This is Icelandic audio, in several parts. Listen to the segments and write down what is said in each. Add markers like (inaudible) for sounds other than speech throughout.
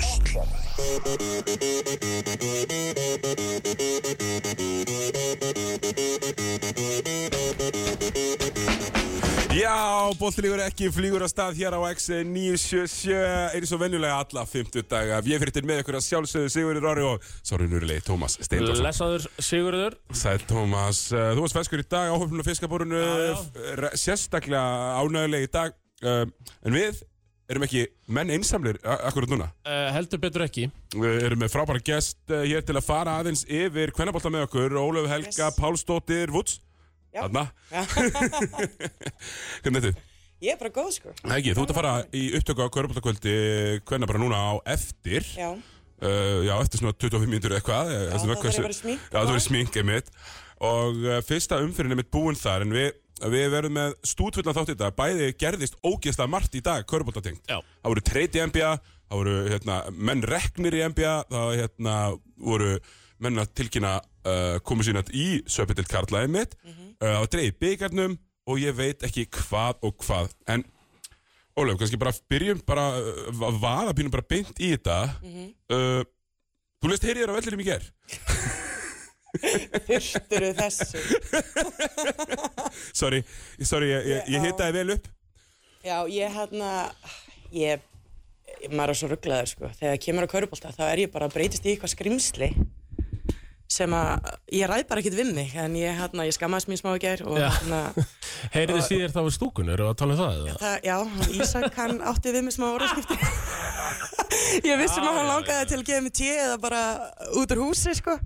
Pálsson Já, bóttlíkur ekki flýgur að stað hér á X977 eins og venjulega alla 50 daga. Við fyrir með ykkur að sjálfsögðu Sigurður Rári og Sori Núrilegi Tómas Steindorsson. Lesaður Sigurður Sæl Tómas, Eh, þú varst feskur í dag áhöfnum á fiskaborunu, Já, já. r- sérstaklega ánæguleg í dag. Um, en við erum ekki menn einsamlir a- akkurat núna. uh, heldur betur ekki Við erum með frábæra gest eh, hér til að fara aðeins yfir kvennabolta með okkur, Ólöf Helga, Yes. Pálsdóttir, Vuts. Já. Þarna. (laughs) Hvernig þetta? Ég er bara góð sko Nei ekki, þú ert að fara í upptöku á Körbóltakvöldi hvenna bara núna á eftir Já, uh, Já, eftir svona 25 mínútur eitthvað eh, Já, það þarf að vera smink. Já, það verður smink einmitt Og uh, fyrsta umfyrin er mitt búin þar En við, við verðum með stútvullan þátt í dag Bæði gerðist ógeðslega margt í dag Körbóltatengt Já. Það voru treyt í NBA Það voru hérna, menn reknir í NBA Það hérna, voru menn að tilkynna uh, komu sína í Söpi til Karla einmitt Mhm. uh, Það var dreigð byggarnum Og ég veit ekki hvað og hvað En Ólef, kannski bara byrjum bara uh, að vaða pínum bara beint í þetta Mhm. uh, Þú leist heyrið þér á vellinum í ger þurftur þessu Sorry, sorry, ég, ég, ég Já. hitaði vel upp Já, ég hérna Ég, maður er svo rugglaður sko Þegar það kemur á kaurubólta þá er ég bara að breytist í eitthvað skrimsli sem að ég ræð bara ekkert við mig en ég, hérna, ég skammaðist mín smá í gær og Já. hérna, Heyriði síðir þá við stúkun, eru að tala um það eða? það, já, hann Ísak hann átti við mig smá orðskipti (laughs) ég vissum að hann já, langaði til að gefa mig tíu eða bara út úr húsi sko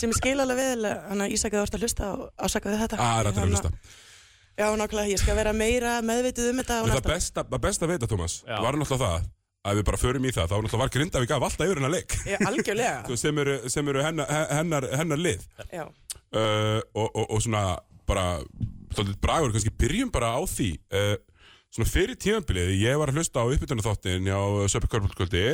sem ég skil alveg vel, hann að Ísak að þú ert að hlusta og ásakaði þetta ah, rættir að Hérna, hlusta Já, nákvæmlega, ég skal vera meira meðvitið um þetta á En það næsta. besta, það besta að veita, Thomas Já. var náttúrulega það að við bara förum í það þá náttúrulega var Grindavík af alltaf yfir hennar leik Ég, algjörlega, Þú, sem eru, sem eru hennar, hennar, hennar lið já. uh, og, og, og svona bara svolítið bragur, kannski byrjum bara á því uh, svona fyrir tímabilið ég var að hlusta á uppbytunarþáttin á Söpi Körbóltkvöldi,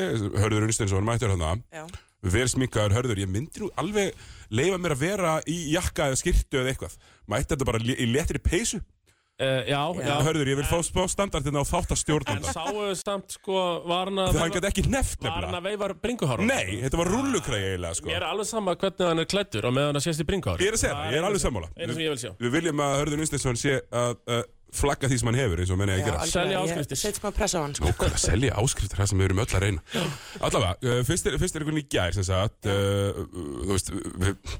Hörður Unsteinsson mættur hann Já. vel sminkaður hörður, ég myndi nú alveg leifa mér að vera í jakka eða skyrtu eða eitthvað, mætti þetta bara li- í letri peysu, Uh, já, já, hörður, ég vil fá spá standardina á En þáttastjórnanda, sáu samt sko var hann að það hann gæti ekki neft var hann nefnilega, að veifar bringuhárum nei, þetta var rullukræði eiginlega, sko, Mér er alveg sama hvernig hann er klættur og meðan hann sést í bringuhárum ég er að segja það, ég er alveg sammála Einu sem ég vil sjá við viljum að hörður Unsteinsson sé að uh, flagga því sem hann hefur, eins og menn ég að gera algjörlega. Selja Ég áskriftir. Set smá press á hann, sko. Nókulega að selja áskriftir það sem við erum öll að reyna Allavega, uh, fyrst er, fyrst er einhvern í gær sem sagt uh, uh, Þú veist, við við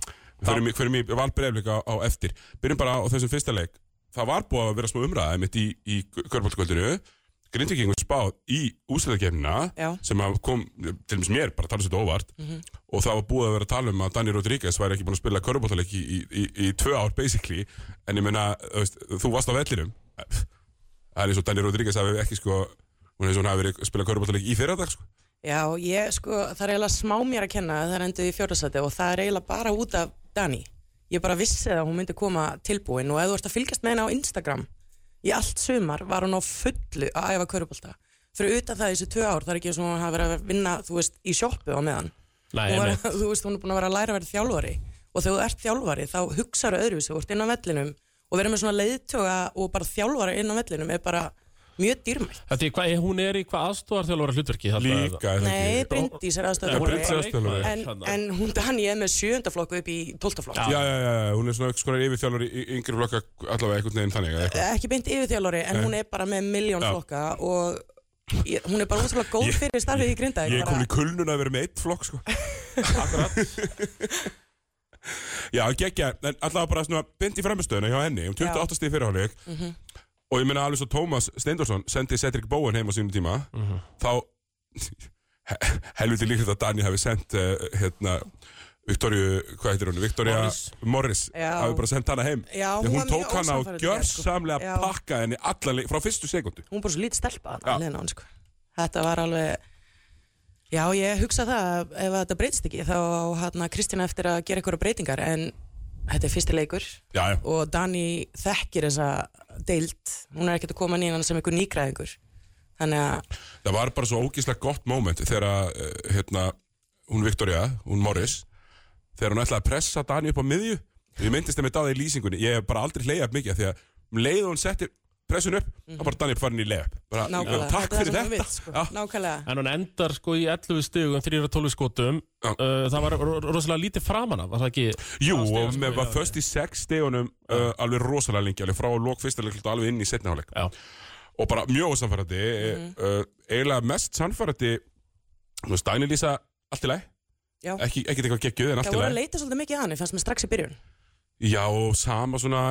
förum í, förum í valbreyflik á, á eftir Byrjum bara á þessum fyrsta leik Það var búið að vera smá umræða einmitt í, í körbóltkvöldinu Grindvikingur spáð í úsleðakefnina Já. sem að kom eh, til dæmis mér bara tala sér þetta óvart og það var búið að vera að tala um að Dani Rodríguez væri ekki búin að spila körbóltaleik í, í, í, í tvö ár basically en ég meina, þú veist, þú varst á vellinum það er eins og Dani Rodríguez hafi ekki sko hún er eins og hún hafi verið að spila körbóltaleik í fyrradag sko. Já, ég, sko, það er eiginlega smá mér að kenna að það er endið í fjórðasæti og það er eiginlega bara út af Dani. Ég bara vissi að hún myndi koma tilbúin og ef þú ert að fylgjast með henni á Instagram, í allt sumar var hún á fullu að æfa kaurubólta. Fyrir utan það þessi tvö ár, það er ekki sem hún hafi verið að vinna, þú veist, í sjoppu á meðan. Nei, Hún var, einmitt. þú veist, hún er búin að vera að læra að vera þjálfari og þegar þú ert þjálfari þá hugsaðu öðruvísi, þú ert inn á vellinum og verður með svona leiðtöga og bara þjálfari inn á vellinum er bara mjög dýrmætt Þetta er hvað, hún er í hvað aðstofarþjálfara hlutverki þarna, eða? líka er það Nei, ekki? Bryndís er Nei, hún er Bryndís aðstöðar er- aðstoðarþjálfari. en, Hérna. en hún Dani er með sjöunda flokk upp í tólta flokk já, já, já, já, hún er svona skorar yfir þjálfur í yngri flokka allavega einhvern veginn þannig eða eitthvað. ekki beint yfir þjálfari en hún er bara með miljón Já. flokka og ég, hún er bara útrúlega góð fyrir starfið í grinda ég er komin í kulnuna að vera með eitt flokk sko. já, geggja en allavega bara svona beint í framistöðuna hjá henni um 28 stíð fyrirháleik Mhm. og ég meina alveg svo Tómas Steindorsson sendi Cedric Bowen heim á sínum tíma Mhm. þá (laughs) he- helviti líklegt að Dani hafi sendt uh, hérna Victoria, hvað heitir hún? Victoria Morris, Morris. Já. hafi bara sendt hana heim Já, Því hún hún, var tók mjög hana og ósannfærandi í gær, sko. gjörsamlega Já. pakka henni allaleg, frá fyrstu sekundu hún er bara svo lítið stelpa Já. hann, hann, sko. þetta var alveg já ég hugsa það að ef þetta breytst ekki þá hann að Kristina eftir að gera einhverja breytingar en þetta er fyrsti leikur já, já. og Dani þekkir þessa deild hún er ekkert að koma nýjan sem einhver nýgræðingur þannig að það var bara svo ógíslega gott moment þegar uh, hérna, hún Victoria, hún Morris þegar hún ætlaði að pressa Dani upp á miðju ég myndist það með dáði í lýsingunni, ég hef bara aldrei hleyjað mikið af því að um leið og hún setti pressun upp, þá bara Dani farin í leg bara, Nákvæmlega, takk er fyrir það sem þú þetta vilt, sko. Já. Nákvæmlega En hún endar sko í 11 stugum, 3-12 skotum Já. uh, Það var ro- rosalega lítið framan af, var það ekki Jú, Já, stiga, og sko, með já, var já. föst í sex stegunum uh, alveg rosalega lengi, alveg frá að lók fyrsta leik alveg inn í setna hálfleik Já, og bara mjög sannfærandi Mhm. uh, eiginlega mest sannfærandi þú veist, Dæni Lísa allt í læg Já. ekki, ekkert eitthvað geggjuð en allt Það í voru að læg leita svolítið mikið að hann, fannst mér strax í byrjun já og sama svona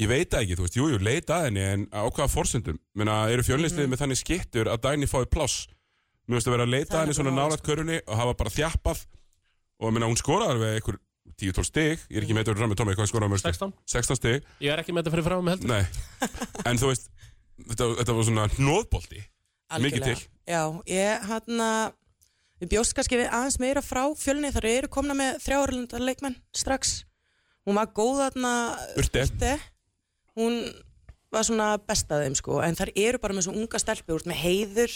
ég veit það ekki, þú veist, jújú, jú, leita að henni en á hvaða forsendum, menna eru fjölnisliðið Mhm. með þannig skittur að Dæni fái pláss mér veist að vera að leita Það sko. að er henni svona nefnilega nálægt körunni og hafa bara þjappað og menna hún skoraði alveg einhver 10-12 stig, ég er ekki með þetta verið rammið Tómi, hvað skoraði mörg stig? 16 16 stig, Ég er ekki með þetta fyrir fram heldur nei en þú veist, þetta, þetta var svona hnóðbolti Mikið Algjörlega. til. Já, ég hann við bjóst kannski við aðeins meira frá fjölni þar eru komna með þrjárlundar leikmenn strax hún var góð þarna Urte. Urte. hún var svona best að þeim sko en þar eru bara með svo unga stelpi úr með heiður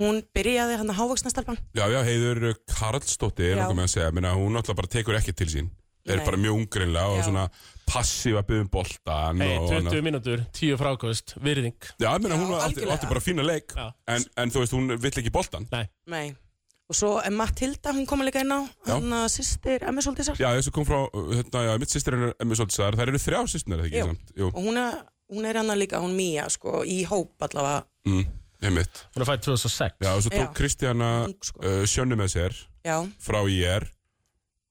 hún byrjaði hann að hávaksna stelpan Já, já, heiður Karlsdóttir er Já. okkur með að segja, minna, hún náttúrulega bara tekur ekki til sín er Nei. bara mjög ungrinlega og Já. svona passífa byggum boltan Hey, og 20 annað. mínútur, 10 frákvöst, virðing Já, minna, hún Já, átti, algjörlega. átti bara fína leik Já. en, en þú veist, hún vill ekki boltan Nei, Nei. og svo er Matilda hún kom líka inn á Já. hann að sýstir Emisoldisar Já, þessu kom frá, uh, hérna, já, mitt sýstir hennar emmi svolítið sagðar, þær eru þrjá sýstunar, ekki Jú. samt Jú, og hún er, hún er hann líka, hún Mía sko, í hóp allavega mm, einmitt hún er fætt 2006 Já, og svo tók Já. Kristjana Ung, sko. uh, sjönnu með sér já, frá IR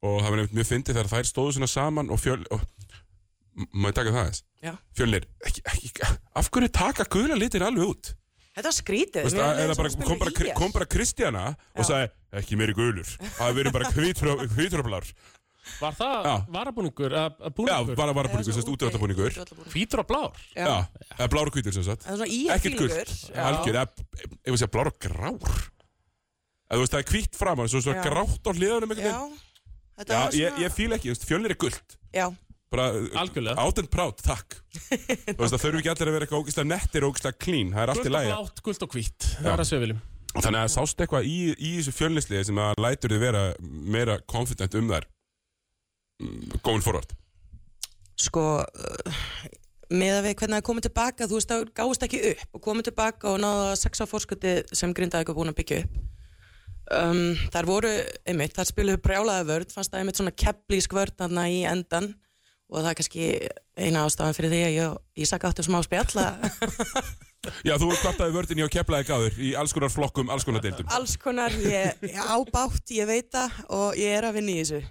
og það var nefnt mjög fyndið þegar þær stóðu svona saman og fjöl og, M- má ég taka það þess? Já. Fjölnir, ekki, ekki, af hverju taka gula litir alveg út? þetta var skrítið Veist, Mér að, leið eða eins og bara, hún kom, spili bara, í E Kri- IR. kom bara Kristjana og Já. sagði ekki meiri gulur það verið bara hvítröflar Var það Já. varabúningur, að, að já, búningur, bara varabúningur, Já, sérst ok, útrættabúningur já, útivallarbuningur. hvítur og blár Já. eða blár og hvítur sem sagt Það er svona í E ekkert gult, algjör eða ef við segja blár og grár eða þú veist það er hvít framan, svo svona Já. grátt á hliðunum einhvern Já, veginn. þetta já, var svona ég, ég fíla ekki, þú veist, fjölnir er gult Já, bara Algjörlega. átend prát, (laughs) takk þú veist það þurfi ekki allir að vera eitthvað ógislega nettir og ógislega clean, það er allt í Gult og lægi blátt, gult og hvít Það er að segja viljum Þannig að sástu eitthvað í, í þessu fjölnisliði sem að lætur þið vera meira confident um þær mm, going forward sko uh, með að við hvernig það komið tilbaka þú veist það gáðist ekki upp og komið tilbaka og náðu að sexa fórskuti sem grindaði ekki búin að byggja upp um, þar voru, einmitt, þar spiluðu brjálaði vörð, fannst það einmitt svona kepplísk vörð þarna í endan og það er kannski eina ástafan fyrir því að ég, ég sakka áttu smá spjalla Já, þú kvartaði vördin í að kepla þig gáður í alls konar flokkum, alls konar deildum alls konar, ég, ég ábátt, ég veit það og ég er að vinna í þessu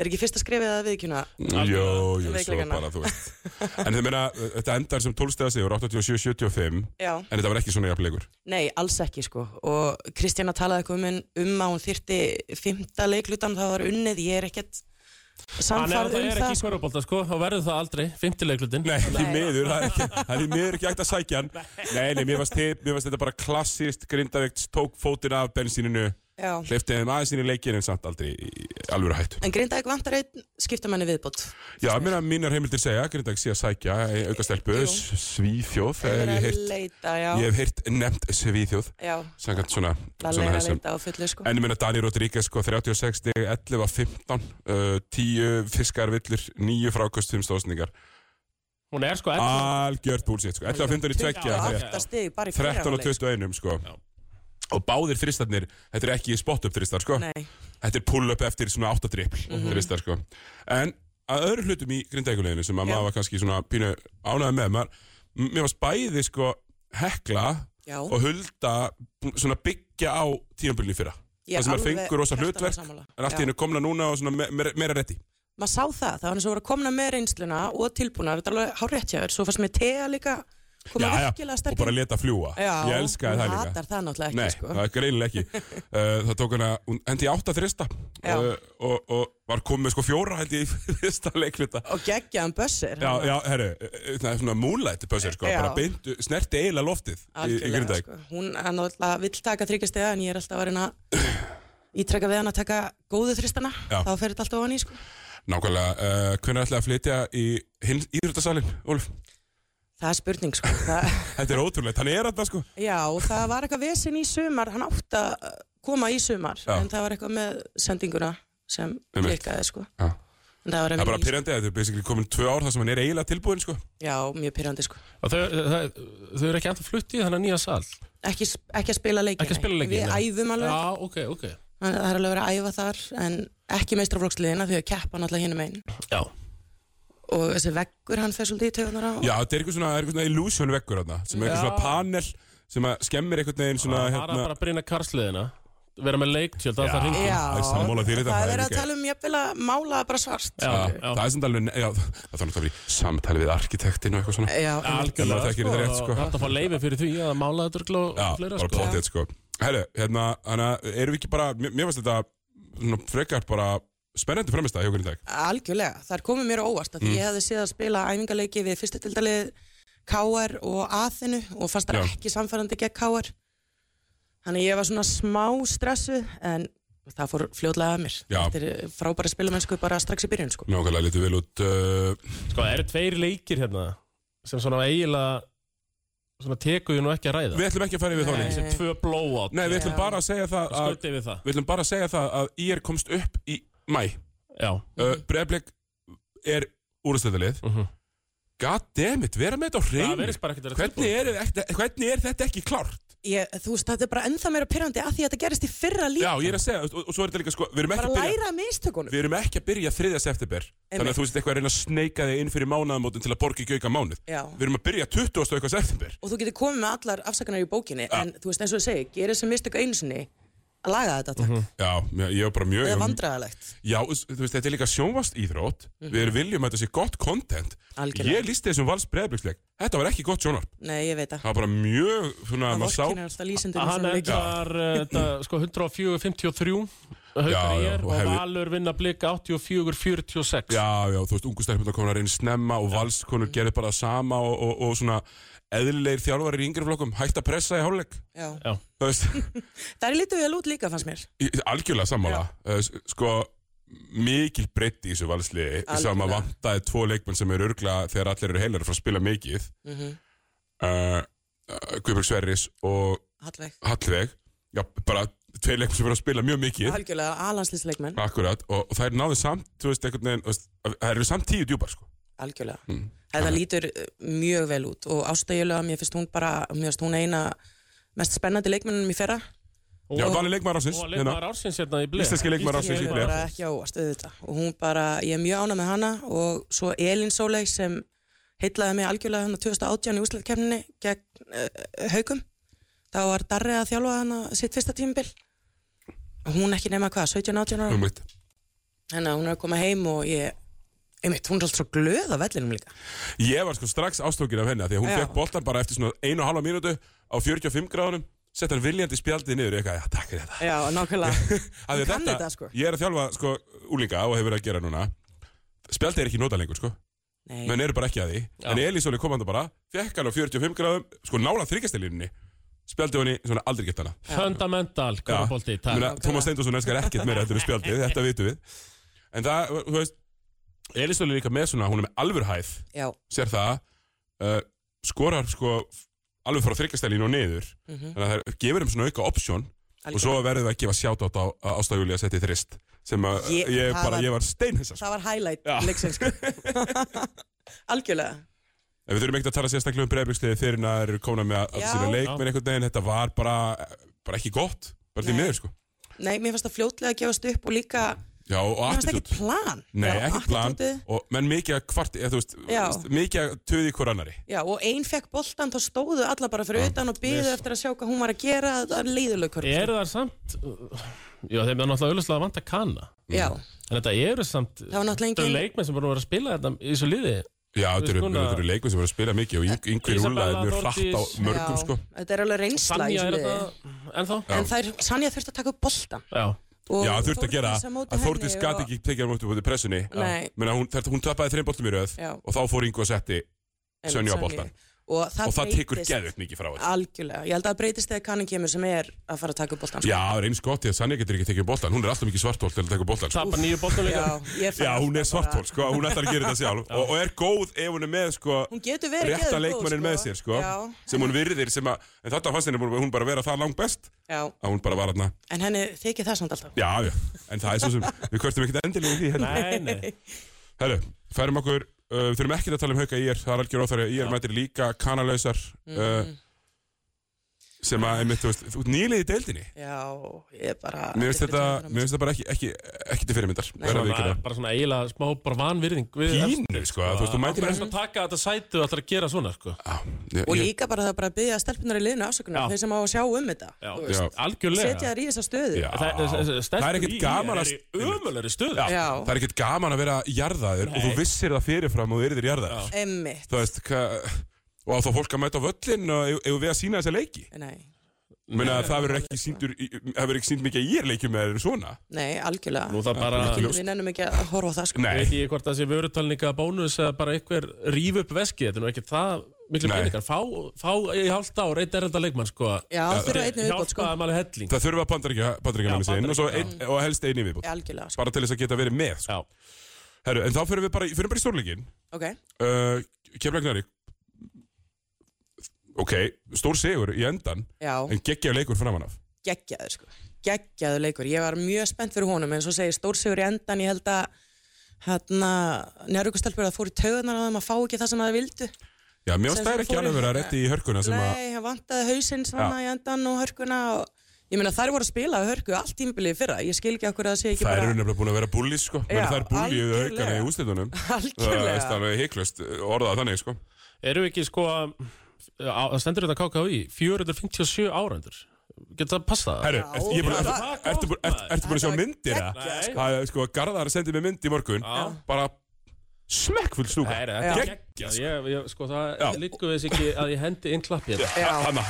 er ekki fyrsta skrefið að viðkjöna Jó, jó, svo Veikleikana. bara, þú veist En þið meina, þetta endar sem 12 stegar sigur 87-75, já en þetta var ekki svona jafnleikur Nei, alls ekki sko og Kristjana talaði eitthvað um, en- um að hún þyrti fymta leiklutan það var unnið, ég er ekkert Þannig að samfarð það um er það ekki í sko. hverjabólta sko og verður það aldrei, 50 leiklutin Nei, því miður, það er ekki, það er því miður ekki hægt að sækja hann Nei, nei, mér varst, þið- mér varst þetta bara klassist, grindavíkt, tók fótinn af bensíninu, Já. hleyftið þeim aðeins inn í leikinn en samt aldrei í alvöru hættu En Grindavík vantar einn skiptamenni viðbót Já, mér að mínar heimildir segja, Grindag sé að sækja eh, auka stelpu, Jú. S- Svíþjóð Þeir þegar eru ég að heyrt, leita, já, ég hef heyrt nefnt Svíþjóð já samkvæmt svona, Lalli svona er að þessum leita á fullu sko En ég meina Dani Rodríguez sko 36 stig, 11 af 15 uh, 10 fiskar villur 9 frákast 5 stóðsningar Hún er sko 11 Ah. Algjört búlsitt sko 11 af 15 í Já, tveggja já. þegar- Átta stig, bara í 13 og fyrra 21 sko Já. Og báðir fristarnir, þetta er ekki spot-up fristar sko Nei, Þetta er pull-up eftir svona 8 drippl fristar sko En að öðru hlutum í grindækuleginu sem að Já. maður var kannski svona pínu ánæði með maður, m- Mér varst bæði sko hekla já, og hulda bú- svona byggja á tímabilinu fyrra ég það sem maður alveg fengur rosa hjartanlega hlutverk, sammála. En allt í Já. hennu komna núna og svona me- meira, meira reddi maður sá það, það var eins og voru að komna með reynsluna og tilbúna, þetta er alveg hárétt hjá þér svo fannst mér Tea líka koma virkilega og sterk bara inn. leta fljúa Já, Ég elskaði það Hún líka hatar það náttúrulega ekki Nei, sko það er greinilega (laughs) ekki uh, Það tók hana, hún hendi í átta þrista Já. uh, og, og var komið með sko fjóra held ég í (laughs) þrista leikluta Og geggjaðan bössir Já, já, herru, uh, það er svona múlæti pössir sko, Já. bara beintu, snerti eiginlega loftið í, í Algjörlega, Grindavík sko. Hún hann náttúrulega vill taka þryggjastega en ég er alltaf að reyna að ítrekka við hann að taka góðu þristana Já. þá fer þetta alltaf ofan í sko. Nákvæmlega, uh, hvernig ætlaði að flytja í hinn íþróttasalinn, Úlf? Það er spurning sko. Það, Þetta er ótrúlegt, hann er þetta sko (laughs) já, og það var eitthvað vesen í sumar, hann átti að uh, koma í sumar Já. en það var eitthvað með sendinguna sem Einmitt. klikkaði sko. Já. En það var Það er bara að pyrrandi að þau er basically komin tvö ár þar sem hann er eiginlega tilbúin sko. Já, mjög pyrrandi sko Og þau, þau, þau eru ekki ennþá flutt í þennan nýja sal ekki, ekki að spila leiki Ekki að nei. spila leiki, Við nei. æfum alveg, Já, ok, ok það er alveg að vera að æfa þar En ekki meistraflokksliðina því að keppa náttúrulega hinum einn Já, Og þessi veggur hann fer svolítið í tögunar á Já, þetta er eitthvað svona, er eitthvað svona illusion veggur þarna sem er eitthvað Já. svona panel sem að skemmir einhvern veginn svona það er hérna, bara að brýna karsliðina Vera með leiktjöld, það þarf hringi Já, það er sammála þér í þetta, það það er er að ekki- tala um jafnvel að mála bara svart Já, Já, já. það er sem alveg, já, það þarf náttúrulega að vera í samtali við arkitektin og eitthvað svona Já, einmitt. Ef maður þekkir þetta rétt, sko. Það er að fá leifi fyrir því að mála þetta örugglega Já, og fleira bara sko. potið sko Herru, hérna, hana, erum við ekki bara Mér, mér fannst þetta svona, frekar bara spennandi fremist að hjá hvernig dag Algjörlega, það er komið mér á Mm. óvart af Því ég hefði séð að spila æfingaleiki við fyrstu tildalið KR og Aþinu og fannst það Já. ekki samfærandi gegn KR Þannig ég var svona smá stressu en það fór fljótlega að mér Já. Þetta er frábæri spilamennsku bara strax í byrjun sko. Nákvæmlega lítið vel út uh, Sko, það eru tveir leikir hérna sem svona eiginlega svona tekur ég nú ekki að ræða Við ætlum ekki að fara yfir þá Nei. leik Þessi tvö blowout Nei, við ætlum Já. bara að segja það að, Skauti við það Við ætlum bara að segja það að IR komst upp í mæ Já, uh, Mhm. Breiðblik er úrstæðalið Mhm. God damn it, vera með þetta á það hreinu verðist bara ekkert að vera hvernig, er þetta- hvernig er þetta ekki klárt? ég, Þú veist, þetta er bara ennþá meira pyrrandi að því að þetta gerist í fyrra líka Já, ég er að segja, og, og svo er þetta líka sko Við erum ekki bara að byrja læra að mistökunum Við erum ekki að byrja 3. september Þannig að þú veist eitthvað að reyna að sneika þig inn fyrir mánaðamótin til að borga ekki auka mánuð Já. Við erum að byrja 20. og eitthvað september og þú getur komið með allar afsakanar í bókinni en þú veist eins og ég segi, gera þessi mistök einu sinni að laga þetta takk, Já, mér- ég var bara mjög það er ég var- vandræðalegt Já, þú veist, þetta er líka sjónvast íþrótt Við erum viljum að þetta sé gott content Mhm. Algjörlega. Ég lísti þessum vals breyðbyggsleik Þetta var ekki gott sjónvarp Nei, ég veit að Það var bara mjög, svona, Það maður sá vorkinir alltaf lýsendur Hann endar uh, þetta, sko 104-53 Haukar Já, já, ég og og hefði- Valur vinna blika 84-46 Já, já, þú veist, ungu stelpunar komin að reyna snemma og valskonur gerir bara það sama og, og, og svona eðlilegir þjálfarir í yngri flokkum hægt að pressa í hálfleik Já. Já. Þú veist, Það er lítið vel út líka, fannst mér. Í- Algjörlega sammála Eh, s- Sko, mikil breytti í þessu valsliði Algjörlega. sem að vantaði tvo leikmenn sem eru örgla þegar allir eru heilar frá að spila mikið mm Mhm. -hmm. Guðbjörg Sverris og Hallveig. Hallveg Já, bara tveir leikmenn sem eru að spila mjög mikið Algjörlega, alanslýsleikmenn. Akkurat, og, og það er náðu samt þú veist, einhvern veginn, þú veist, að- það eru samt tíu djúpar sko. Algjörlega. Þetta lítur eh, mjög vel út og ástæðjulega, mér finnst hún bara, mér finnst hún eina mest spennandi leikmennum í fyrra. Já, Og- valið leikmaður ásins Og leikmaður ársins hérna í blei Íslenski leikmaður ársins í Ég er Blika. bara ekki ávast auðvitað. Og hún bara, ég er mjög ána með hana og svo Elin Sóley sem heitlaði mig algjörlega hann 2018 í úsleitkefninni gegn uh, haukum. Þá var Darri að þjálfa hana sitt fyrsta tímabil. Hún ekki nema hvað, 17-18 ára? Umvitt Þannig að hún er að koma heim og ég einmitt, hún er alltaf svo glöð af vellinum líka Ég var sko strax ástókin af henni af Því að hún Já. fekk boltan bara eftir svona einu og halva mínútu á 45 gráðunum Sett hann viljandi spjaldið niður Ég eitthvað, já, takk fyrir þetta Já, nákvæmlega Af því að kann þetta, sko. Ég er að þjálfa sko úlinga og hefur verið að gera núna Spjaldið er ekki nota lengur sko Nei, Menn eru bara ekki að því En Elísóli kom hann bara Fekk hann á 45 gráðum Sko nála þryggastilinni Spjaldið henni svona aldrei gett hana Fundamental, Já. korfbólti, Ég takk meina, Tómas Steindorsson elskar ekkert meira Þetta er spjaldið, þetta vitum við En það, þú veist Elísóli er líka með svona, hún er með alvur hæð já, sér það uh, skorar sko alveg frá þryggjastælinu og niður Mhm. þannig að það gefur þeim svona auka option og svo verðum við að gefa sjátt átt á ástæðjúli að setja í þrist sem að Ég- ég, ég, það bara, var- ég var steinhessa sko. það var highlight leiksins (laughs) sko. Algjörlega en við þurfum ekkert að tala sérstaklega um breyðbyggsliði þegar það eru komna með að Já. sína leik með einhvern veginn, þetta var bara, bara ekki gott bara því Nei. miður sko Nei, mér fannst það fljótlega að gefast upp og líka mér Já, og fannst attitút ekki plan Nei, Já, ekki plan attitútið. og, menn mikið að kvart, eða, þú veist, Já. mikið að töði hver annari Já, og ein fekk boltan, þá stóðu alla bara fyrir utan og byðu eftir að sjá hvað hún var sko. að gera það er leiðulegur Er það samt Já, þeim er náttúrulega auðvitað að vanta kanna Já, En þetta eru samt það var Þetta eru náttúrulega engin leikmenn sem bara voru að spila þetta í þessu liði Já, þetta veist, eru- núna- þetta eru leikmenn sem voru að spila mikið og yngvir Isabella rúlaði mjög hratt á Þórdís- mörgum sko Já, Þetta er alveg reynsla í Sanja er þessu liði þetta hérna ennþá En það er, Sanja þurfti að taka upp boltan Já, og Já, þurfti að Þórdís gera á móti að Þórdís henni gati og- ekki tekið hann út út í pressunni Nei. Menna, hún, þetta- hún tapaði þreim boltum í röð Já. og þá fór Ingo að setti Einmitt, Sönju á Sonju. boltan og það, og það tekur breytist geðveikt mikið frá þér algjörlega, ég held að það breytist þegar kannin kemur sem er að fara að taka upp boltan Já, það er eins gott því að Sanja getur ekki tekið boltan Hún er alltaf mikið svartholt til að taka boltan sko. Tappa nýju bóttum líka ég fann Já, hún er alltaf bara- svartholt, sko, hún ætlar að gera þetta (laughs) sjálf og, og er góð ef hún er með, sko hún getur verið Rétta geðveik góð, leikmannin með sér, sko já, Sem hún virðir, sem að En þetta fannst henni búin- hún bara vera það langt best já, Að hún bara var hérna en henni þykir það samt alltaf Já, já, en það er (laughs) svo sem Við kvörtum ekkert endilega í því hérna Nei, nei Herru, færum okkur, uh, við þurfum ekki að tala um hauka ír, það er algjör óþæri, ír mætir líka kanalausar Mm. uh, sem að, einmitt, þú veist, þú ert nýlið í deildinni. já, ég bara Mér finnst þetta, fyrir mér finnst þetta bara ekki, ekki, ekki til fyrirmyndar, verður við ekki Svona, það. Bara svona eiginlega smá bara vanvirðing við efstu. Pínu, sko, að þú veist, þú mætir Akkur er þetta að taka þetta sætu og ætlar að gera svona sko. Já, og ég, ég, líka bara það bara að byggja stelpunar í liðinu Já. afsökunar þeir sem á að sjá um þetta Já, þú já. veist. algjörlega setja þær í þessa stöðu já. Það, það er ekkert gaman að, Ömulegri stöð já, Já. það er ekkert gaman að vera jarðaður og þú Nei. vissir það fyrirfram og þú yrðir jarðaður. emmitt, Þú veist, hva, og að þá fólk að mæta á völlin og ef við að sína þessa leiki. nei, Mér að það verður ekki síndur, í- það verður ekki sínd mikið að ég er leikjum með þeir svona. nei, algjörlega Nú það bara ekki Ég ljóst. við nennum ekki að horfa á það sko Nei, veit ekki hvort það sé vörutalninga bónus eða bara einhver ríf upp veski Þetta er nú ekki það miklu Nei. peningar Fá, fá í hálft ár eitt erenda leikmann sko já, þurfa einni viðbót sko Hjálpaði maður helling Það þurfa bandaríkjamenni Já, sín og, svo Bandaríkja- ein, og helst einu viðbútt algjörlega, sko. bara til þess að geta verið með sko. Já, Heru, En þá fyrir við bara, í- förum bara í stórleikin ok, uh, Keflagnari Ok, stór sigur í endan já, en geggja leikur framan af geggjaður sko geggjaður leikur, ég var mjög spennt fyrir honum en svo segir stórsigur í endan, ég held að hérna, njárvíkustelpur að fór í taugunar að þeim að fá ekki það sem það vildu Já, mér Sem finnst það sem ekki fóru- alveg verið að rétti í hörkuna sem að Nei, hann vantaði hausinn svona í endan og hörkuna og ég meina þær voru að spila að hörku allt tímbilið fyrra, ég skil ekki okkur að það sé ekki Það eru bara nefnilega búin að vera búli sko Já, Menn það er búli yfir algjörlega. haugana í (laughs) úslitunum Það er algjörlega, alveg heiklust orðað þannig sko eru ekki sko að- á- Það stendur þetta KKI 457 árandur Getur það passað? Herru, Já, ertu ég búin að- það- ertu- ertu búin- ertu- ertu búin að sjá Þetta var myndir eða? geggjað, sko. Það er, Sko, Garðar sendi mér mynd í morgun Já. bara smekkfull stúka Nei, nei, þetta er Já. geggjað ég, ég, Sko það Já. liggur þess ekki að ég hendi inn klappi hérna. Já. Hanna,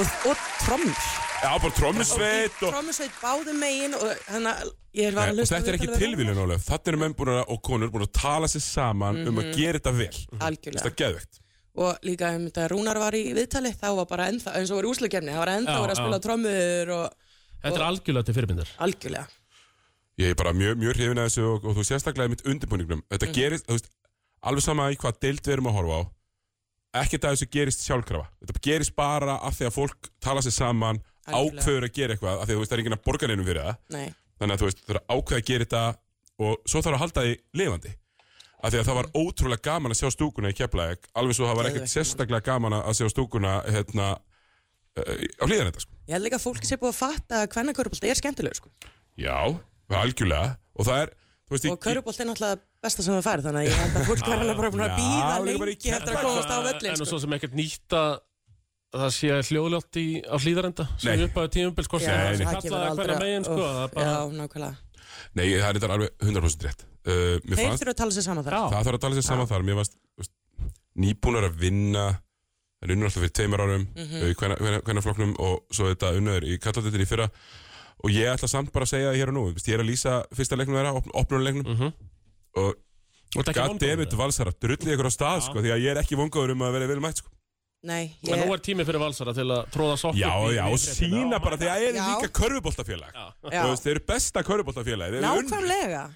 og, og trommur já, bara trommusveit og, trommusveit báðum megin og hann að ég Nei, var að og hlusta á þetta er ekki viðtalið við tilvílun Ólef Þetta eru menn búin að, og konur búin að tala sér saman um að gera þetta vel Mhm. Algjörlega. Þetta er geðvegt og líka um þetta Rúnar var í viðtali þá var bara ennþá, eins og var úslugefni það var ennþá Já, verið að já. spila trommur og Þetta er algjörlega til fyrirmyndar algjörlega Ég er bara mjög, mjög hrifin að þessu og, og þú sérstaklega í mitt undirbúningnum Mhm. Þetta gerist, þú veist, alveg sama í hvað deild við erum að horfa á Ekkert að þessu gerist sjálfkrafa Þetta gerist bara af því að fólk tala sér saman Algjörlega. Ákveður að gera eitthvað af því að þú veist, það er enginn að borga neinum fyrir það nei, þannig að þú veist, þú þarf að ákveða að gera þetta og svo þarf að halda því lifandi af því að það var ótrúlega gaman að sjá stúkuna í Keflæk, alveg svo það var ekkert Geðveikt gaman. sérstaklega gaman að sjá stúkuna hérna, uh, á hlýðan þetta sko. ég held líka að fólki sé búið að fatta að hvernig körubolt er skemmtilegur sko. Já, það er algjörlega og það er, þú veist, og körubolt er náttúrulega besta sem það fær þannig að ég held að fólk var alveg bara búin að Já, býða líka bara í lengi eftir að komast á En völlin og sko. svo sem ekkert nýtt að að það sé hljóðljótt í, á hlýðarenda sem Nei. við uppaðu tíumbil sko Já, sem nei. það það kemur kallaði hverja aldrei- megin sko Úff, það er bara, já, nákvæmlega nei, það er þetta alveg 100% rétt uh, mér Þeir fannst, þurfa að tala sér saman þar já, það þarf að tala sér saman þar mér fannst, þú veist, nýbúnar að vinna það er unnur alltaf fyrir tveimur árum mm -hmm. hvernig flokknum og svo þetta unnur í kallatittin í fyrra og ég ætla samt bara að segja það hér og nú þú veist, ég er að lýsa fyrsta leiknum þeirra, op opnunarleiknum Mhm. og Þú ert ekki vonbrigðum Goddammit með það. valsara, drullið ykkur á stað sko, því að ég er ekki vongaður um að vera vel mætt sko. Nei, En nú ég, er tími fyrir valsara til að tróða sokk Já, upp í- já, í og fréttina. sína bara því að það er Já. líka körfuboltafélag Já. Já. Þú veist, Þeir eru besta körfuboltafélag nákvæmlega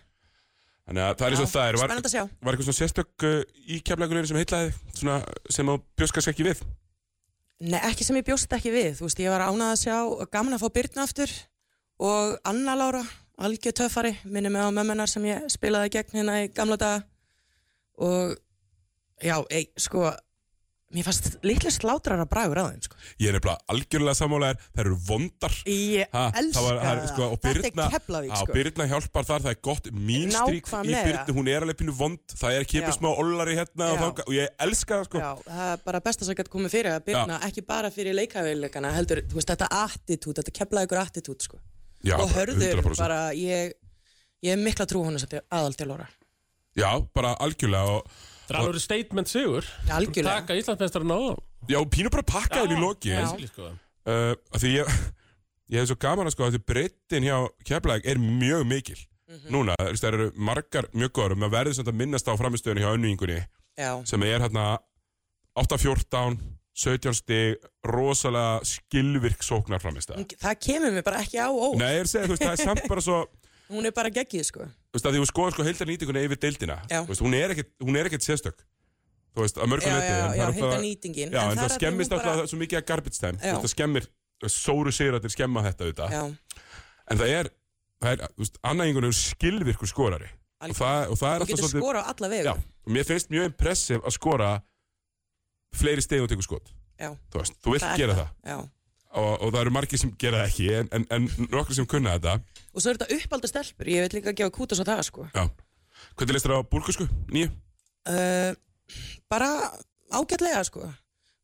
Þannig að það er eins og Já, það er Var, Spennandi að sjá var eitthvað svona sérstök uh, í keflagurinn sem heitlaði svona, sem á bjóskast ekki við Nei, ekki sem ég bjóst ekki við, þú veist, ég var ánað að sjá gaman að fá Byrnu aftur og Anna Lára, algjör töffari minni mig á mömmunar sem ég spilaði gegn hérna í gamla daga og já, ei, sko mér fannst litlega slátrar að bragur á þeim, sko. Ég er nefnilega algjörlega sammálaðar Þær eru vondar Ég Ha, elska það var- það er, sko, og þetta Birna- er Keflavík, Á, sko. Byrna hjálpar þar, það er gott mínstrík í Nákvæmlega. Byrnu, hún er alveg pínu vond það er Já. kipið smá ollari hérna og, Já. þanga, og ég elska það sko Já, það er bara besta sem gæti komið fyrir að Birna, ekki bara fyrir leikafélikana, heldur, þú veist, þetta attitút, þetta Keflavíkur ykkur attitút, sko. Já, og hörður 100%. bara, ég, ég er mikla trú honum sem þetta aðaldjálóra. Já, bara algjörlega og, Það er alveg statement sigur Algjörlega. Taka Íslandsmeistarinn á það Já, pínu bara pakkaðin í loki Já. Basically, sko. uh, af Því ég, (laughs) ég hef svo gaman að sko að því breyttin hjá Keflæk er mjög mikil Mhm. Núna, þú veist, það eru margar mjög góður maður verður samt að minnast á framistöðinu hjá önningunni Já, sem er hérna á 8-14, 17 stig, rosalega skilvirk sóknar framist það. það kemur mér bara ekki á ó Nei, ég er að segja, þú veist, það er (laughs) samt bara svo, hún er bara geggið sko þú veist, að því hún skoður sko heildarnýtinguna yfir deildina. Já. Þú Veist, hún, er ekkit, hún er ekkit sérstök, þú veist, að mörgum já, leiti. já, en það já, er heita náttúrulega- Já, en, nýtingin er það að því skemmist hún alltaf bara... svo mikið að garbage time Já. Þú veist, Það skemmir, sóru sigratnir skemma þetta auðvitað já, En það er, það er þú veist, annaðingunum skilvirkur skorari og það, og það er og alltaf getur svolítið skora á alla vegu Já, og mér finnst mjög impressiv að skora fleiri stegum tegur skot Já. Þú veist, þú vilt Það er gera það, Já. Og, og það eru margir sem gera það ekki En, en, en nokkur sem kunna þetta og svo er þetta uppalda stelpur ég veit líka að gefa kútas á það sko Já Hvernig leist þér á sko? búlgusku? Nýju? uh, bara ágætlega sko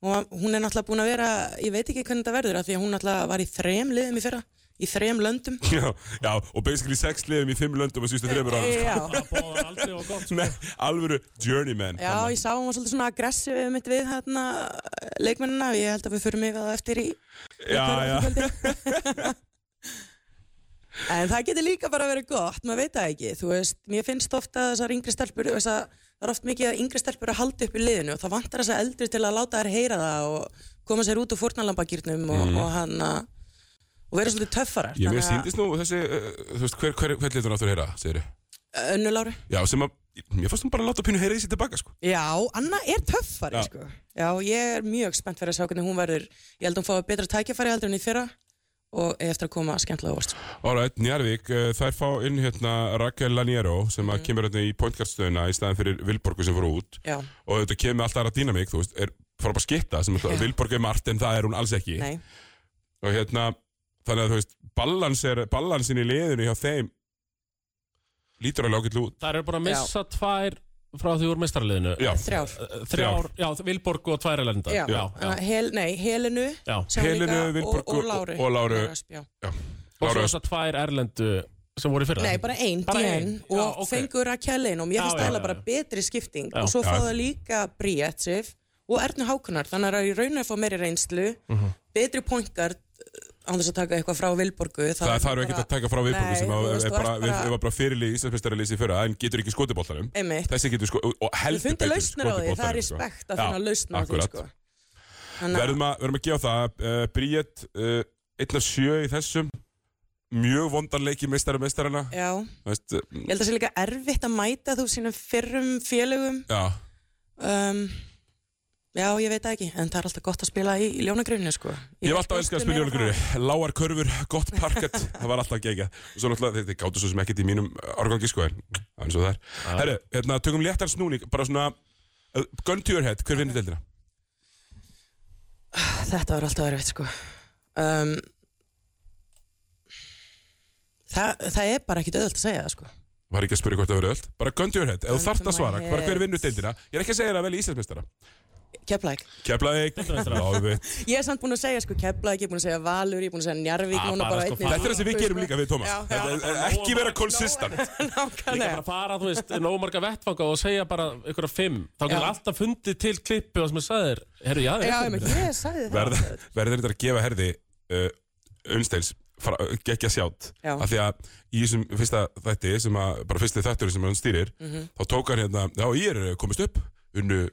og hún er náttúrulega búin að vera ég veit ekki hvernig þetta verður af því að hún náttúrulega var í þrem liðum í fyrra í þrem löndum (laughs) Já, já, og basically sex liðum í fimm löndum að síðustu þreymur ára sko. já, Bóðar aldrei og gott Nei, alvöru journeyman já, ég sá hún var svolítið svona aggressiv mitt við hérna leikmennina ég held að við förum yfir það eftir í já, já. (laughs) En það getur líka bara verið gott, maður veit það ekki Þú veist, mér finnst ofta þessar yngri stelpur þess að Það er oft mikið að yngri stelpur að halda upp í liðinu og það vantar þess að eldri til að láta þær heyra það og koma sér út úr fórnalambakýrnum og, og hann að- og vera svolítið töffarar Mhm. Ég mér Þannig að- síndist nú þessi, uh, þú veist, hver, hver, hver litur áttur að heyra, segir ég? Önnu Láru Já, sem að, mér fannst hún bara að láta pínu heyra í sér tilbaka, sko. Já, Anna er töffari Já. sko Já, ég er mjög spennt fyrir að sjá hvernig hún verður Ég held að hún fái betra tækjafæri heldur en í fyrra og eigi eftir að koma skemmtilega á óvart sko. Alright, Njarvík, uh, þær fá inn hérna Raquel Laniero sem Mm. að kemur hérna í pointkartstöðuna í staðin fyrir Vilborgu sem fór út Já, og þetta kemur með alltaf aðra dýnamík, þú veist, er fara bara að skitta sem alltaf, Já. Vilborg er margt en það er hún alls ekki nei, og hérna, þannig að þú veist, balans er, balansin í liðinu hjá þeim lítur alveg ágætlu út. Það eru bara að missa tvær frá því úr mestarliðinu Já, þrjár Þrjár, já, Vilborg og tvær erlenda Já, já, já, Hel, nei, Helenu já. sem Helenu, líka- Vilborg og, og- og Láru, og Láru. Ösp, já. Og svo Lára, þessar tvær erlendu sem voru í fyrra Nei, bara ein, Bara DN ein, og já, já, ok. fengur Rakelin og mér Já, finnst já, það já, bara já. betri skipting Já. og svo Já. fá það líka Bríetsif og Ernu Hákunar þannig að í raun að fá meiri reynslu Mhm. betri pointgard án þess að taka eitthvað frá Vilborgu það, það þarf ekkert að taka frá Vilborgu Nei, sem þú að, veist, er þú bara, ert við, bara- við var bara fyrirlið í Íslandsmeistaralýsi fyrra en getur ekki skotibóltanum. einmitt, þessi getur sko og- og við heldur fundum betur lausnir á því skotið það er boltanum, sko. respekt Já, að finna lausnir á því akkurat. sko. Þannig að- verðum að, verðum að gefa það uh, Bríett, uh, einn af sjö í þessum mjög vondan leiki meistara meistarana já, Þú veist, uh, ég held að það sé líka erfitt að mæta þú sínum fyrrum félögum já, um, Já, ég veit það ekki, en það er alltaf gott að spila í, í ljónagrunni, sko. ég hef alltaf elskað að spila jólagröri lágar körfur, gott parkett (laughs) það var alltaf gegja og svo náttúrulega þetta gáttu svo sem ekkert í mínum árgangi sko en það er eins og það er herru, hérna, tökum léttan snúning bara svona uh, gun to your head, hver vinnir deildina? (laughs) Þetta var alltaf erfitt, sko. Um, það, það er bara ekkit auðvöld að segja það, sko. var ekki að spyrja hvort það verið öll bara gun to your head, ef þú Gun þarft to að my svara bara hver head. vinnur deildina, ég er ekki að segja þér að velja Íslandsmeistara Keflæk. Keflavík, Deildarmeistara. lágvitt Ég er samt búin að segja, sko, Keflæk, ég er búin að segja Valur, ég er búin að segja Njarvík, Ah, núna bara, bara sko, einnig. Þetta er það sem við gerum líka við Tómas Já, já. Þetta er- er Ekki vera konsistant Líka Nákvæmlega. bara fara, þú veist, nógu marga vettfanga og segja bara ykkur fimm Þá getur Já. alltaf fundið til klippu og sem ég sagði þér Herru, já, Já, ég, ég ég sagði það. Verða- Verður þetta að gefa herði uh, Unsteins geggja sjátt Já. af því að í þessum fyrsta þætti sem að, bara fyrsti þættur sem hann stýrir Mhm. þá tók hann hérna, já ég er komist upp unnu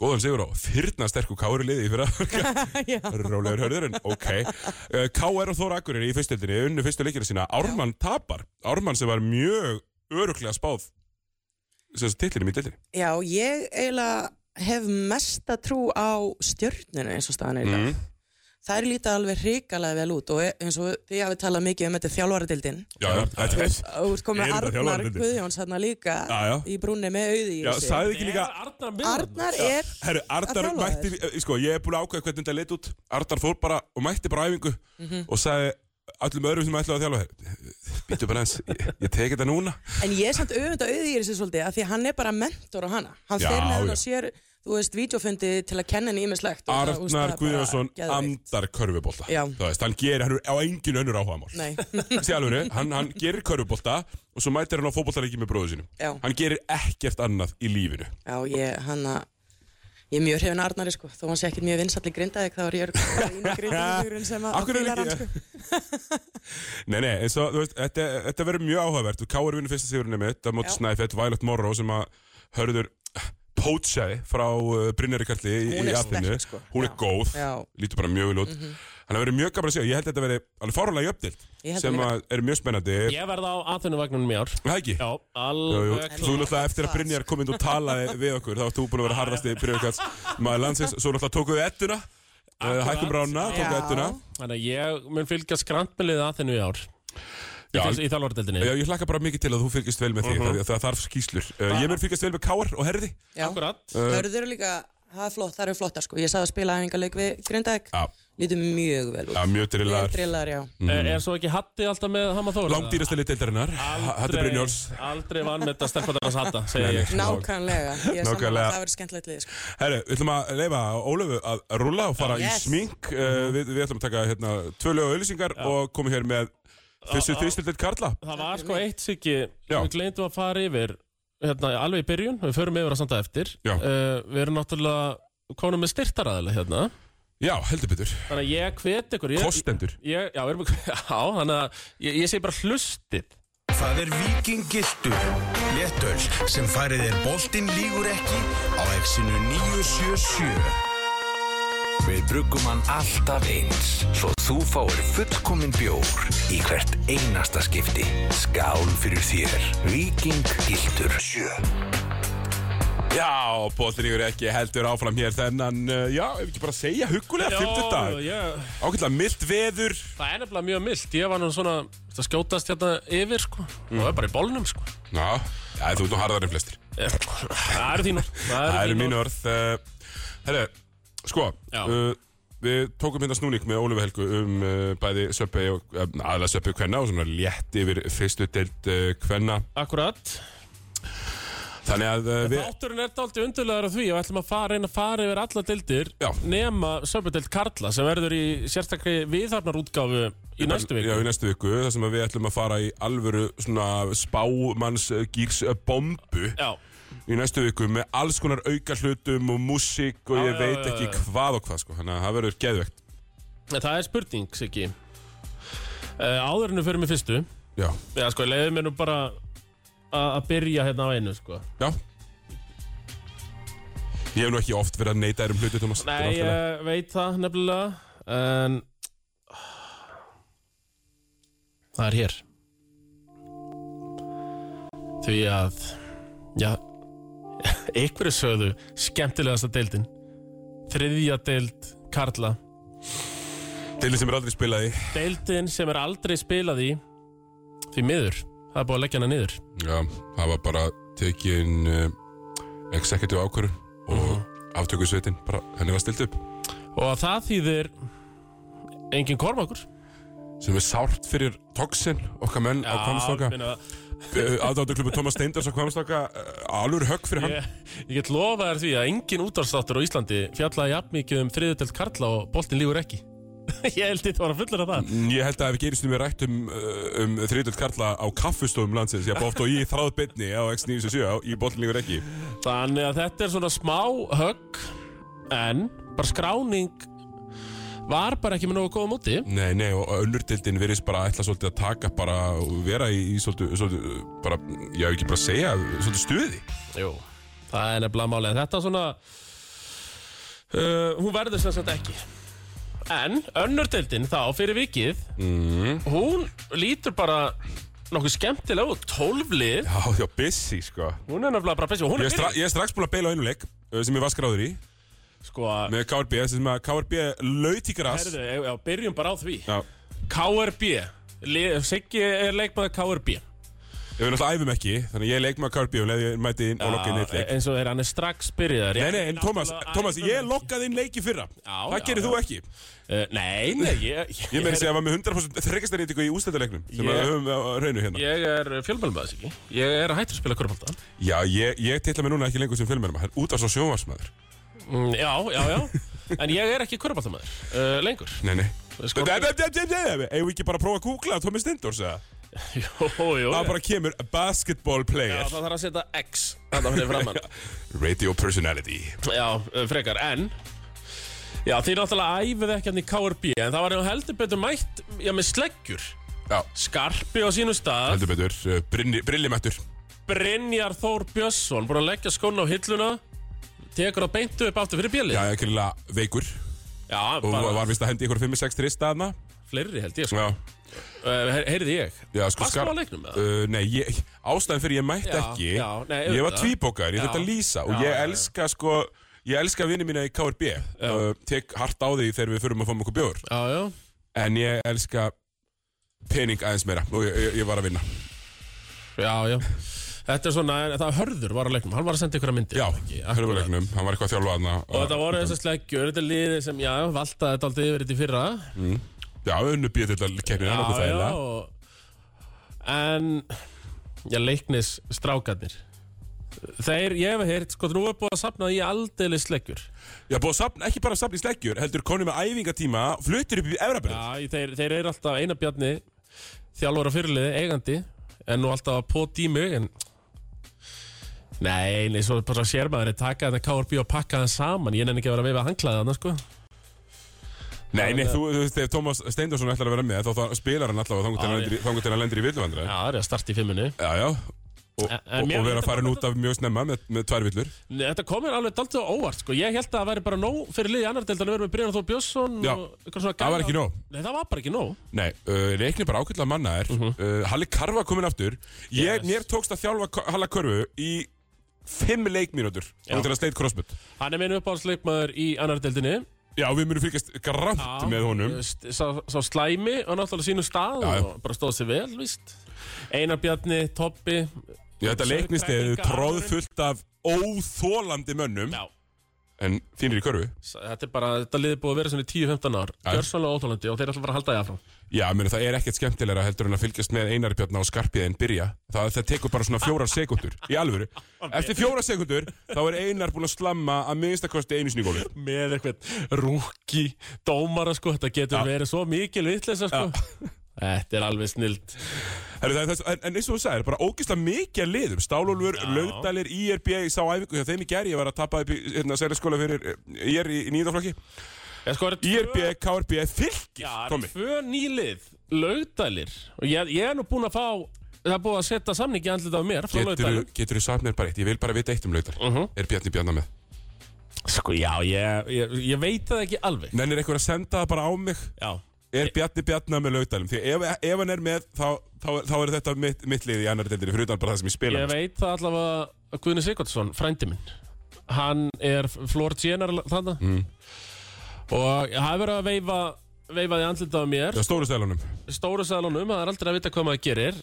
góðan sigur á fyrna sterku kári liði í fyrra (laughs) Já. rólegur hörðurinn, ok uh, K.R. og Þóra Akureyri í fyrstöldinni unnu fyrstu leikina sína, Ármann tapar Ármann sem var mjög öruglega spáð sem þessi titlinum í deildinni Já, ég eiginlega hef mesta trú á stjörnunu eins og staðan er í dag. Mhm. Það er lítið alveg hrikalega vel út og eins og því að við tala mikið um þetta þjálfaradildin. Já, já, þetta er Þú ert komið Er þetta Arnar þjálfaradeildin? Guðjóns hérna líka Já, já. í brúnni með auði í Já, sagði ekki líka Arnar Arnar er, Herru, Arnar þjálfa mætti, eh, sko, ég er búin að ákveða hvernig þetta leit út Arnar fór bara og mætti bara á æfingu Mhm. og sagði öllum öðrum sem ætlaði að þjálfa "Heyrðu, Býttu bara eins, ég, ég teki þetta núna en ég er samt auðvitað auði í þessu svolítið að því að hann er bara mentor á hana. Hann Já, fer með hann já. og sér, þú veist, vídeofundi til að kenna henni ímislegt. og (laughs) það- þú veist, það er Arnar bara Guðjónsson geðveikt. andar körfubólta Já. Þú veist, hann gerir, hann er á engin önnur áhugamál Nei, (laughs) Sé alveg, hann, hann gerir körfubólta og svo mætir hann á fótboltareiki með bróðu sínum Já. Hann gerir ekkert annað í lífinu já, ég, hann að, ég er mjög hrifin Arnari sko, þó hann sé ekkert mjög vinsall í grindaðik, þá er ég bara einu grindaðikurinn sem að Af hverju er fílar ekki- hann, sko. (laughs) Nei, nei, eins og, þú veist, þetta, þetta verður mjög áhugavert Káur vinnur fyrsta sigurinn mitt, að móti Já. Snæfett, Violet Morrow sem að hörður Hótsæ frá uh, Brynjari Kalli í, Hún í er Aþenu. sterk, sko. Hún er Já. góð, Já. Mhm. lítur bara mjög vel út Þannig að verður mjög gaman að sjá, ég held að þetta verði alveg fárlega Ég jöfnild held sem það að er mjög spennandi Er Ég verða á aðfinnumvagnunum í ár Það ekki? Já, Jú, jú. alveg Þú náttúrulega eftir að Brynjar kom inn og (laughs) talaði við okkur þá varst þú búin að vera harðasti byrjunarkast maður landsins, svo náttúrulega tókuðu ettuna uh, Akkurat. hækkum rána, tókuðu Já. ettuna Þannig að ég mun fylgja skrantmilið aðfinnu í ár Í, Já. fylg, í þalvardeldinni Já, ég hlakka bara mikið til að þú fylgist vel með þig uh það þarf skýslur uh, Ég mun fylgist vel með Káar og Herði Já. Uh. Akkurat Hörður eru líka, það er flott, það eru flottar sko. Ég sagði að spila æfingarleik við Grindæk. Já, Lítur mjög vel út. já mjög Mjög drillar drillar, já. Mm. Eh, Er er svo ekki hatti alltaf með Hama Þóra? Langdýrastili deildarinnar Hattu Brynjóls Aldrei vanmeta stelpadarnas hatta, segi Nei, ég nei. Nákvæmlega. Ég er saman Nákvæmlega. að það verður skemmtilegt lið, sko. Herru, við ætlum að leifa Ólöfu að rúlla og fara Yes. í smink uh, við, við ætlum að taka hérna tvö lög og auðlýsingar og komum hér með þessu þrýstildið Karla Það var sko eitt siki Já. Við gleymdum að fara yfir hérna, Alveg í byrjun, við förum yfir að samt að eftir Já. uh, Við erum náttúrulega konum með styrtaraðilega hérna Já, heldur betur Þannig að ég hvet ykkur ég, Kostendur ég, Já, við erum (laughs) já, þannig að ég, ég segi bara hlustið Það er vikingiltur, léttöl, sem færið er boltinn lígur ekki á exinu 977. Við bruggum hann alltaf eins, svo þú fáir fullkominn bjór í hvert einasta skipti. Skál fyrir þér, Viking Gildur 7. Já, Bóttiníkur ekki heldur áfram hér þennan, uh, já, ef ekki bara að segja hugulega, 50 dag, ég, ákveðlega mildt veður Það er nefnilega mjög mild Ég var nú svona það skjótast hérna yfir sko. Það er bara í bólnum sko. Já, já þú ert nú harðar en flestir Ég- Það eru þín orð Mm. Það eru þín mín orð uh, Herre, sko Já. uh, Við tókum hérna snúning með Ólifu Helgu um uh, bæði söpbi og uh, aðla söpbi kvenna og svona létt yfir fyrstu deild uh, kvenna Akkurat Þannig að uh, við, Þátturinn er dálítið undurlegar af því og ætlum að fara inn að fara yfir alla dildir Já. nema söpudeld Karla sem verður í sérstakri viðhafnarútgáfu í næstu Já, viku í næstu viku, þar sem að við ætlum að fara í alvöru svona spámanns gýrs bombu Já, í næstu viku með alls konar auka hlutum og músík og ég Já, já, veit já, ekki já. hvað og hvað sko, þannig að það verður geðvegt. en það er spurning Siggi uh, Áðurinu fyrir mig fyrstu Já, Já, sko, leiðum mér nú bara a- að byrja hérna á einu, sko já. Ég hef nú ekki oft verið að neita þér um hluti, Thomas. Þetta er Nei, náttúrulega- ég veit það nefnilega en það er hér því að já (laughs) einhverju sögðu skemmtilegasta deildin þriðja deild Karla Deilin sem er aldrei spilað í. deildin sem er aldrei spilað í því miður það er búið að leggja hana niður Já, það var bara tekin uh, executive ákvörun og uh aftökusveitin, bara henni var stilt upp. og það þýðir engin kormakur Sem er sárt fyrir Toxin, okkar menn á Kvamstokka. meina, Aðdáttu klubu Thomas Steindars á Kvamstokka, alveg högg fyrir hann. Ég, ég get lofa þér því að engin útvarstáttur á Íslandi fjallaði jafn mikið um þriðutelt Karla og boltin lífur ekki. (laughs) ég held þetta var að fullur af það. Ég held að ef ekki einustu mér rætt um, uh, um þriðdöld karla á kaffustofum landsins Ég bóft og ég þráð bytni á X97 á- í bollinlegur ekki Þannig að þetta er svona smá högg en bara skráning var bara ekki með nógu góða móti. Nei, nei, og önnurdildin virðist bara ætla svolítið að taka bara og vera í, í svolítið, svolítið, uh, bara, já, ekki bara að segja, svolítið stuði Jú. Það er nefnilega málið. En Þetta svona, uh, hún verður sem sagt ekki. En önnurdeildin þá fyrir vikið, hún lítur bara nokkuð skemmtilega og tólflið. Já, já, busy, sko Hún er nefnilega bara besið. Hún Ég er er, stra, ég er strax búin að beila á einu leik uh, sem ég var skráður í Sko að... með KRB, sem að KRB laut í gras Herðu, já, já, byrjum bara á því Já, KRB Le- Siggi er leikmaður KRB við náttúrulega æfum ekki, þannig að ég er leik með KRB og leið ég mæti inn og lokka inn eitt leik Ah, eins og er hann er strax byrjaðar Nei, nei, en Thomas, Thomas, ég lokkaði inn leiki fyrra Já, Það já, gerir já. þú ekki Eh, Nei, nei, ég (laughs) Ég meiri segja að var með 100% þryggastarýtingu í ústættilegnum sem Ég- við höfum á á hreinu hérna. Ég er fjölmælmaður Siggi Ég er hættur að spila korfbalta Já, ég, ég titla mig núna ekki lengur sem fjölmennum, hann útvarst á sjónvarsmaður. mm, Já, já, já En ég er ekki korfbaltamæður uh, (laughs) lengur Nei, nei. Sko- Eða ekki bara að prófa að googla Tommy Stindors eða? Jó, jó Það bara kemur basketball Já, player, það þarf að setja X Þetta fyrir (laughs) framann radio personality. Já, uh, frekar, en Já, þið náttúrulega æfið ekki hann í KRB En það var nú heldur betur mætt Já, með sleggjur Já, Skarpi á sínum stað heldur Eh, betur, uh, brillimættur. Brynjar Þór Björnsson búin að leggja skóna á hilluna tekur á beintu upp aftur fyrir bjölið Já, ekki líka veikur Já, Og bara var vist að hendi ykkur 5-6 trista þarna fleiri held ég sko. Já, uh, her, Heyrði ég já sko Varstu á leiknum eða? uh, Nei, ég, ástæðan fyrir ég mætti Já, ekki já, nei, Ég var auðvitað. tvíbókar, ég Já. þurfti að lýsa Já, Og ég já, já. elska sko Ég elska vinni mína í KRB uh, Tek hart á því þegar við förum að fáum okkur bjór Já, já En ég elska pening aðeins meira Og ég, ég, ég var að vinna Já, já Þetta er svona, en það hörður var á leiknum, hann var að senda ykkur að myndi Já, hörfulegnum, hann var eitthvað að þjálfa þarna Og þetta voru þessar sleggjur, þetta er liðið sem, já, valtaði þetta aldrei yfir þetta í fyrra Já, unnu býja til að kemja hann okkur þægilega og, En, já, leiknis strákarnir Þeir, ég hef heyrt, sko, nú er búið að sapna í aldeilis sleggjur Já, búið að sapna, ekki bara að sapna í sleggjur, heldur konum með æfingatíma, flutur upp í Evrabreið. Já, í- þeir, þeir eru alltaf eina bjarni Þjálfur og fyrirliði, eigandi En nú alltaf að pót í mig en... Nei, nei, svo bara sér maður að taka þetta KRB og pakka það saman Ég nenni ekki að vera að veifa að hanglaða þarna, sko Nei, nei, þú, þú veist, ef Tómas Steindorsson ætlar að vera með, þá, þá spilar hann alltaf Já, og þangur til hann lendir í villuvandra. Já, það er að starta í fimminu Já, já, og, En- en og, mér- og vera farin út af mjög snemma með, með tvær villur. Nei, Þetta komir alveg daltið á óvart sko. Ég held að það væri bara nóg fyrir liðið annar deildan að vera með Brynjar Þór Björnsson Já. og eitthvað svona Það var gæla- ekki nóg. Nei, það var bara ekki nóg Nei, uh, leiknir bara ákveðlega mannaðir. uh, Halli Karfa kominn aftur. Ég, Mhm. Yes. Mér tókst að þjálfa K- Halla Körfu í fimm leikmínútur og til að sleit crossbut. Hann er minn uppáhaldsleikmaður í annar deildinni Já, við munum fylgjast grátt með honum. st- Sá, sá slæmi og náttúrulega sínum stað Já, já. og bara stóð sér vel, víst Einar Bjarni, Toppi Já, þetta leiknist er tróðfullt af óþólandi mönnum, Já, en þínir í körfu. s- þetta er bara, þetta liðið búið að vera svona í 10-15 ár Já. Gjörsvanlega ótólandi og þeir ætla bara að halda því áfram Já, meni, það er ekkert skemmtilegra heldur en að fylgjast með Einari Björna og Skarpiðin byrja. Það, það tekur bara svona fjórar sekundur, í (laughs) alvöru. Eftir fjórar sekundur, þá er Einar búin að slamma að minnstakosti einu sinni í gólfið. Með eitthvað rúki, dómara sko, þetta getur verið svo mikil vitleysa sko Þetta er alveg snilt Herru, það er þess- En en eins og þú sagðir, bara ógislega mikið að liðum. Stálólfur, Laugdalir, IRB, ég sá æfingu hjá þeim í gerð, ég var að tappa upp í hérna, sælskóla fyrir eh, IR í, í nýðaflokki. Ég sko, er IRB, KRB, fylgir, Já, það eru Tommi. tvö nýlið Laugdælir Og ég, ég er nú búinn að fá Það er búið að setja samningi andlitað á mér frá Laugdælum Getur þú sagt mér bara eitt? Ég vil bara vita eitt um Laugdal. Mhm. Er Bjarni Bjarna með? Sko, já, ég, ég, ég veit það ekki alveg Nennir eitthvað að senda það bara á mig? Já Er Bjarni Bjarnar með laugdælum? Því ef, ef hann er með, þá, þá, þá er þetta mitt, mitt lið í annar deildinni, fyrir utan bara það sem ég spila. Ég veit það allavega að Guðni Sigvardsson, frændi minn Hann er Flór Tjenar þarna mm. Og það er verið að veifa Veifaði andlitað á mér Já, stóru stælunum. Stóru salunum, það er aldrei að vita hvað maður gerir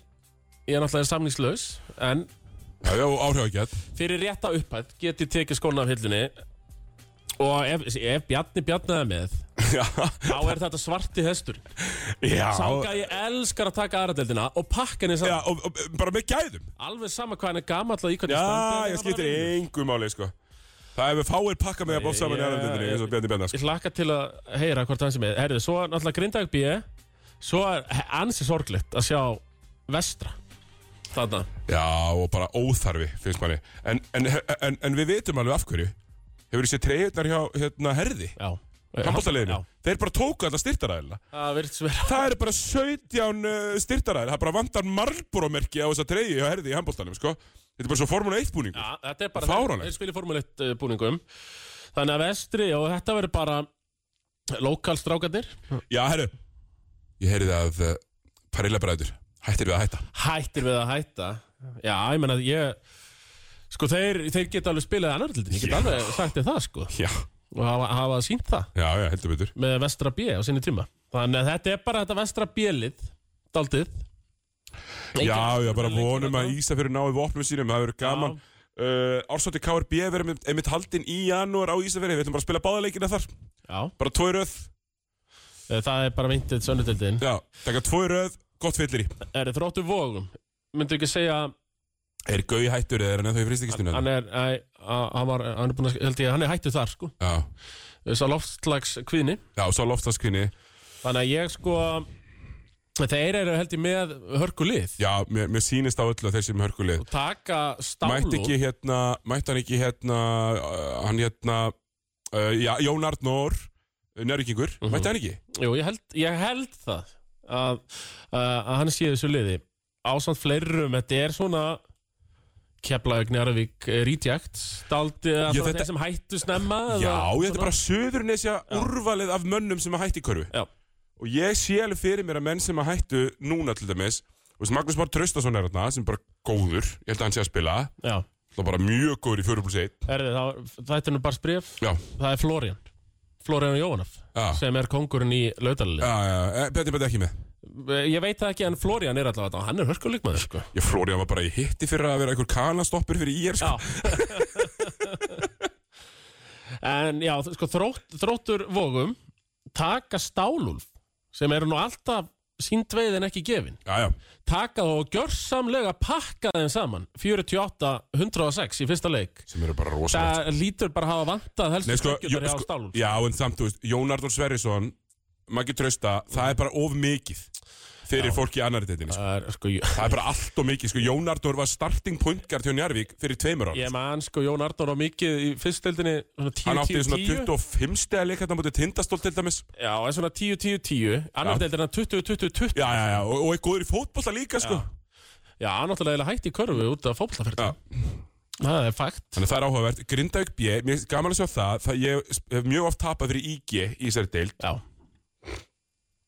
Ég er náttúrulega samningslaus En Já, já, og áhrifagjarn. fyrir rétta upphætt get ég tekið skóna af hillunni og ef, ef Bjarni Bjarnaði með (laughs) Já, þá er þetta svarti hestur já. Sanga ég elskar að taka aðradeldina og pakka henni Já, saman og, og bara með gæðum. alveg sama hvað hann er gamall að í hvernig Já, standi ég skiptir engu máli, sko. Það hefur fáir pakka með að bótt saman í annar deildinni, eins og Bjarni Bjarnar, sko. Ég hlakka til að heyra hvort hann sem er Herðu, svo er náttúrulega Grindag B svo er ansi sorglegt að sjá vestra þarna Já, og bara óþarfi, finnst manni. En, en, en, en við vitum alveg af hverju. Hefur þessi treyjurnar hjá, hérna, herði? Já Handbóltaliðinu. Já. Þeir bara tóku alltaf styrtaræðina. Það virðist vera Það eru bara 17 uh, styrtaræðir, það bara vantar marlbóromerki á þessa treyju hjá herði í handbóltanum, sko. Þetta er bara svo formúla 1 búningur. Já, þetta er bara Fáránlegt. Þeir spila formuleitt uh, búningum Þannig að vestri og þetta verður bara Lókalstrákarnir Já, herru, ég heyrði að uh, Parilla bræður, hættir við að hætta. Hættir við að hætta Já, ég meina að ég Sko þeir, þeir geta alveg spilað annar til Ég get alveg sagt þér það sko Já, Og hafa, hafa sínt það já, já, heldur betur. með vestra B á sinni tíma Þannig að þetta er bara þetta vestra B-lið Daldið já, já, bara vonum að Ísafjörður náðu vopnum sínum, það verður gaman. Uh, Ársótti KRB verður einmitt- einmitt haldinn í janúar á Ísafjörði, við ætlum bara að spila báðaleikina þar. Já, Bara tvoi röð, eh, það er bara myndið sönnudildin já, taka tvoi röð, gott fyllir í. Er þið þróttu vogum? Myndu ekki segja Er Gauði hættur eða er hann ennþá í fristikistunum? Hann er, æ, að- hann var, hann er búin að, held ég, að hann er hættu þar sko Já, þess að loftslags kvinni já, svo loftaskvinni. þannig að ég sko þeir eru held ég með hörkulið Já, mér, mér sýnist á öllu að þeir sem er hörkulið taka stálu Mætti ekki hérna, mætti hann ekki hérna uh, Hann hérna uh, já, Jón Arnór Njörgingur, Mhm. mætti hann ekki? Jú, ég, held, ég held það að, að, að hann sé í þessu liði ásamt fleirum, þetta er svona Keflavík, Njarðvík, eh, Rítjakt Daldið að Já, það þetta- þeir sem hættu snemma Já, eða þetta er bara söðurnesja úrvalið af mönnum sem að hætti í körfu. Já, Og ég sé alveg fyrir mér að menn sem að hættu núna til dæmis, og veist, Magnús Már Traustason er þarna, sem er bara góður, ég held að hann sé að spila, já þá bara mjög góður í 4 plus 1. Erði, þá, Þetta er nú bara spref Já, Það er Florian Florian Jóhanaf Já. sem er kongurinn í lautalili já, já, já, eh, Bjarni Bjarni ekki með. Ég veit það ekki en Florian er allavega þetta Hann er hörkuleikmaður sko Ég Florian var bara í hitti fyrir að vera einhver kanastoppur fyrir IR, sko. Já (laughs) En já, þ- sko, þrótt, þróttur vogum taka stálulf sem eru nú alltaf síndveið en ekki gefin Já, já, taka þá og gjörsamlega pakka þeim saman 48-106 í fyrsta leik sem eru bara rosalegt. Það lítur bara að hafa vantað helstu Nei, sko, jó, stökkjurnar hjá sko, stálulf já, en samt, þú veist, Jón Arnór Sverrisson, Maggi Trausta, það er bara of mikið fyrir fólk í annari tettinni, sko. Það er sko, ég- Það er bara allt og mikið, sko, Jón Arnór var starting point guard hjá Njarvík fyrir tveimur ára. ég man sko Jón Arnór á mikið í fyrstdeildinni svona Hann átti svona 10-10-10 25 stega leik hérna mútið tindastól til dæmis. Já, en svona 10-10-10 annar Já. deildin hann 20-20-20 Já, já, já, og, og er góður í fótbolla líka, sko. Já, hann náttúrulega eiginlega hætti í körfu út af fótballtaferð Já. Það er fakt Þannig að það er áhugavert. Grindavík B, mér er gaman að sjá það, það ég hef mjög oft tapað fyrir IG í þessari deild. Já,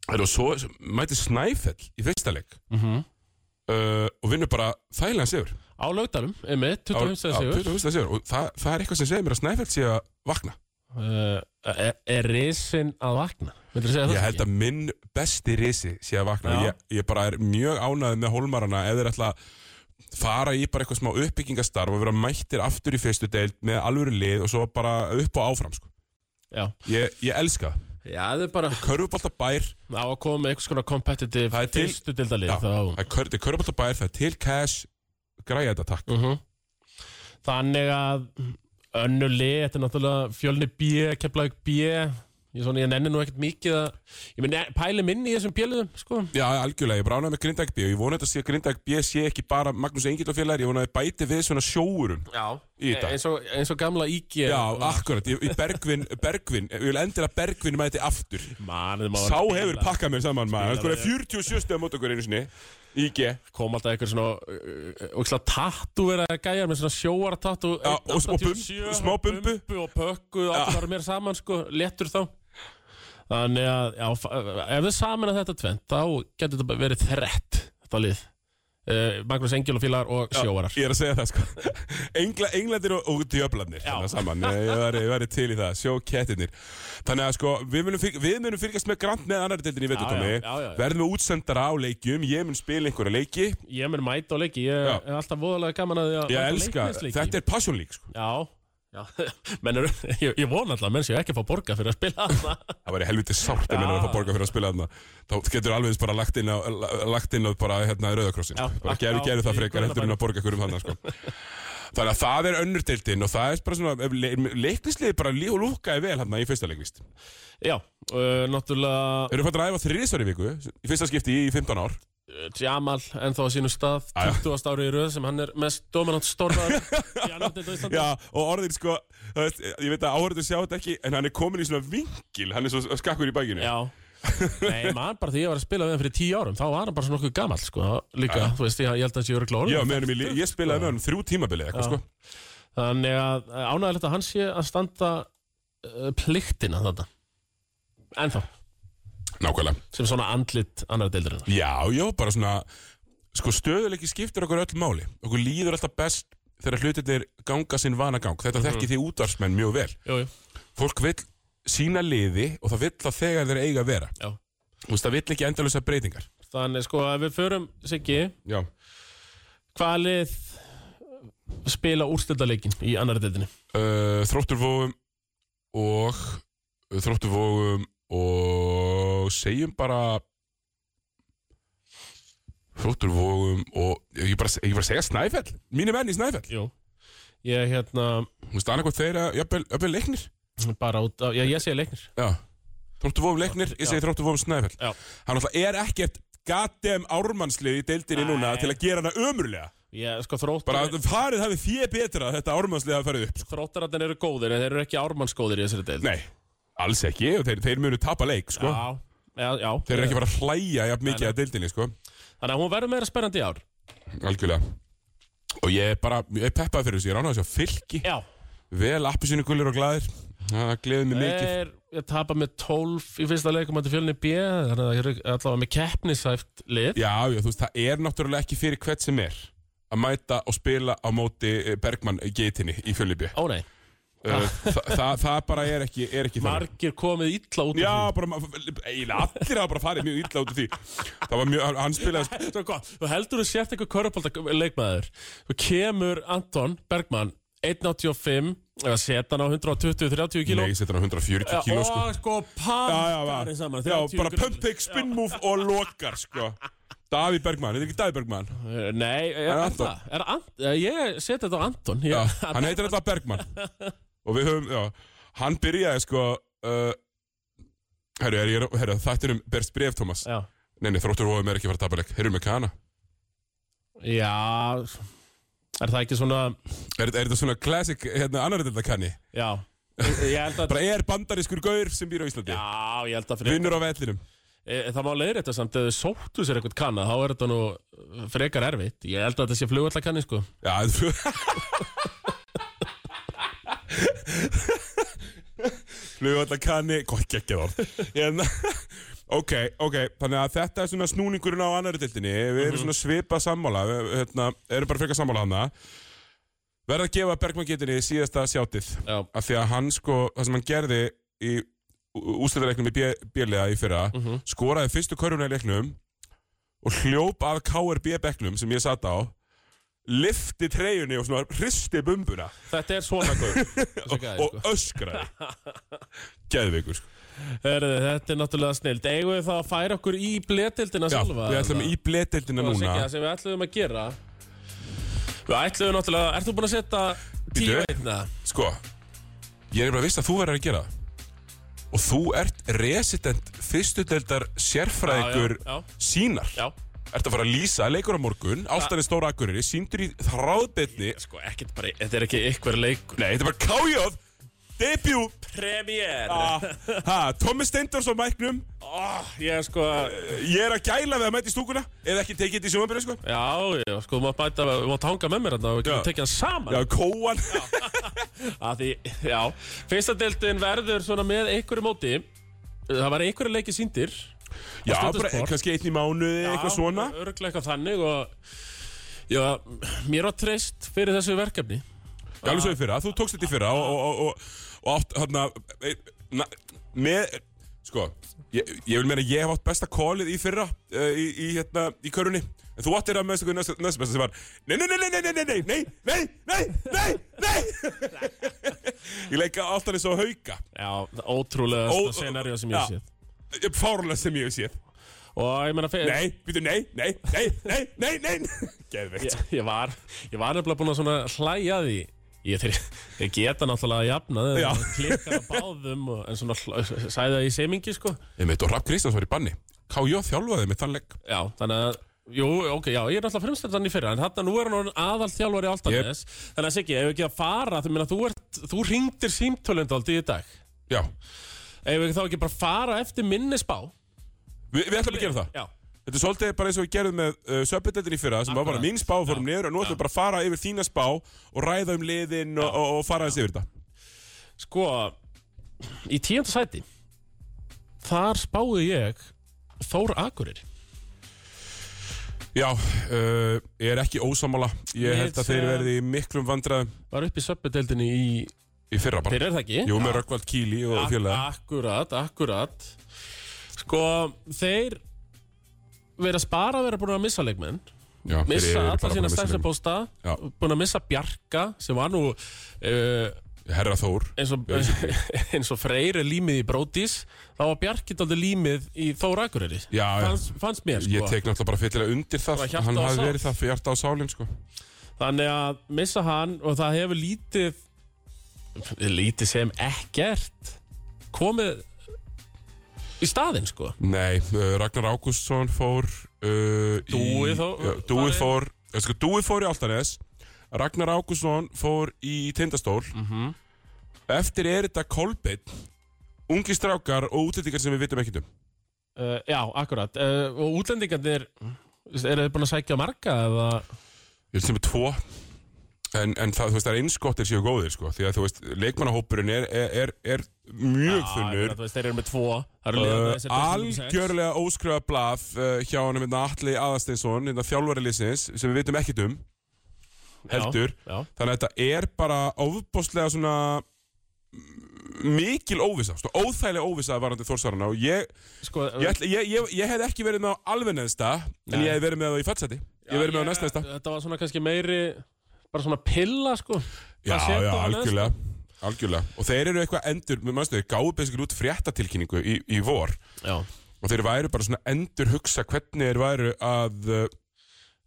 Það og svo mæti Snæfell í fyrsta leik uh, og vinnur bara þægilega sigur. á lögdalum, einmitt, Á- 25 á stegar sigur 25 sigur. Og það, það er eitthvað sem segir mér að Snæfell sé að vakna. Uh, Er er risinn að vakna? Myndir segja það? Ég held að minn besti risi sé að vakna. Já. Ég, ég bara er mjög ánæðið með holmarana ef þeir ætla að fara í bara eitthvað smá uppbyggingastarf og vera mættir aftur í fyrstu deild með alvöru lið og svo bara upp og áfram sko. Já, Ég, ég elska það. já það er bara Körfuboltabær, á að koma með einhvers konar competitive Það er til- fyrstu dildalið já, það þá er kör- þetta er körfuboltabær, það er til cash, græja þetta takk. uh Þannig að önnuli, þetta er náttúrulega fjölni B, keflaug B ég, svona, ég nenni nú ekkert mikið að ég meni, pæli minni í þessum bjöluðum sko. Já, algjörlega, ég bránaði með Grindag B og ég vona þetta sé að Grindag B sé ekki bara Magnús Engill og félagar, ég vona að þið bæti við svona sjóurum. Já, Í þetta. eins og, eins og gamla IG Já, ah, akkurat, ég, ég Bergvin, Bergvin, ég vil endilega Bergvin mæti aftur. Man, Sá hefur pakkað mér saman maður Hann skoraði 47 stöða mót okkur einu sinni IG kom alltaf eitthvað svona uh, uh, tattu vera gæjar með svona sjóara tattu Já, og smá bumbu, smá bumbu. og pökku, allt var mér saman sko, léttur þá þannig að já, fa- ef þau saman að þetta tvent þá getur þetta bara verið þrett þetta lið uh, Magnús Engil og félagar og sjóarar Ég er að segja það sko (laughs) Engla, Englandir og, og djöflandir Þannig að saman Ég ég væri, ég væri til í það Sjó kettinir Þannig að sko Við munum, fylg, við munum fylgjast með grant með annari deildin í Já, vetur já, já, já, Tommi já. Verðum við útsendara á leikjum Ég mun spila einhverja leiki ég mun mæta á leiki, ég Já. er alltaf voðalega gaman að því að Ég elska Þetta er passionlík sko já, já. (laughs) Menn, eru, ég, ég vona alltaf að menn séu ekki að fá borga fyrir að spila þarna (laughs) Það væri helviti sárt Ef minna að fá borga fyrir að spila þarna Þá getur alveg eins bara lagt inn á, lagt inn á bara hérna Rauðakrossin Já, Bara ak- gerðu, já, gerðu það í frekar heldur en að borga ykkur um þannig sko. Þannig að það er önnur deildin og það er bara svona ef le leiknisliði bara lí og lúkaði vel hérna í fyrsta leikvist já, uh, náttúrulega Eru fættur að æfa þriðsvar í viku í fyrsta skipti í 15 ár Jamal ennþá á sínu stað já. 20. ári í röð sem hann er mest dominant stórmaður í annar deild á Íslandi Já, og orðin sko, þú veist, ég veit að áhörðu sjá þetta ekki en hann er komin í svona vingil, hann er svo skakkur í bækinu Já. Nei, maður bara því ég var að spila við hann fyrir tíu árum þá var hann bara svona okkur gamall sko, líka, þú veist, ég, ég held að þessi Já, örugla orðin með honum í, li- ég spilaði með hann þrjú tímabilið eitthvað sko þannig að ánægilegt að hann sé að standa uh, pliktina þetta ennþá, Nákvæmlega sem svona andlit annar deildurinnar Já, já, bara svona sko stöðuleiki skiptir okkur öll máli okkur líður alltaf best þegar hlutirnir ganga sinn vanagang, þetta þekki því útvarsmenn mjög vel, Jú, jú, fólk vill sína liði og það vill það þegar þeir eiga að vera já þú veist, það vill ekki endalösa breytingar Þannig sko að við förum, Siggi Já, hvaða lið spila úrstöldaleikin í annar deildinni uh, þrótturvóum og þrótturvóum og segjum bara þrótturvóum og ég bara, ég bara segja Snæfell, mínu menn í Snæfell Jú Ég hérna þú veist, annað hvað þeirra, jafnvel jafnvel leiknir bara út af, já ég segi leiknir Já Þróttu vofum leiknir, ég segi þróttu vofum snæfell Já. Hann alltaf er ekkert gatem ármannslið í deildinni Nei. núna til að gera hana ömurlega Ég sko þróttur Bara að farið hafi fjö betra að þetta ármannslið hafi farið upp sko. Þróttararnir eru góðir en þeir eru ekki ármannsgóðir í þessari deil Nei, alls ekki og þeir, þeir munu tapa leik sko. Já, já, já Þeir eru ekki bara að hlæja jafn mikið að deildinni sko. Þannig að hún verður meira spennandi í ár Algjörlega Og ég er bara, ég er peppaði fyrir þessu, ég er ánægði að sjá fylki Já, Vel appisínu gullir og glæðir Það gleði mig mikið er, ég tapa með 12 í fyrsta leikum að til fjölni B þannig að ég er allavega með keppnisæft lið Já, já, þú veist, það er náttúrulega ekki fyrir hvert sem er að mæta og spila á móti eh, Bergmann geitinni í Fjölibjö Ó nei, uh, þa þa það bara er ekki, er ekki þannig. margir komið illa út um- úr Já, bara, ma- eiginlega allir hafa bara farið mjög illa út af því Það var mjög, hann spilaði Svo gott, þú heldur þú sért eitthvað körfbólta leikmaður Þú kemur Anton Bergmann 1.85 eða setan á 120-30 kíló Nei, ég setja hann á 140 kíló sko Og sko Já, já, pakkar já, saman já 30 bara kíló. pump take spin move og lokar sko Daví Bergmann, þetta er ekki Daví Bergmann Eh, Nei, er, er Anton? það? Er Ant, eh, ég seti þetta á Anton Já, ég, hann heitir alltaf Bergmann Og við höfum, já, hann byrjaði sko uh, Herru, er ég, herru, þættinum berst bref, Thomas já. Nei, nei, þróttur hóðum er ekki að fara að tapa leik Herru, með kana já, er það ekki svona Er, er þetta svona classic, hérna, annar þetta kanni Já, ég, ég held að Bara er bandarískur gaur sem býr á Íslandi Já, ég held að fyrir Vinnur á vellinum e, Það má leiðir þetta samt Ef þau sóttu sér eitthvað kanna Þá er þetta nú eh, frekar erfitt Ég held að þetta sé flugvallakanni sko Já, þú Flugvallar kanni Góð geggja þá hérna. Ok, ok, þannig að þetta er svona snúningurinn á annari dildinni Við erum svona svipa sammála Við hérna, erum bara frekar sammála hana Verða að gefa Bergman getinni síðasta sjátið Já, Af því að hann sko, það sem hann gerði í úsleitareiknum í bjöliða í fyrra Mhm. Skoraði fyrstu körfuna í leiknum Og hljóp af KRB-bekknum sem ég satt á Lifti treyjunni og svona hristi bumbuna þetta er svona gaur (laughs) Þessi gæði, og sko. öskraði Geðveikur sko. Herðu, Þetta er náttúrulega snild Eigum við það að færa okkur í bletildina Já, sjálfa við ætlum eða? í bleteldina Það var núna ekki það sem við ætlum að gera Við ætlum náttúrulega Ert þú búin að setja tíu Bíddu. einna? Sko, ég er bara viss að þú verður að gera það Og þú ert resident fyrstudeldar sérfræðingur Já, já, já. sínar Já Ertu að fara að lýsa leikur á morgun Ástæðin stóra akkuriri, síndur í þráðbetni Sko, ekkert bara Þetta er ekki ykkur leikur Nei, þetta er bara kájóð Debut Premier Ah, ha, Tommi Steindors á mæknum Eh, Ég er sko Ég er að gæla við að mæta í stúkuna Eða ekki tekið þetta í sjómanbyrju sko Já, já, sko, þú mátt bæta, þú mátt hanga með mér þarna og við getum Já. tekið hann saman. Já, kóan Að því, já, fyrsta deltinn verður svona með einhverju móti. Það var einhverju leiki síndir. Já, Stundum bara sport. kannski einn í mánuði Eitthvað svona Örglega eitthvað þannig og, já, mér var treyst fyrir þessu verkefni. Já, alveg svo í fyrra, þú tókst þetta í fyrra og, og, og, og, og átt, hérna, með, sko, ég, ég vil meina að ég hef átt besta callið í fyrra uh, í, í, hérna, í körunni. En þú áttir að með þessu næst, næst besta sem var, nei, nei, nei, nei, nei, nei, nei, nei, nei, nei, nei, nei, Ég leika alltaf eins og hauka, Já, ótrúlega Ó- þetta scenario sem ég Já. hef séð. fárlega Eh, sem ég hef séð. Og ég menna, fyrir... Nei, býtu, nei, nei, nei, nei, nei, nei, Ég, geðveikt. ég var, ég var nefnilega búinn að svona hlæja að því. Ég, þeir, ég geta náttúrulega að jafna Já. þegar klikkar á báðum og, en svona hla- sagði það í semingi, sko. Ég meit, og Rapp Kristjáns var í banni. K.J. þjálfaði með þann leik. Já, þannig að Jú, ok, já, ég er náttúrulega frumstændan í fyrra En þarna nú er hann aðal þjálfari Altaness Þannig að Siggi, ef við ekki að fara Þú, meina, þú, ert, þú ringdir símtölundaldi í dag Já, Ef við ekki þá ekki bara fara eftir minnisbá Vi, við ætlum að gera það. Já, Þetta er svolítið bara eins og við gerðum með uh, söpindettin í fyrra sem var bara Akkurat. mín spá og fórum niður og nú ætlum við bara að fara yfir þína spá og ræða um liðin og, og, og fara aðeins yfir þetta. sko Í tíunda sæti Þar spáði ég Þór Akurir Já, uh, ég er ekki ósamála. Ég Við held að þeir sem- verði í miklum vandræðum Var upp í söpbedeldinni í í fyrra bara. Þeir er það ekki Jú, með Rökkvald Kíli og fjölega. Ak akkurat, akkurat Sko, þeir Verið að spara að vera búin að missa leikmenn Já, þeir eru missa bara alla búin að sína missa stærsta leikmenn. posta Já. búin að missa Bjarka sem var nú uh, Herra Þór. eins, og, Já, ég (laughs) eins og Freyr er límið í Brótis þá var Bjarki daldi límið í Þóra Akureyri Já, já. fannst, fannst mér sko Ég tek náttúrulega bara fyllilega undir það. Bara hjarta Hann á hafi sál. verið það fyrir hjarta á sálinn, sko. þannig að missa hann og það hefur lítið lítið sem ekkert komið í staðinn sko Nei, uh, Ragnar Ágústsson fór uh, Dúi í, þó- Já, Dúi farið. fór eh, sko, Dúi fór í Altanes Ragnar Ágústsson fór í Tindastól Mhm. Eftir er þetta Kolbeinn Ungi strákar og útlendingar sem við vitum ekkert um uh, já, Eh, Mm. akkurat uh, og útlendingarnir eru þeir búin að sækja marga eða Ég held sem er tvo en, en það, þú veist, það er einskottir séu góðir sko, því að þú veist, leikmannahópurinn er, er, er, er mjög þunnur Þú veist, þeir eru með tvo Það eru liðið með Uh, þessi bestu sex. algjörlega óskrifa blaf uh, hjá hann hérna Atli Aðarsteinsson hérna þjálfari liðsins sem við vitum ekkit um heldur Já, já. þannig að þetta er bara ofbóstlega svona mm, mikil óvisa svona óþægilega óvisa varandi þórsarana og ég, Sko, ég, ætla- ég, ég, ég hef ekki verið með á alveg neðsta en Nei. ég hef verið með það í fætsæti ég hef verið með á næst neðsta Þetta var svona kannski meiri Bara svona pilla, sko Já, Maður setur já, á neðsta. algjörlega Algjörlega, og þeir eru eitthvað endur mannstu, þeir gáðu besikil út fréttatilkynningu í, í vor Já, og þeir væru bara svona endur hugsa hvernig þeir væru að uh,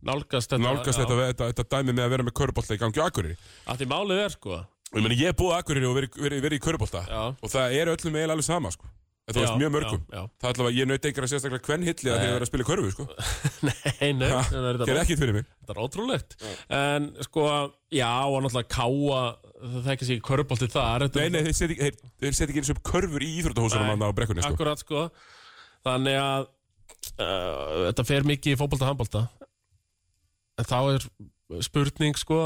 nálgast þetta nálgast já. þetta, þetta, þetta dæmi með að vera með körubolta í gangi á Akureyri Að því málið er, sko og ég meni ég er búið á Akureyri og verið veri, veri í körubolta Já. og það er öllum eiginlega alveg sama sko. En þú Já, veist mjög mörgum já, já. það er allavega, ég naut einhverja sérstaklega hvern hilli að þeir vera að spila í körfu sko. (laughs) Nei, nei, Ha, nei, það er ekkit fyrir mig Þetta er ótrúlegt En sko, já, og náttúrulega káa Það þekkist ekki körbolti þar Þetta nei, er- nei, þeir setja ekki, þeir- þeir setja ekki eins og upp körfur í íþróttahúsunum Nei. manna á brekkunni sko. Akkurat sko Þannig að uh, Þetta fer mikið í fótbolta og handbolta En þá er spurning sko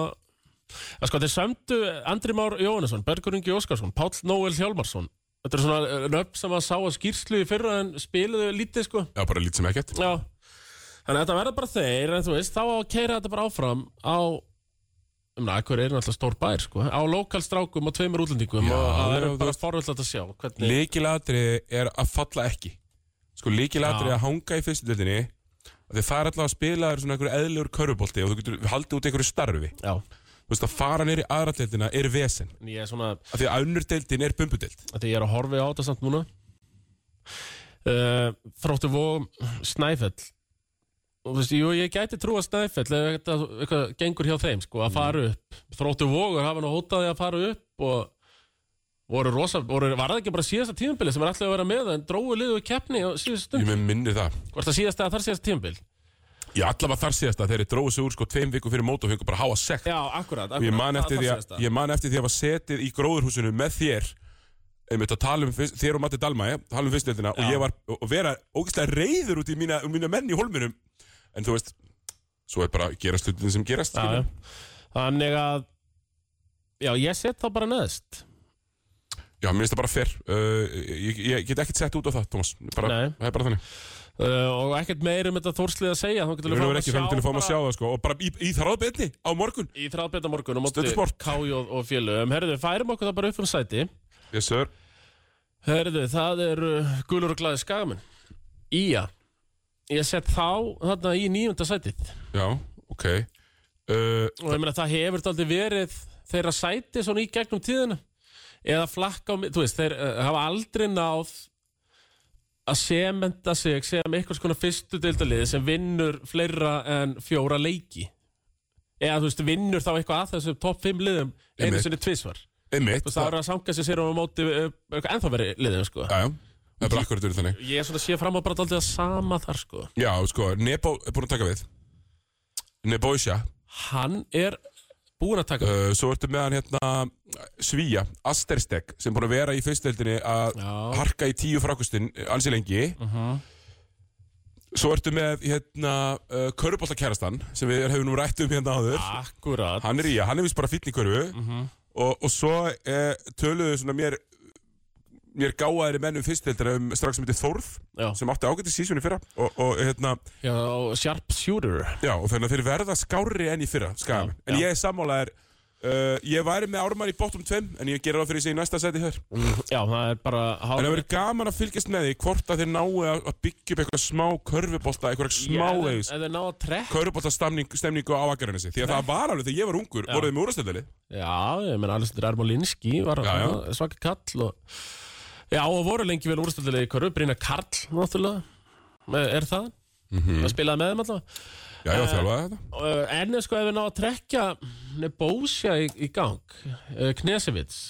að sko þeir sömdu Andri Már Jóhannesson, Bergur Ingi Óskarsson Páll Nóel Hjálmarsson Þetta er svona uh, nöfn sem að sá að skýrslu í fyrra en spiluðu lítið sko já, bara lítið sem ekkert Já Þannig að þetta verða bara þeir en þú veist, þá á að keira þetta bara áfram á umna, hver er náttúrulega stór bær sko á lokalstrákum og tveimur útlendingum Já, og það já, er þú bara veist. forvöldlega að sjá hvernig líkilatri er að falla ekki sko, líkilatri er að hanga í fyrstu dildinni þegar það er allavega að spila þér svona einhverju eðlur körfubolti og þú getur haldið út einhverju starfi Já, þú veist að fara neyri aðra deildina er vesen en ég er svona af því að önnur deildin er bumbudeild að því ég er að horfi á þetta samt núna uh, Þróttu vóum Snæfell og þú veist, jú, ég gæti trú að Snæfell ef eitthvað, eitthvað gengur hjá þeim sko, að Mm. fara upp, þróttu vógur hafa nú hótaði að fara upp og voru rosa, voru, var það ekki bara síðasta tímabili sem er alltaf að vera með en dróðu liðu í keppni á síðasta ég stund, með minni það hvort það síðasta eða þar síðasta tímabil ég allavega þar síðast að þeirri dróðu sig úr sko tveim viku fyrir mót og fengu bara háa sekt Já, akkurat, akkurat og ég man, það- eftir það því síðasta. að, ég man eftir því að var setið í gróðurhúsinu með þér einmitt að tala um fyrst, þér og Matti Dalma ég, tala um fyrstnefndina og Já. ég var og og vera ógeðslega reyður út í mína, um mína menn í holminum en þú veist svo er bara gerast hlutin sem gerast Já, skilur. já. Þannig að Já, ég set þá bara neðst já, mér finnst það bara fyrr uh, ég, ég get ekkert sett út á það, Thomas bara, Nei. það er bara þannig uh, og ekkert meir um þetta þórslið að segja þá Við getur verðum ekki fram til að fá maður að sjá bara það sko Og bara í, í þráðbyrni á morgun í þráðbeta morgun og móti Stöðu sport. Kájóð og félögum herðu, færum okkur það bara upp um sæti Yes sir herðu, það er uh, gulur og glæði skagamenn Ía ég set þá þarna í nýjunda sætið Já, ok uh, og ég meina það hefur þetta aldrei verið þeirra sæti svona í gegnum tíðina eða flakka á mi- þú veist, þeir uh, hafa aldrei náð að sementa sig sem einhvers konar fyrstu deildaliði sem vinnur fleira en fjóra leiki eða þú veist, vinnur þá eitthvað að þessum topp 5 liðum einu Einmitt. sinni tvisvar þú Einmitt veist, það eru að sanga sig sér á móti uh, eitthvað ennþá verið liðum, sko Já, já Það er bara akkurat verið þannig ég er svona að sé fram á bara aldrei að sama þar, sko Já, sko, Nebo er búin að taka við Nebo Isha hann er búin að taka uh, Svo ertu með hann hérna Svíja, Asterstek Sem er búin að vera í fyrstöldinni að Já. Uh-huh. harka í tíu frákustin Alls í lengi Svo ertu með hérna uh, Köruboltakærastan Sem við hefum nú rætt um hérna áður akkurat hann er í, hann er vist bara fýtn í körfu Uh-huh. og, og svo eh, töluðu svona mér mér gáðaðir mennum fyrstveldara um strax sem heitir Þórð Já. sem átti ágæti sísunni fyrra og, og hérna, já, sharp shooter já, og þannig að þeir verða skárri enn í fyrra, skagamenn Já, en já. ég er sammálaðir, uh, ég væri með ármann í bóttum tveim, en ég gera það fyrir sig í næsta seti þér, já, það er bara hálf- en það verður gaman að fylgjast með því hvort að þeir náu að að byggja upp eitthvað smá körfubolta, eitthvað smá Já, eðis ef þeir ná að trekk körfubolta stemningu á Akarinesi því að það var alveg þegar ég var ungur, voruð þið með úrastöldali Já, ég menn Alessandr Armolinski var Já, já. svaka kall og... Já, og voru lengi vel úrstöldilegi hverju, Brynja Karl, náttúrulega Eh, er það, mm Mhm. -hmm. spilaði með þeim allavega já, Eh, já, þjálfaði þetta Og, eh, en sko ef við ná að trekja Nebósja í, í gang eh, Knesevits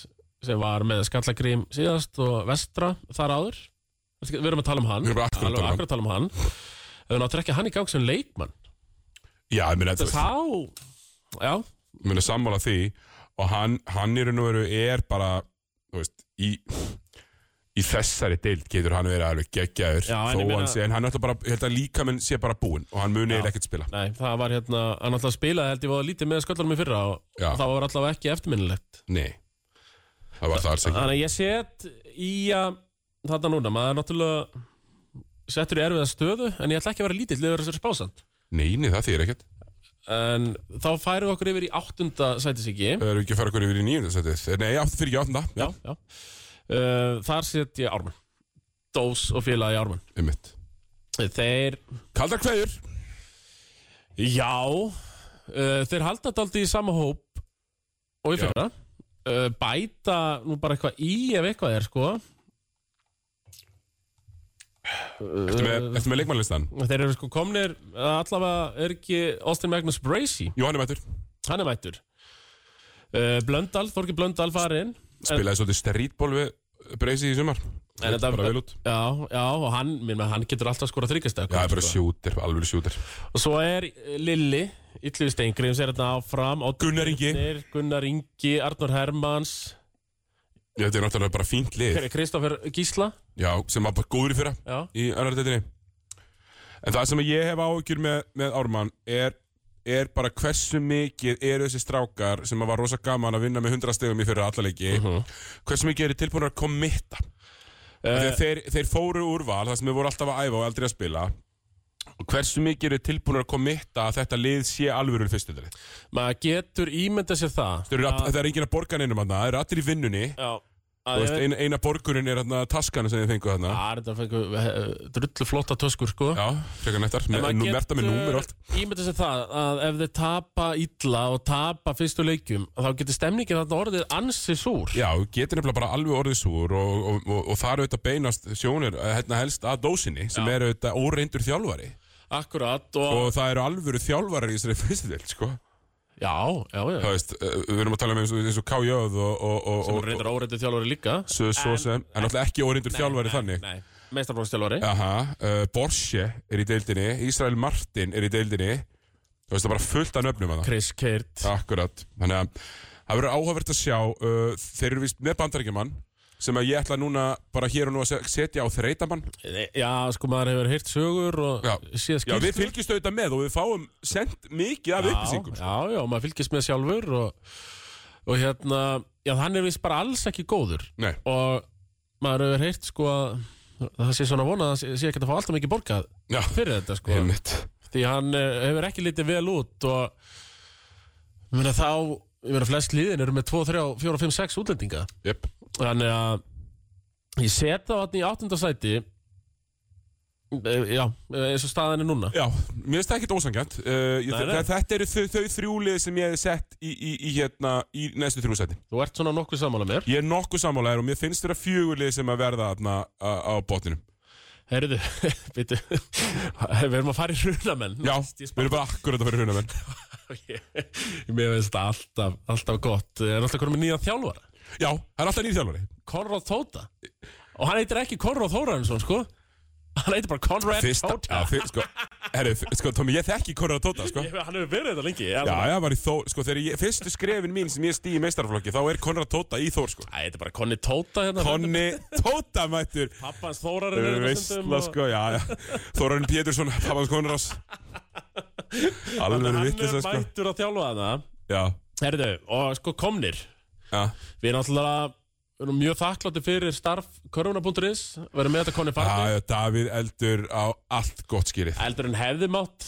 sem var með Skallagrím síðast og Vestra þar áður Við erum að tala um hann Við erum akkurat að Alveg tala um akkurat að tala um hann Ef við ná að trekja hann í gang sem leikmann Já, ég meina, þú veist, Þá, já, ég meina sammála því og hann, hann í raun og veru er bara, þú veist, í í þessari deild getur hann verið alveg geggjaður Já, en þó ég meina- hann sé, en hann er bara, ég held að líka minn sé bara búinn og hann munið ekkert spila Nei, það var hérna, hann alltaf spilaði held ég var lítið með sköllunum í fyrra og Já. það var alltaf ekki eftirminnilegt. Nei, það var það alls ekki Þannig að ég set í að, þarna núna, maður er náttúrulega settur í erfiða stöðu, en ég ætla ekki að vera lítill yfir þessari spásand. Nei, nei, það þýr ekkert En þá færum við okkur yfir í áttunda sætisíki. Það eru ekki að fara okkur yfir í nýjum þess Nei, átt fyrir ekki áttunda Já, Já, já. Uh, þar set ég Ármann. Dós og félagi Ármann. um mitt Þeir, Kaldar kveður já, uh, þeir halda þetta aldrei í sama hóp og í Já. fyrra. Uh, bæta nú bara eitthvað í ef eitthvað er, sko. Ertu með, Eh. ertu með leikmannlistan? Þeir eru sko komnir, eða allavega er ekki Austin Magnus Bracey, Jóhann er mættur hann er mættur. Uh, Blöndal, Þorki Blöndal farinn. Spilaði svolítið streetball við Breysi í sumar En Leit þetta- bara vel út Já, já, og hann, minn með hann getur alltaf skora þryggjast Já, það er bara sjútir, alveg sjútir Og svo er eh, Lilli, Yllu Steingrim, sem er þetta áfram. Oddur Gunnar Ingi. Birnir, Gunnar Ingi, Arnur Hermans, Þetta er náttúrulega bara fínt lið Kristoffer Gísla. Já, sem var bara góður í fyrra Já, í önnardeldinni En það sem ég hef áhyggjur með, með Ármann er, er bara hversu mikið eru þessi strákar sem að var rosa gaman að vinna með 100 stegum í fyrra allalegi Mhm. hversu mikið eru tilbúin að kommitta Eh. uh, þeir, þeir fóru úr val það sem við voru alltaf að æfa og aldrei að spila og hversu mikið eru tilbúin að kommitta að þetta lið sé alvöru fyrstu þeirri maður getur ímyndað sér það. Það er enginn að borga neinum hann það eru allir í vinnunni Já, Þú að Ah, ég veist, veit. eina, eina borgunin er þarna taskana sem þið fengu þarna Það er þetta fengur drullu flotta töskur, sko. Já, frekar nettar, En maður nú merta með númer og allt Ímynda sér það að ef þeir tapa illa og tapa fyrstu leikjum þá getur stemningin þarna orðið ansi súr Já, getur nefnilega bara alveg orðið súr og, og, og, og það eru auðvitað beinast sjónir eh, hérna helst að dósinni sem Já. eru auðvitað óreindur þjálfari Akkurat og, og það eru alvöru þjálfarar í þessari (laughs) fyrstu dild, sko Já, já, já Það veist, eh, við erum að tala um eins og, eins og K.J.ð og, og, og, Sem og, og reyndar óreitið þjálfari líka svo, svo sem, en alltaf ekki óreindur þjálfari þannig Nei, meistarflóðstjálfari Aha, uh, Borsje er í deildinni, Ísrael Martin er í deildinni Þú veist, það er bara fullt af nöfnum að það Chris Kirt Akkurat, þannig að það verður áhugavert að sjá uh, Þeir eru vist með bandarækjumann sem að ég ætla núna bara hér og nú að se- setja á þreytamann Já, sko, maður hefur heyrt sögur og Já. séð Já, skýrslu við fylgjumst auðvitað með og við fáum sendt mikið af upplýsingum sko. Já, já, já, maður fylgist með sjálfur og, og hérna, já, hann er vist bara alls ekki góður Nei, og maður hefur heyrt sko að það sé svona vona að það sé- sé ekki að fá alltaf mikið borgað já, fyrir þetta sko einmitt því hann eh, hefur ekki litið vel út og ég meina þá ég meina flest liðin eru með 2, 3, 4, 5, 6 útlendinga Jep, þannig að ég set það vatni í áttunda sæti Eh, já, eh, eins og staðan er núna já, mér finnst það ekkert ósangjant uh, ég, Nei, nei, nei. Þetta eru þau, þau þrjúlið sem ég hef sett í, í, í, hérna, í næstu þrjúsæti þú ert svona nokkuð sammála mér Ég er nokkuð sammálaðir og mér finnst þeirra fjögurlið sem að verða þarna á, á botninum (laughs) heyrðu, býtu við erum að fara í hrunamenn (laughs) Já, við erum bara akkurat að vera huna menn mér finnst það alltaf, alltaf gott er alltaf komið nýja þjálfara Já, það er alltaf nýr þjálfari Konrad Tóta og hann heitir ekki Konrad Þórainsson sko hann heitir bara Konrad Fyrsta, Tóta já, fyr, sko, herri, f- sko, Tómi, ég þekki Konrad Tóta, sko Ég- hann hefur verið þetta lengi Já, já, var í Þór, sko, þegar ég, fyrstu skrefin mín sem ég stí í meistarflokki, þá er Konrad Tóta í Þór, sko Það heitir bara Konni Tóta hérna Konni Tóta mættur pappans Þórarinn er hérna stundum Veistla og- sko, já, já Þórarinn Pétursson, pappans Konrads Alveg hann vittis er sko mættur að þjálfa það Já, herðu og sko komnir já, við erum alltaf við erum mjög þakklátti fyrir starf korfuna.is við erum með þetta Konni já, Farni já, Davíð eldur á allt gott skýrið eldur en hefði mátt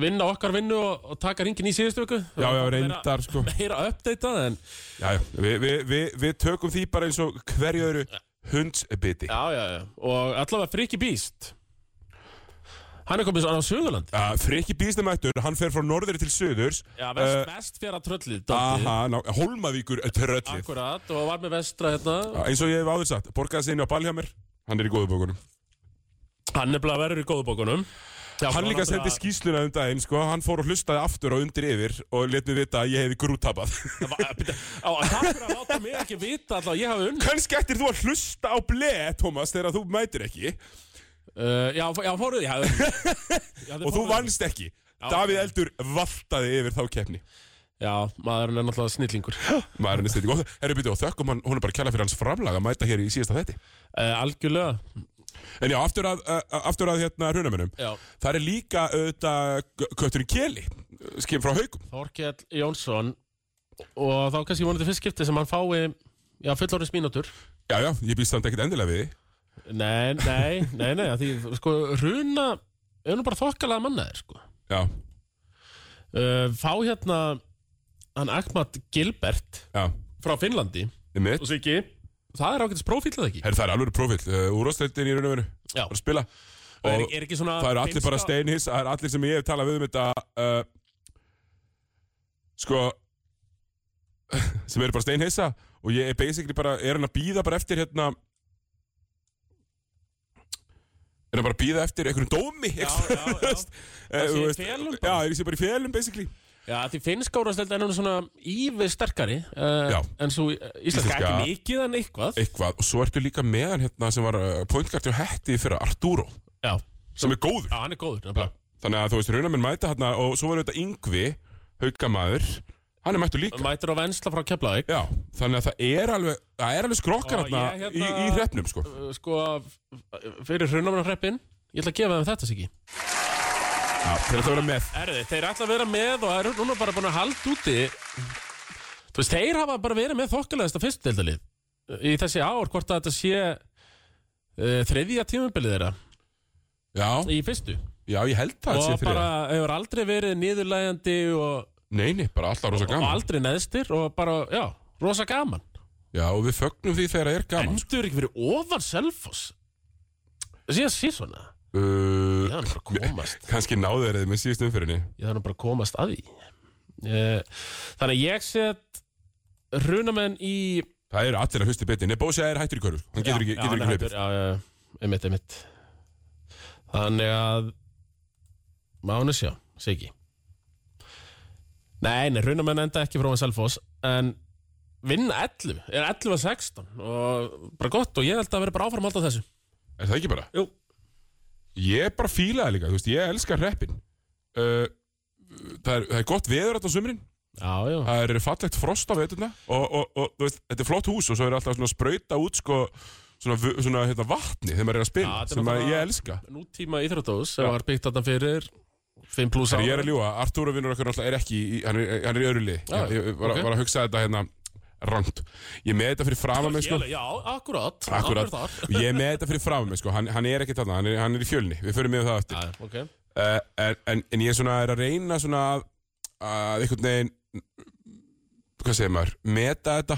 vinna okkar vinnu og, og taka ringin í síðustu viku Já, já, reyndar sko meira, meira uppdeitað en Já, já, við vi, vi, vi tökum því bara eins og hverju öru hundsbiti Já, já, já. Og allavega Friki Býst. Hann er komið svona á Suðurlandi. Já, Freki Bístamættur, Uh, hann fer frá norður til söðurs Já, vest, vest fjara tröllið. dálítið. Eh, Aha, ná, Hólmavíkur eh, tröllið Akkurat, og var með vestra hérna. Já, Eins og ég hef áður sagt, borgaði sinni á Balhjámer Hann er í góðu bókunum Hann er bara verður í góðu bókunum. Já, Hann svo líka náttúrulega- sendi skýsluna um daginn, sko Hann fór og hlustaði aftur og undir yfir Og let mig vita að ég hefði grúttabað (laughs) Það var- að, byrja- á, að Takk fyrir að láta mig ekki vita allavega, ég hafi unn. Kannski ættir þú að hlusta á bleið, Thomas, þegar þú mætir ekki Uh, já, f- já, fóruð ég hafi unn. (laughs) og þú vannst ekki. Davíð Eldur valtaði yfir þá keppni. Já, maðurinn er náttúrulega snillingur maður er nýstætti góð Herri byrju og þökkum hann, hún er bara að kjalla fyrir hans framlag að mæta hér í síðasta þetti uh, Algjörlega En já, aftur að, uh, aftur að hérna hrunamunum Já. Það er líka auðvitað k- kötturinn Keli uh, skim frá haugum Þorkell Jónsson og þá kannski vonandi fyrst skipti sem hann fái já, fullorins mínútur Já, já, ég býst þannig ekkert endilega við því. Nei, nei, nei, nei af því, sko, runa er nú bara þokkalega mannaðir, sko Já, uh, Fá hérna hann Akmat Gilbert já, frá Finnlandi er mitt og Siggi, það er ágætis prófílað ekki Herri, það er alveg prófill, uh, úrvarsleildin í raunumunu Já. Bara að spila og er, er ekki svona það eru allir bara steinhins það eru allir sem ég hef talað við um þetta uh, sko (laughs) sem eru bara steinhissa og ég er basically bara er hann að býða bara eftir hérna er hann bara að býða eftir einhverjum dómi já, (laughs) já, já. Það sé í felum bara. já, er ég sé bara í félum basically Já, því finnska úrvarsleildin er nú svona ívið sterkari uh, Já. en svo í- Íslenska. íslenska ekki mikið en eitthvað eitthvað og svo ertu líka með hann hérna sem var uh, pointgart hjá hætti fyrir Arturo Já, sem er góður já, hann er góður nefnilega. þannig að þú veist raunar minn mæta hérna og svo var þetta Yngvi haugamaður hann er mættu líka Mætir á vensla frá Keflavík Já, þannig að það er alveg, það er alveg skrokkar Já, hérna, ég í, hérna- í hreppnum sko. Uh, sko f- fyrir hrunamannarreppin ég ætla að gefa þeim þetta Siggi Já, til að það vera með. Erði, þeir ætla að vera með og eru núna bara búin að halda úti þú veist, þeir hafa bara verið með þokkalegasta fyrstdeildalið í þessi ár, hvort að þetta sé uh, þriðja tímabilið þeirra Já, í fyrstu já, ég held það sé og fyrir bara það. hefur aldrei verið niðurlægjandi og, Nei, nei, bara alltaf rosa og gaman. aldrei neðstir og bara, já, rosa gaman Já, og við fögnum því þegar það er gaman. sko. endur ekki fyrir ofan selfos síðan sé svona Uh, ég þarf nú bara að komast Kanski náðu þeir þið með síðust umfyrinni. ég þarf nú bara að komast að því Eh, þannig að ég set runamenn í Það eru allir að hlusta betur. Nei, Bósi er hættur í körur. Hann getur ekki, getur hann ekki er hlaupið. hættur, já, já, einmitt, einmitt þannig að mánu sjá, Siggi nei, nei, runamenn enda ekki frá að selfos en vinna 11, er 11 að 16 og bara gott og ég held að vera bara áfram alltaf þessu Er það ekki bara? Jú. Ég bara fílaði líka, þú veist, ég elskar hreppin. Uh, það, er, það er gott veður þetta á sumrin. já, já, það er fallegt frost á veturna og, og, og þú veist, þetta er flott hús og svo er alltaf svona að sprauta út sko, svona, vu- svona hérna, vatni þegar maður er að spila Já, þetta er sem að náttúrulega- ég elska nútíma íþróttós sem var byggt þarna fyrir 5 pluss Þegar ég er að ljúga, Artúra vinnur okkar náttúrulega er ekki í, hann, er, hann er í öðru lið Já, ég, ég var, ok. var að hugsa þetta hérna rangt ég er með þetta fyrir fram að mig sko Ég- Já, akkurat Akkurat, þar. ég er með þetta fyrir fram að mig sko hann, hann er ekki þarna, hann er, hann er í fjölni við förum með það eftir Já, ok uh, en, en, en ég er svona er að reyna svona að, að einhvern veginn hvað segir maður, meta þetta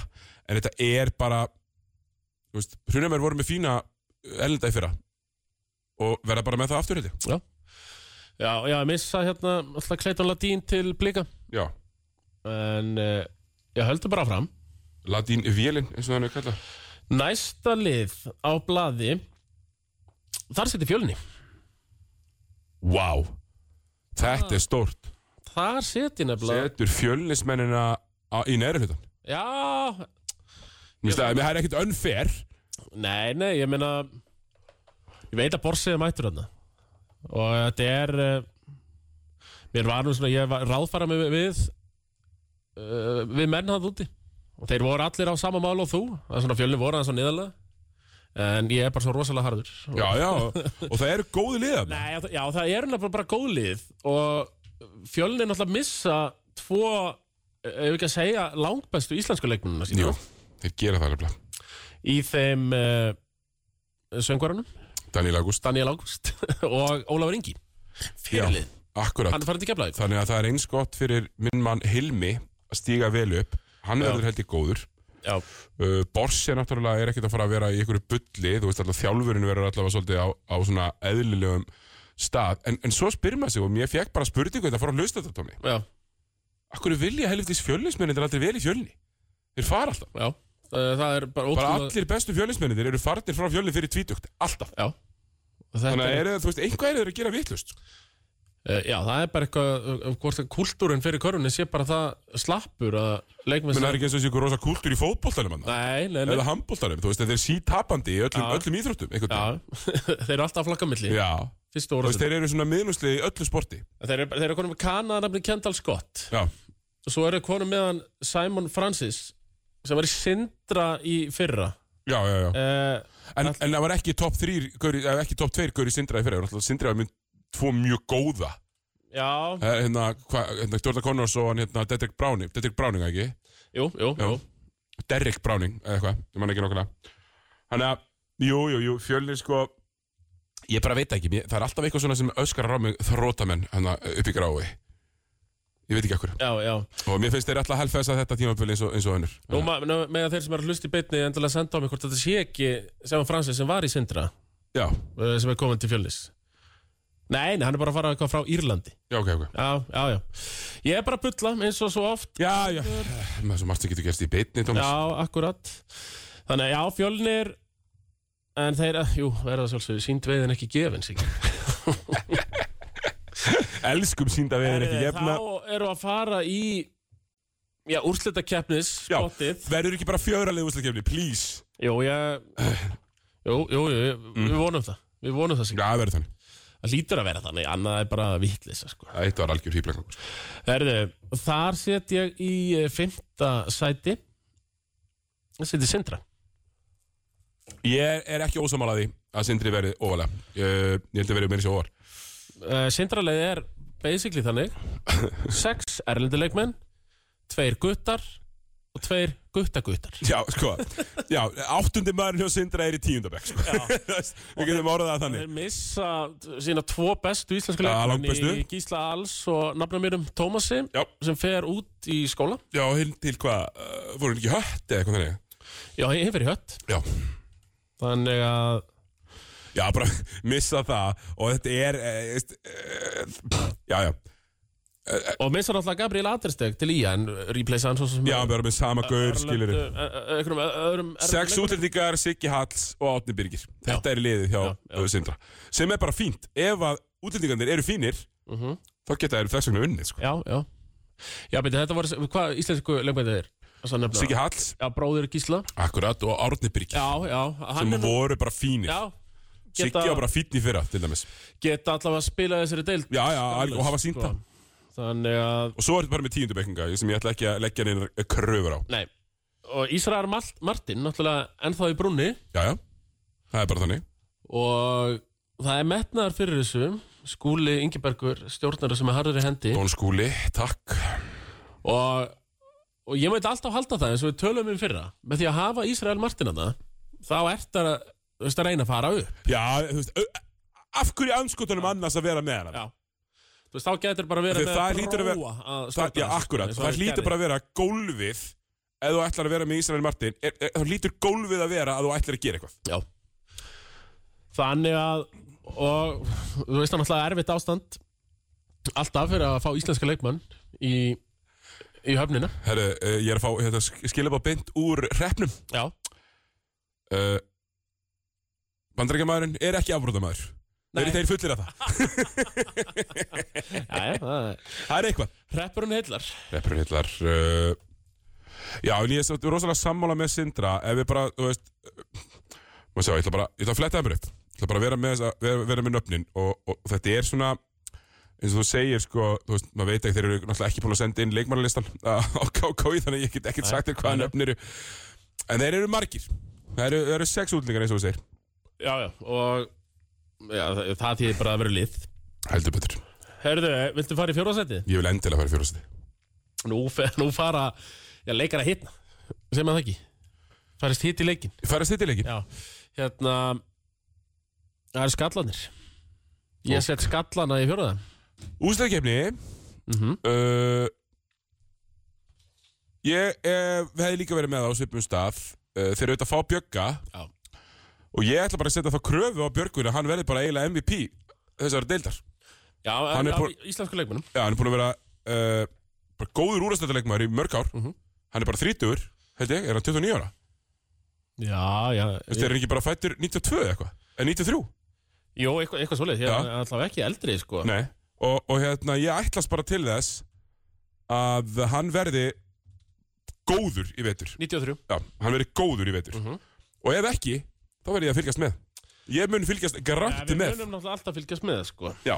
en þetta er bara þú veist, hrunumir voru með fína ellenda í fyrra og verða bara með það aftur held ég Já, já, já ég missa hérna alltaf Clayton Ladín til blika Já, En uh, ég höldu bara fram Ladín Vélin eins og hann er kallað Næsta lið á blaði Þar seti fjölni Vá, wow. þetta er stórt Þar seti nefnilega Setur fjölnismennina á- í neðri hlutan Já, Mér finnst að- það er ekkert unfair nei, nei, ég meina Ég veit að Borsið er mættur hérna Og þetta er uh, Mér var nú svona, ég var ráðfara með við uh, Við menn hann úti Og þeir voru allir á sama mál og þú Það er svona fjölni voru aðeins á niðarlega En ég er bara svo rosalega harður Já, já, og það eru góði liðan Nei, já, það- já, það er nefnilega bara góð lið og fjölni er náttúrulega að missa tvo, ef ekki að segja langbæstu íslensku leikmennina sína Jú, þeir gera það nefnilega í þeim eh, uh, söngvarunum, Daniel August Daniel Ágúst (laughs) og Ólafur Ingi Fyrirlið, Akkurat hann er farin til keflaði Þannig að það er eins gott fyrir minn mann Hilmi að stíga vel upp. Hann Já. verður held ég góður. Já, Uh, Borsi náttúrulega er ekkert að fara að vera í einhverju bulli. Þú veist alltaf þjálfurinn verður allavega svolítið á, á svona eðlilegum stað. En, en svo spyr maður sig og mér fekk bara spurningu þetta að fara að hlusta þetta á mig. já, Akkur vilja helvitis fjölnismennir aldrei vel í fjölni? Þeir fara alltaf. já Eh, Það er bara Bara ótrúlega allir bestu fjölnismennir eru farnir frá fjölni fyrir tvítugt. Alltaf. Já, Þetta Þannig að er, þú veist, einhvað er þeir að gera sko. vitlust. Eh, Já, það er bara eitthvað, eh, hvort að kultúrin fyrir körfunni sé bara það slappur að leikmenn Menn það er ekki eins og þessi ykkur rosa kúltur í fótboltanum hann. Nei, nei, nei Eða handbóltanum, þú veist, þeir eru sítapandi í öllum, Já. öllum íþróttum. einhvern veginn. Já, (laughs) þeir eru alltaf að flakka á milli Já, Fyrstu þú orðin veist, þeir eru svona miðnúsli í öllu sporti Þeir eru, þeir eru konum með Kana nafni Kendall Scott Já, Svo eru konum meðan Simon Francis sem var í Sindra í fyrra Já, já, já. uh, En, en það var ekki top 3, gauri, eða ekki top 2 gauri Sindra í fyrir. Það var alltaf Sindra var mynd tvo mjög góða. Já, Eh, Hérna, hva, hérna Jordan Connors og hann hérna Dedrick Browning. Dedrick Browning, ekki? jú, jú, jú. Derrick Browning, eða eitthvað. Ég man ekki nokkulega. Þannig að, jú, jú, jú, fjölnir sko... Ég bara veit ekki, mér, það er alltaf eitthvað svona sem öskar á mig þrótamenn hérna upp í grái. Ég veit ekki okkur. já, já. Og mér finnst þeir alltaf helfæsa þetta tímabili eins og, eins og önnur. Nú ma- nú mega þeir sem eru að hlusta í beinni endilega senda á mig hvort þetta sé ekki Simon Francis sem var í Sindra Já, uh, sem er komin til fjölnis Nei, nei, hann er bara að fara eitthvað frá Írlandi já, ok, ok. Já, já, já Ég er bara að bulla eins og svo oft Já, já. Maður svo margt sem getur gerst í beitni, Thomas. Já, akkurat Þannig að já, fjölnir En þeir, eh, jú, er það svolítið Sýnd veiðin ekki gefin sig Elskum sínda við erum ekki hérna. gefna. Þá eru að fara í Já, úrslitakeppnis Já, Spottið verður ekki bara fjöralegu úslagefni, please. Jú, (clears throat) ég Jú, jú, jú, Mm. við vonum það Við vonum það sig Já, það verður þannig. Það lítur að vera þannig, annað er bara vitlisa sko. Það eitt var algjör sko. hýplegangur. Herðu, þar set ég í eh, fimmta sæti Það seti Sindra Ég er ekki ósamálaði að Sindri verði óvalega. Ég, ég held að verði meira sér óvar. uh, Sindraleið er basically þannig (laughs) Sex erlenduleikmenn Tveir guttar Og tveir guttaguttar Já, sko. Já, áttundi maðurinn hjá Sindra er í tíundabæk, sko. (laughs) Við getum orðað það Þeir þannig. missa sína tvo bestu íslensku Ja, leikmenn langbestu. Í Gísla Alls og nafna mérum um Tómasi Já. Sem fer út í skóla Já, hinn til hvað, uh, voru hann ekki hött eða eitthvað þannig? Já, ég hef verið hött Já. Þannig að Já, bara missa það og þetta er, eh, veist, eh, já, já, Og missa náttúrulega Gabriel Atersteg til í En replace hann svo sem Eh. já, við erum með sama gaur, skilir við. eh, Einhverjum öðrum erlendum Sex leikmönnum. útlendingar, Siggi Halls og Átni Birgir Þetta er liðið hjá já. já. Sindra Sem er bara fínt, ef að útlendingarnir eru fínir Mhm. Þá geta þeir þess vegna unnið sko. Já, já Já, beti, þetta voru, hvað íslensku leikmætið er? Siggi Halls, Já, bróðir Gísla akkurat, og Árni Birgir Já, já, Sem hann er nú voru bara fínir Já, Siggi geta- var bara fínn í fyrra, til dæmis geta allavega að spila þessari deild sko. Já, já, og hafa sínt það Þannig að, Og svo er þetta bara með tíundubekkinga Sem ég ætla ekki að leggja neina kröfur á nei Og Ísraðar Martin, náttúrulega ennþá í brúnni Já, já, það er bara þannig Og það er metnaðar fyrir þessu Skúli Ingebergur, stjórnara sem er harður í hendi Dón Skúli, takk Og, og ég mætti alltaf halda það eins og við tölum um fyrra Með því að hafa Ísraðar Martin að það Þá ert að, þú veist að reyna að fara upp Já, þú veist, au- af hverju anskotunum annars að vera með hana? Já Þú veist, þá getur bara verið Því það hlýtur að vera- að það, já, akkurat, það hlýtur bara að vera gólfið ef þú ætlar að vera með Ísrael Martin er, er, þá hlýtur gólfið að vera að þú ætlar að gera eitthvað Já Þannig að og þú veist það er náttúrulega erfitt ástand alltaf fyrir að fá íslenska leikmann í, í höfnina Herru, uh, ég er að fá hérna, skilabá beint úr hreppnum Já, uh, Bandarækjamaðurinn er ekki afbróðamaður Þeir, þeir fullir að það, já, já það er eitthvað Reppurinn heillar Hreppurinn hillar uh, Já, en ég er svo rosalega sammála með Sindra ef við bara, þú veist uh, maður sjá, ég ætla bara, ég ætla að fletta það mér upp ég ætla bara að vera með, þessa- vera, vera með nöfnin og, og þetta er svona eins og þú segir sko, þú veist, maður veit ekki þeir eru náttúrulega ekki búin að senda inn leikmannalistan (laughs) á KKi, þannig að ég get ekkert sagt þér hvaða nöfn eru en þeir eru margir það eru, það eru sex útlingar eins og þú segir Já, já, og já, það, það þýðir bara að vera lið heldur betur, Herðu, viltu fara í fjórðasæti? ég vil endilega fara í fjóraðsæti Nú, fe- nú fara, já, leikar að hitna Segir maður það ekki Farist hitt í leikin ég fara að stýta leikin, Já, hérna Það eru skallanir Ég set skallana í fjórða úsleikefni uh, ég eh, við hefði líka verið með það á svipum stað uh, þeir eru auðvitað að fá bjögga Já. og ég ætla bara að setja þá kröfu á björgun að hann verði bara eiginlega MVP þessari deildar Já, Hann er já, búinn- íslensku leikmennum Já, hann er búin að vera uh, bara góður úrastöldarleikmaður í mörg ár Hann er bara 30, held ég, er hann 29 ára Já, já Þú veist, er hann ekki bara fættur 92 eða eitthvað Eh, En 93, Jó, eitthvað, eitthvað svoleið, ég Já. er allavega ekki eldri sko. nei og, og hérna, ég ætlast bara til þess að hann verði góður í vetur 93 Já, hann verði góður í vetur Mhm. Og ef ekki, þá verði ég að fylgjast með Ég mun fylgjast grannt Við með munum náttúrulega alltaf fylgjast með sko. Já,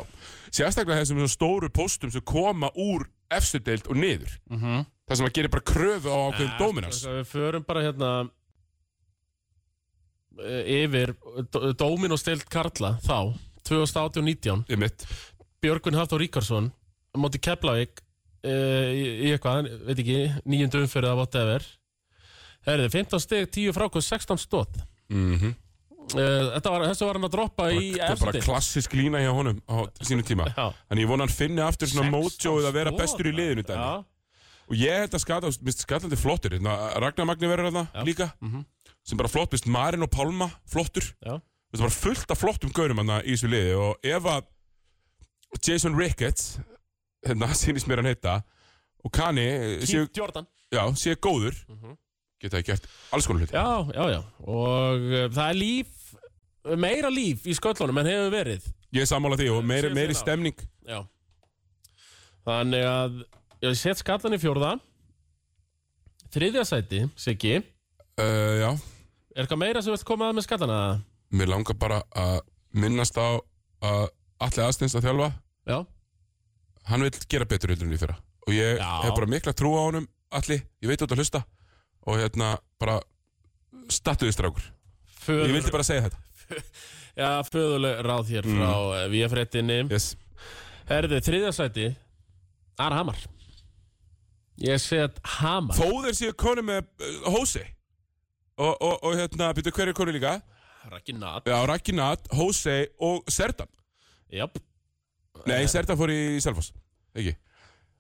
sérstaklega þessum svona stóru póstum sem koma úr efstu deild og niður mm -hmm. það sem að gera bara kröfu á ákveðin Ja, dóminans sko, Við förum bara hérna eh, yfir dó- Dominos deild Karla þá 2018-19 í mitt Björgun Hafþór Ríkarsson á móti Keflavík uh, í, í eitthvað, veit ekki, níundu umfyrir eða whatever Herðu, 15 steg, 10 frákvöð, 16 stóð Mhm. Uh, þetta var, þessu var hann að droppa í bara, eftir bara klassisk lína hjá honum á sínu tíma Já. Þannig ég vona hann finni aftur svona 16 mótjóið að vera stoð, bestur í liðinu dæmi. já. Og ég held að skata, minnst skatandi flottur hérna, Ragnar Magni verður þarna líka Sem bara flott, minnst Marin og Pálma flottur Já. Minnst bara fullt af flottum gaurum hann í þessu liði Og ef að Jason Ricketts Hérna, (laughs) sínist mér hann heita Og Kani eh, séu, Keith Jordan já, séu góður Geta það gert alls konar hluti Já, já, já Og uh, það er líf Meira líf í sköllunum en hefur verið Ég er sammála því og meiri, Síðan meiri fyrir ár. stemning Já Þannig að Ég set skallan í fjórða Þriðja sæti, Siggi Er uh, Já, eitthvað meira sem vilt koma að með skallana? mér langar bara að minnast á að Alli aðstens að þjálfa Já hann vil gera betur heldur en í fyrra og ég Já. hef bara mikla trú á honum allir, ég veit út að hlusta og hérna bara statuði strákur, ég vildi bara segja þetta Já, föðuleg ráð hér frá mm. Víafréttinni yes. Herðu, þriðja sæti Ara Hamar Ég set Hamar þó þeir séu konu með uh, Hósi og, og, og hérna, byrju hverju konu líka Raki Nat já, Rakinat, Hósi og Serdan Jáp nei, Serdan fór í Selfoss ekki,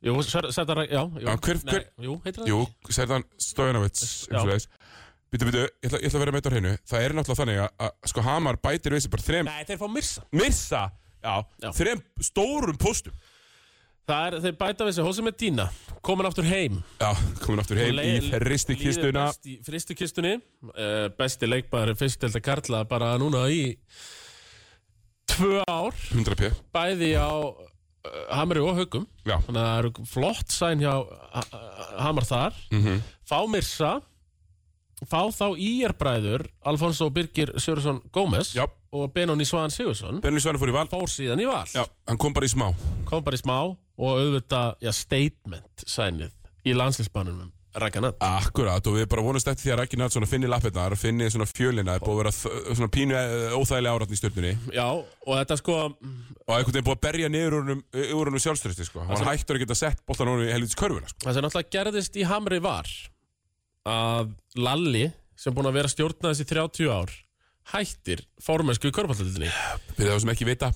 Jú, setja Raki, já jú. Já, hver- Nei, hver- Jú, heitir það jú, ekki? Serdan Stojanovic Já. byrju, byrju, ég ætla ég ætla að vera með þetta á hreinu það er náttúrulega þannig að, að sko Hamar bætir við sér bara þrem, Nei, þeir fá Mirsa Mirsa já, Já. þrem stórum póstum Það er, þeir bæta við sig Hossi Medina Komin aftur heim Já, komin aftur heim í ferristi kistuna Fristi kistunni uh, Besti leikmaður fyrst held að karla bara núna í Tvö ár 100p Bæði á uh, Hamri og Haugum Já, Þannig að það eru flott sæn hjá ha Ha- Hamar þar Mhm. Fá Mirsa Fá þá íjarbræður Alfonso Birgir Sjörsson Gómez já Og Benóni Svan Sigursson Benny Svanur fór í val Fór síðan í val Já, hann kom bara í smá kom bara í smá og auðvitað já, statement sænið í um landslýsbanunum Rakanat Akkurat og við bara vonast eftir því að Rækki Natsson finni lappirnar finni svona fjölina það er búið að vera þ- svona pínu eh, óþægilega áratn í stjórnunni Já, og þetta sko það og einhvern veginn búið að berja niður úr honum- eh, úr honum sjálfstyrsti sko hann var hættur að geta sett boltan honum í helvitis körfuna sko sem náttúrulega gerðist í Hamri var að Lalli sem búin að vera stjórna þessi 30 ár hættir formensku í körpallalitinni Fyrir þá sem ekki vita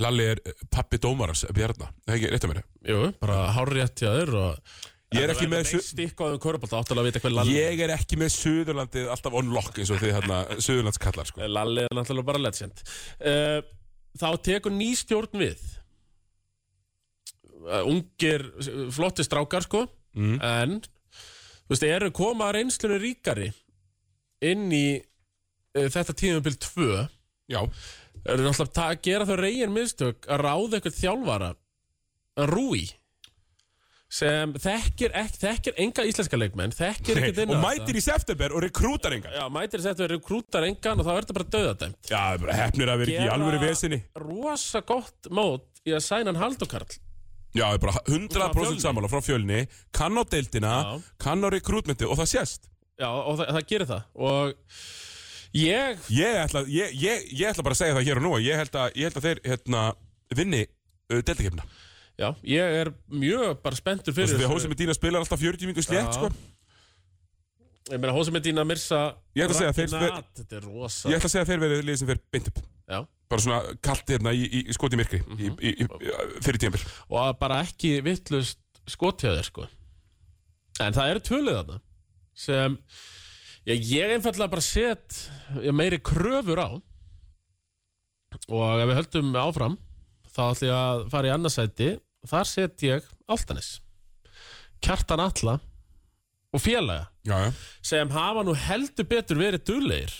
Lalli er eh, pappi dómarans Bjarnar Það er ekki rétt að mér Jú, bara hárrétt hjá þér og Ég er ekki með þessu su- Stikkaðum körpallta, áttulega að vita hver Lalli Ég er ekki með Suðurlandið alltaf on lock eins og þið hérna Suðurlandskallar sko Lalli er náttúrulega bara legend uh, Þá tekur ný stjórn við uh, Ungir, uh, flotti strákar sko Mm. En Þú veist, eru koma reynslunni ríkari Inn í uh, Þetta tíðumbil 2 Já, Eru náttúrulega ta- að gera þau reygin mistök Að ráða eitthvað þjálfara að Rúi Sem þekkir, ek, þekkir enga íslenska leikmenn Þekkir ekkert inn og mætir í september og rekrútar engan Já, mætir þess að þau rekrútar engan Og þá er þetta bara döðadæmt Já, það er bara hefnir að vera ekki í Gera- alvöru vesinni rosa gott mót í að sæna hann Halldókarl Já, það er bara Frá 100% Fjölni. sammála frá fjölni kann á deildina, Já. kann á rekrútmenti og það sést. Já, og það, það gerir það og ég Ég ætla, ég, ég, ég ætla bara að segja það hér og nú að ég held að, ég held að þeir hérna, vinni uh, deildakefna. já, ég er mjög bara spenntur fyrir Því að Hósi Medina spilar alltaf 40 mingur slétt, Já. sko. ég meina hósi með dýna Mirsa Ég ætla að segja, þeir- Ragnar, þetta er rosa Ég ætla að segja að þeir verið liðið sem fer beint upp. já, Bara svona kallt hérna í, í, í skoti myrkri í, í, í, fyrir tímpil. og að bara ekki vittlust skotjaður sko en það eru tvölið þarna sem ég, ég einfallega bara set ég meiri kröfur á og ef við höldum áfram þá ætlum ég að fara í annarsæti þar set ég Altanis Kjartan Alla og félaga Já, já. sem hafa nú heldur betur verið duglegir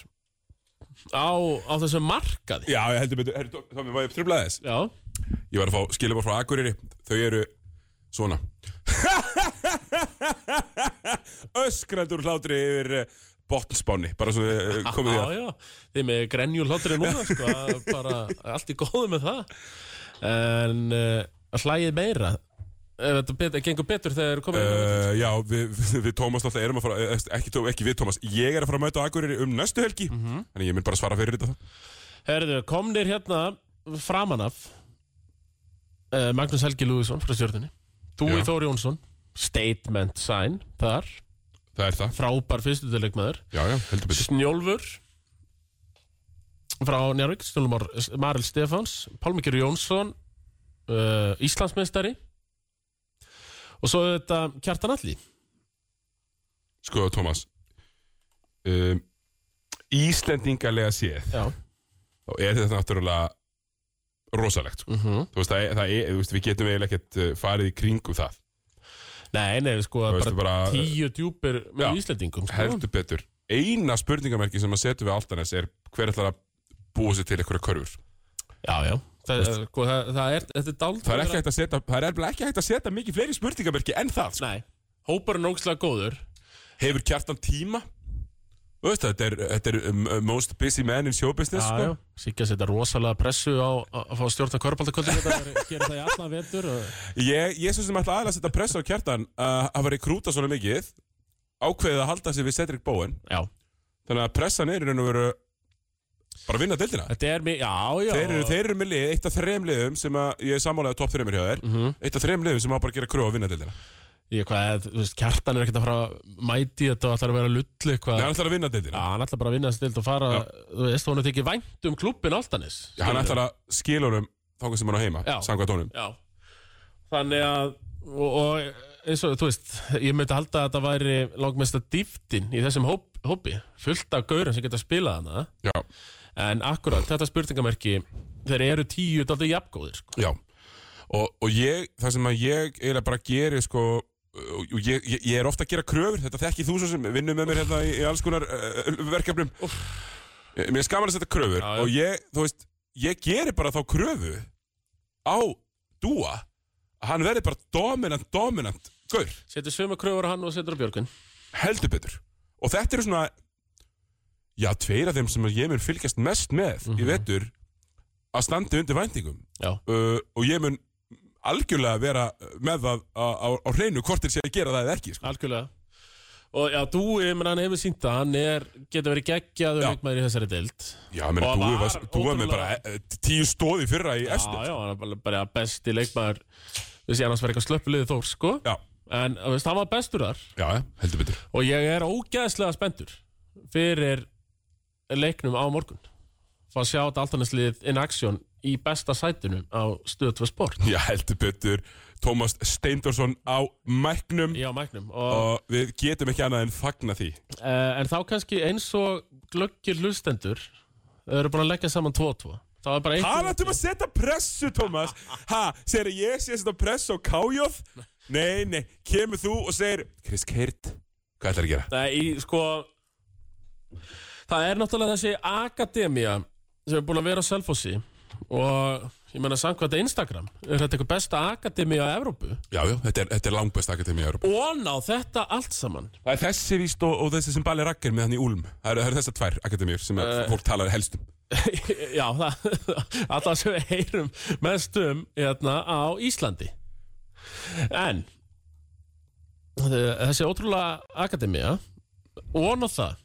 á, á þessum markaði Já, ég heldur betur, herri, Tómi, var ég tröflaði þess? Já, Ég var að fá skilabóð frá Akureyri Þau eru (laughs) svona Öskrandur hlátri yfir botnspáni Bara svo (laughs) þið Ah, komið því Já, að já, þið með grenjul hláturinn núna sko, að bara allt í góðu með það en uh, hlægið eh, meira ef þetta betur, gengur betur þegar þeir komið uh, Uh, já, við, við- við Tómas náttúrulega erum að fara, eh, ekki, Tó- ekki við Tómas, ég er að fara að mæta á Akureyri um næstu helgi, þannig ég mynd bara að svara fyrir þetta. Herðu, komnir hérna framan af uh, Magnús Helgi Lúðvísson frá stjórnunni Dúi Já. Þóri Jónsson Statement sign þar Það er það. Frábær fyrstutöleikmaður Já, já, heldur betur. Snjólfur frá Njárvík Snjólfur Maril Stefáns Pálmikir Jónsson uh, Íslandsmeistari og svo er þetta Kjartan Alli Sko, Tómas, um, Íslendingalega séð, Já þá er þetta náttúrulega rosalegt, sko. Mhm. Þú veist, það er, það er, þú veist, við getum eiginlega ekkert eh, farið í kringum það. Nei, nei, Þú sko, bara, veistu, bara- tíu djúpir með Já. Íslendingum sko. Heldur betur. Eina spurningamerki sem að setja við Altanes er hver ætlar að búa sér til einhverja körfur. Já, já Það, er- sko, það, það er, þetta er dáld Það er ekki hægt að setja, það er nefnilega ekki hægt að setja mikið fleiri spurningamerki en það, sko. Nei, hóparinn er ógslag góður hefur kjartan tíma Þú veist, þetta er, þetta er um, uh, most busy man in show business sko. Sigga setja rosalega pressu á á- að fá stjórna (laughs) körbaldakvöldi Þetta gerir það í allan vetur og... ég, ég svo sem ætla aðlega að setja pressa á kjartan uh, að vera í krúta svona mikið ákveðið að halda sig við Cedric Bowen Já, þannig að pressan er í raun og veru bara að vinna deildina þetta er mér, já, já þeir eru, þeir eru með lið, eitt af þrem liðum sem að, ég er sammálaðið top þremur hjá þér Mhm. eitt af þrem liðum sem á bara að gera krú að vinna deildina Ég, hvað, er- þú veist, kjartan er ekkert að fara að mæti þetta og ætlar að vera lullu Nei, eitthvað hann ætlar að vinna Já, deildina hann ætlar bara að vinna þessi dild og fara Já. Þú veist, hún er tekið vænt um klubbin Altanis Já, hann ætlar að skila honum þáka sem hann á heima, Já. samkvæmt honum Já, þannig að og, og eins og þú veist ég myndi halda að þetta væri langmesta dýftin í þessum hóp, hópi fullt af gaurum sem geta spilað hana Já, en akkurat þetta spurningamerki þeir eru tíu daldi jafngóðir sko. Já, og, og ég, það sem að ég eiginlega bara gerir sko og og ég, ég, ég er ofta að gera kröfur þetta þekki þú svo sem vinnur með mér hérna í, í alls konar uh, verkefnum uh, mér er skaman að setja kröfur Já, já. og ég, þú veist, ég gerir bara þá kröfu á dúa að hann verði bara dominant, dominant gaur, setur svöma kröfur á hann og setur á Björgun heldur betur og þetta eru svona já, tveir af þeim sem ég mun fylgjast mest með í vetur að standi undir væntingum Já, uh, og ég mun algjörlega vera með það á, á, á hreinu hvort þeir sé að gera það eða ekki sko. algjörlega og já, Dúi, menn hann hefur sínt að hann er, getur verið geggjaður Já. leikmaður í þessari dild Já, menn, Og þú var var, þú var með bara ótrúlega- eh, tíu stóði fyrra í Já, Esnu já, hann er bara, bara besti leikmaður við sé annars verið eitthvað slöppuliði þór, sko já, en þú veist, hann var bestur þar já, heldur betur Og ég er ógeðslega spendur fyrir leiknum á morgun Fá að sjá þetta altanesliðið in action í besta sætunum á Stöð 2 Sport Já, heldur betur Tómas Steindorsson á mæknum í á mæknum og, og við getum ekki annað en fagna því uh, En þá kannski eins og glöggir hlustendur þau eru búin að leggja saman 2-2 Þá er bara eitt Talandum að setja pressu, Tómas Ha, segir að ég sé að setja pressu á kájóð Nei, nei, kemur þú og segir Chris Keirt, hvað ætlar að gera? Nei, í, sko Það er náttúrulega þessi akademía sem er búin að vera á Selfossi og ég meina samkvæmt Instagram er þetta eitthvað besta akademía á Evrópu Já, já, þetta er, þetta er langbæst akademi í Európa og ná þetta allt saman Það er þessi víst og, og þessi sem Bali Rakker með hann í Ulm. Það eru, það eru þessar tvær akademíur sem Eh. uh, fólk talar helst um. (laughs) Já, það, alltaf sem við heyrum mest um hérna á Íslandi En þessi ótrúlega akademía og á það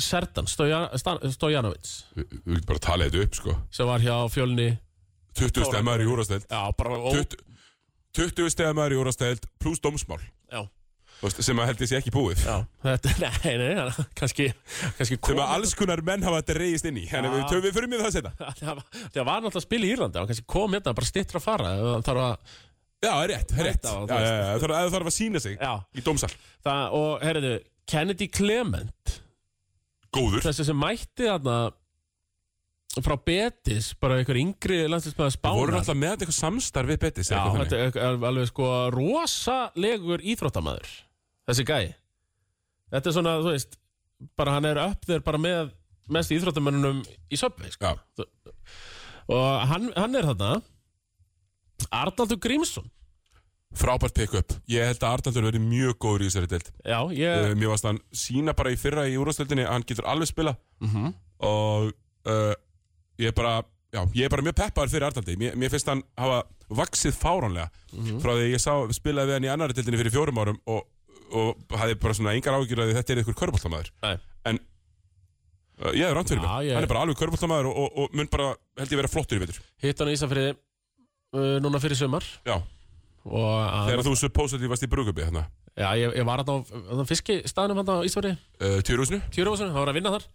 Sertan Stoja- Stan- Stojanovic Við við getum bara að tala þetta upp, sko. sem var hjá fjölni 20 stegar maður í úrastæld. Já, bara ó, 20, 20 stegar maður í úrastæld pluss dómsmál. já, Þú veist, sem að held ég sé ekki búið. já, þetta, (laughs) nei, nei, hann- kannski, kannski Sem kom, (laughs) að alls konar menn hafa þetta reyðist inn í. Þannig við, tökum- við fyrir mér það setna. það var það var náttúrulega að spila í Írlandi hann kannski kom hérna bara stittra að fara ef hann þarf að Já, það er rétt, það er rétt. Þetta var- Já, já, já, Það þarf- það þarf að sína sig Já. í dómsal. það, og herriðu, Kennedy Clement Góður. þessi sem mætti þarna frá Betis, bara einhver yngri landslífsmaður Það voru spána náttúrulega með þetta eitthvað samstarf við Betis. Já, eitthvað þetta þannig. er er alveg sko rosalegur íþróttamaður þessi gæi þetta er svona, þú veist, bara hann er upp þér bara með mest íþróttamönnunum í söpvei, sko Já, og hann, hann er þarna Arnaldur Grímsson frábært pick-up. Ég held að Arnaldur verið mjög góður í þessari deild. já, uh, ég, mér varst hann sína bara í fyrra í úrvastöldinni að hann getur alveg spila og uh, eh, ég bara já, ég er bara mjög peppaður fyrir Arnaldi Mér, mér finnst hann hafa vaksið fáránlega Frá því ég sá, spilaði við hann í annari tildinni fyrir fjórum árum Og, og hafði bara svona engar ágjur að þetta er ykkur körbóltamæður Nei. En uh, ég er ránt fyrir Já, mig ég- Hann er bara alveg körbóltamæður og, og, og mun bara, held ég vera flottur í vetur Hitt hann í Ísafriði uh, núna fyrir sumar Já, og að, þegar þú supposedly varst í Brugubbi hérna já, ég, ég var hann á fiskistaðnum hann á Ísafriði uh, Tjúrúsinu Tjúrufosinu, það var að vinna þar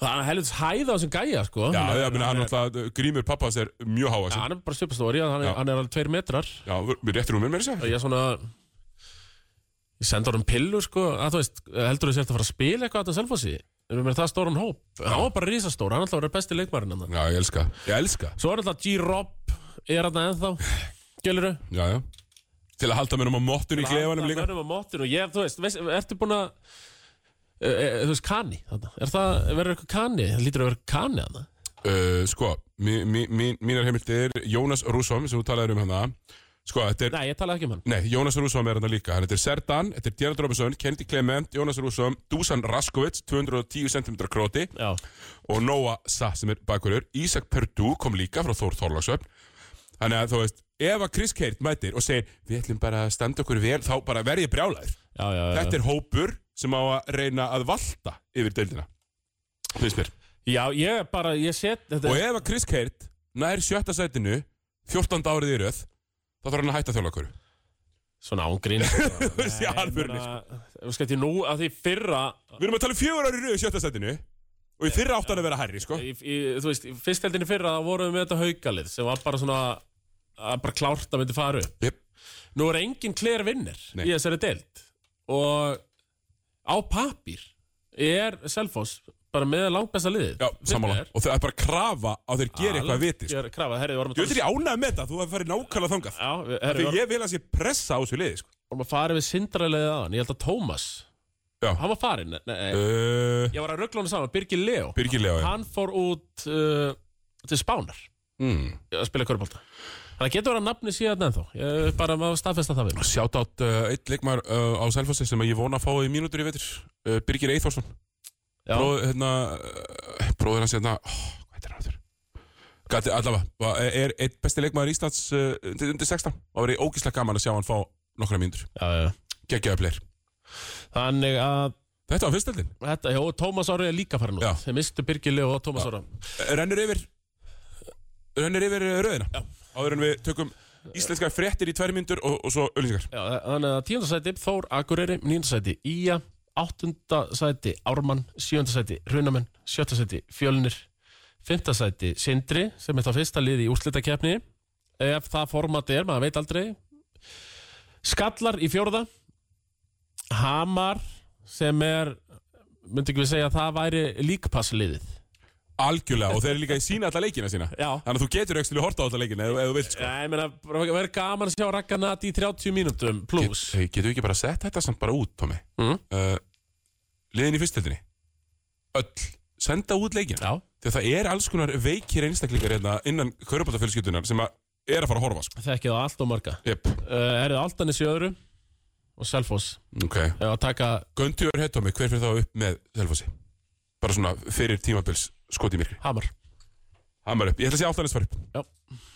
Það er helvits hæða á þessum gæja sko Já, Hann er- ég meina hann náttúrulega, eh, grímur pappas er mjög háa Já, Já, hann er bara stupastóri, hann, Já. er- hann er alveg tveir metrar við réttir um mér meira sér og ég er svona ég sendi honum pillu sko að þú veist, heldur þú sért að fara að spila eitthvað að það selfossi, erum við það stóran hóp hann var bara risastór, hann alltaf var besti leikmarinn hann. Já, ég elska, ég elska svo er alltaf G-Rob er hann ennþá, gælur þau Já, já Til að halda mér um á mottun í klefanum líka hann á móttinu og ég, þú veist, veist ertu búin að e, e, þú veist, kani þarna. er það, verður eitthvað kani, það lítur að vera kani hann uh, Sko, mí, mí, mí, mínar heimildir Jónas Rússom, sem þú talaðir um hann Sko, þetta er nei, ég tala ekki um hann Nei, Jónas Rússom er hann líka Hann heitir Serdan, þetta er Gerard Robinson, Kendi Clement, Jónas Rússom Dusan Raskovic, 210 cm króti já, og Noah Sa sem er bakverður Ísak Perdú kom líka frá Þór Þorlagsöfn þannig að þú veist ef að Chris Keirt mætir og segir við ætlum bara að standa okkur vel þá bara verð ég brjálæður já, já, já. þetta er hópur sem á að reyna að valta yfir deildina finnst mér já, ég bara, ég set þetta, og ef að Chris Keirt nær sjötta sætinu 14. árið í röð þá þarf hann að hætta þjóla okkur (laughs) svona ángrín Þú veist, í alvörunni, sko. þú veist, þetta er nú að því fyrra við erum að tala um fjögur árið í röð í sjötta sætinu og í fyrra áttan að vera herri sko. í, í, þú veist, í fyrstældinni fyrra þá vorum við með þetta haukalið sem var bara svona að bara klárt að myndi fara upp Jep. nú er engin kler vinnir Nei. í þessari deild og á pappir er Selfoss bara með langbesta liðið Já, sammála. og það er bara krafa að þeir gera eitthvað að viti sko. ég er krafað, herri, við vorum að um ég veit er ég ánægð með þetta, þú hefði farið nákvæmlega þangað Já, við- herri, Þegar við vorum- ég vil að sé pressa á þessu liði sko. vorum að fara við sindralegið aðan ég held að Tómas, Já. hann var farinn nei, nei, uh, ég var að ruggla hann saman, Birgir Leo Birgilega hann fór út uh, til Spánar mm. að spila körbólta Þannig að getur verið að nafni síðan ennþá Ég bara maður staðfesta það við mig Sjátt átt uh, eitt leikmar uh, á Selfossi sem ég vona að fá í mínútur í vetur uh, Birgir Eithorsson Já, Bróð, hérna, uh, Bróður hans hérna oh, Hvað heitir hann aftur? Gati, allavega, va- er, er eitt besti leikmaður Íslands uh, undir, undir 16 og verið ógislega gaman að sjá hann fá nokkra mínútur já, já Gekkjaði player Þannig að Þetta var fyrstöldin, þetta, já, og Tómas Ári er líka farin út Já. Þeir mistu Birgir Leo og Tómas Ára rennur yfir rennur yfir uh, röðina Já. áður en við tökum íslenska fréttir í tvær mínútur og, og svo öllinsingar Já, þannig að tíundasæti Þór Akureyri, níundasæti Ía áttundasæti Ármann sjöndasæti Runamenn, sjöttasæti Fjölnir, fimmtasæti Sindri, sem er það fyrsta liði í úrslitakefni ef það formati er, maður veit aldrei Skallar í fjórða Hamar sem er, myndi ekki við segja að það væri líkpassliðið Algjörlega, og þeir eru líka í sína alla leikina sína Já. Þannig að þú getur ekki að horta á alla leikina ef, ef þú vilt sko. Já, ég meina, bara verður gaman að sjá Raggarnat í 30 mínútum plus hey, Getur við ekki bara sett þetta samt bara út, Tómi Mm. uh, Liðin í fyrstöldinni Öll, senda út leikina Já, Þegar það er alls konar veikir einstaklingar hérna innan körubátafjölskyldunar sem að er að fara að horfa sko. þekkið á allt og marga yep. uh, Erðu Altanis í öðru og Selfoss okay. Ef að taka, Göndjör hér, Tómi, hver fyrir þá upp með Selfossi? Bara svona fyrir tímabils skot í myrkri Hamar Hamar upp, ég ætla að sé áltanis fara upp Já.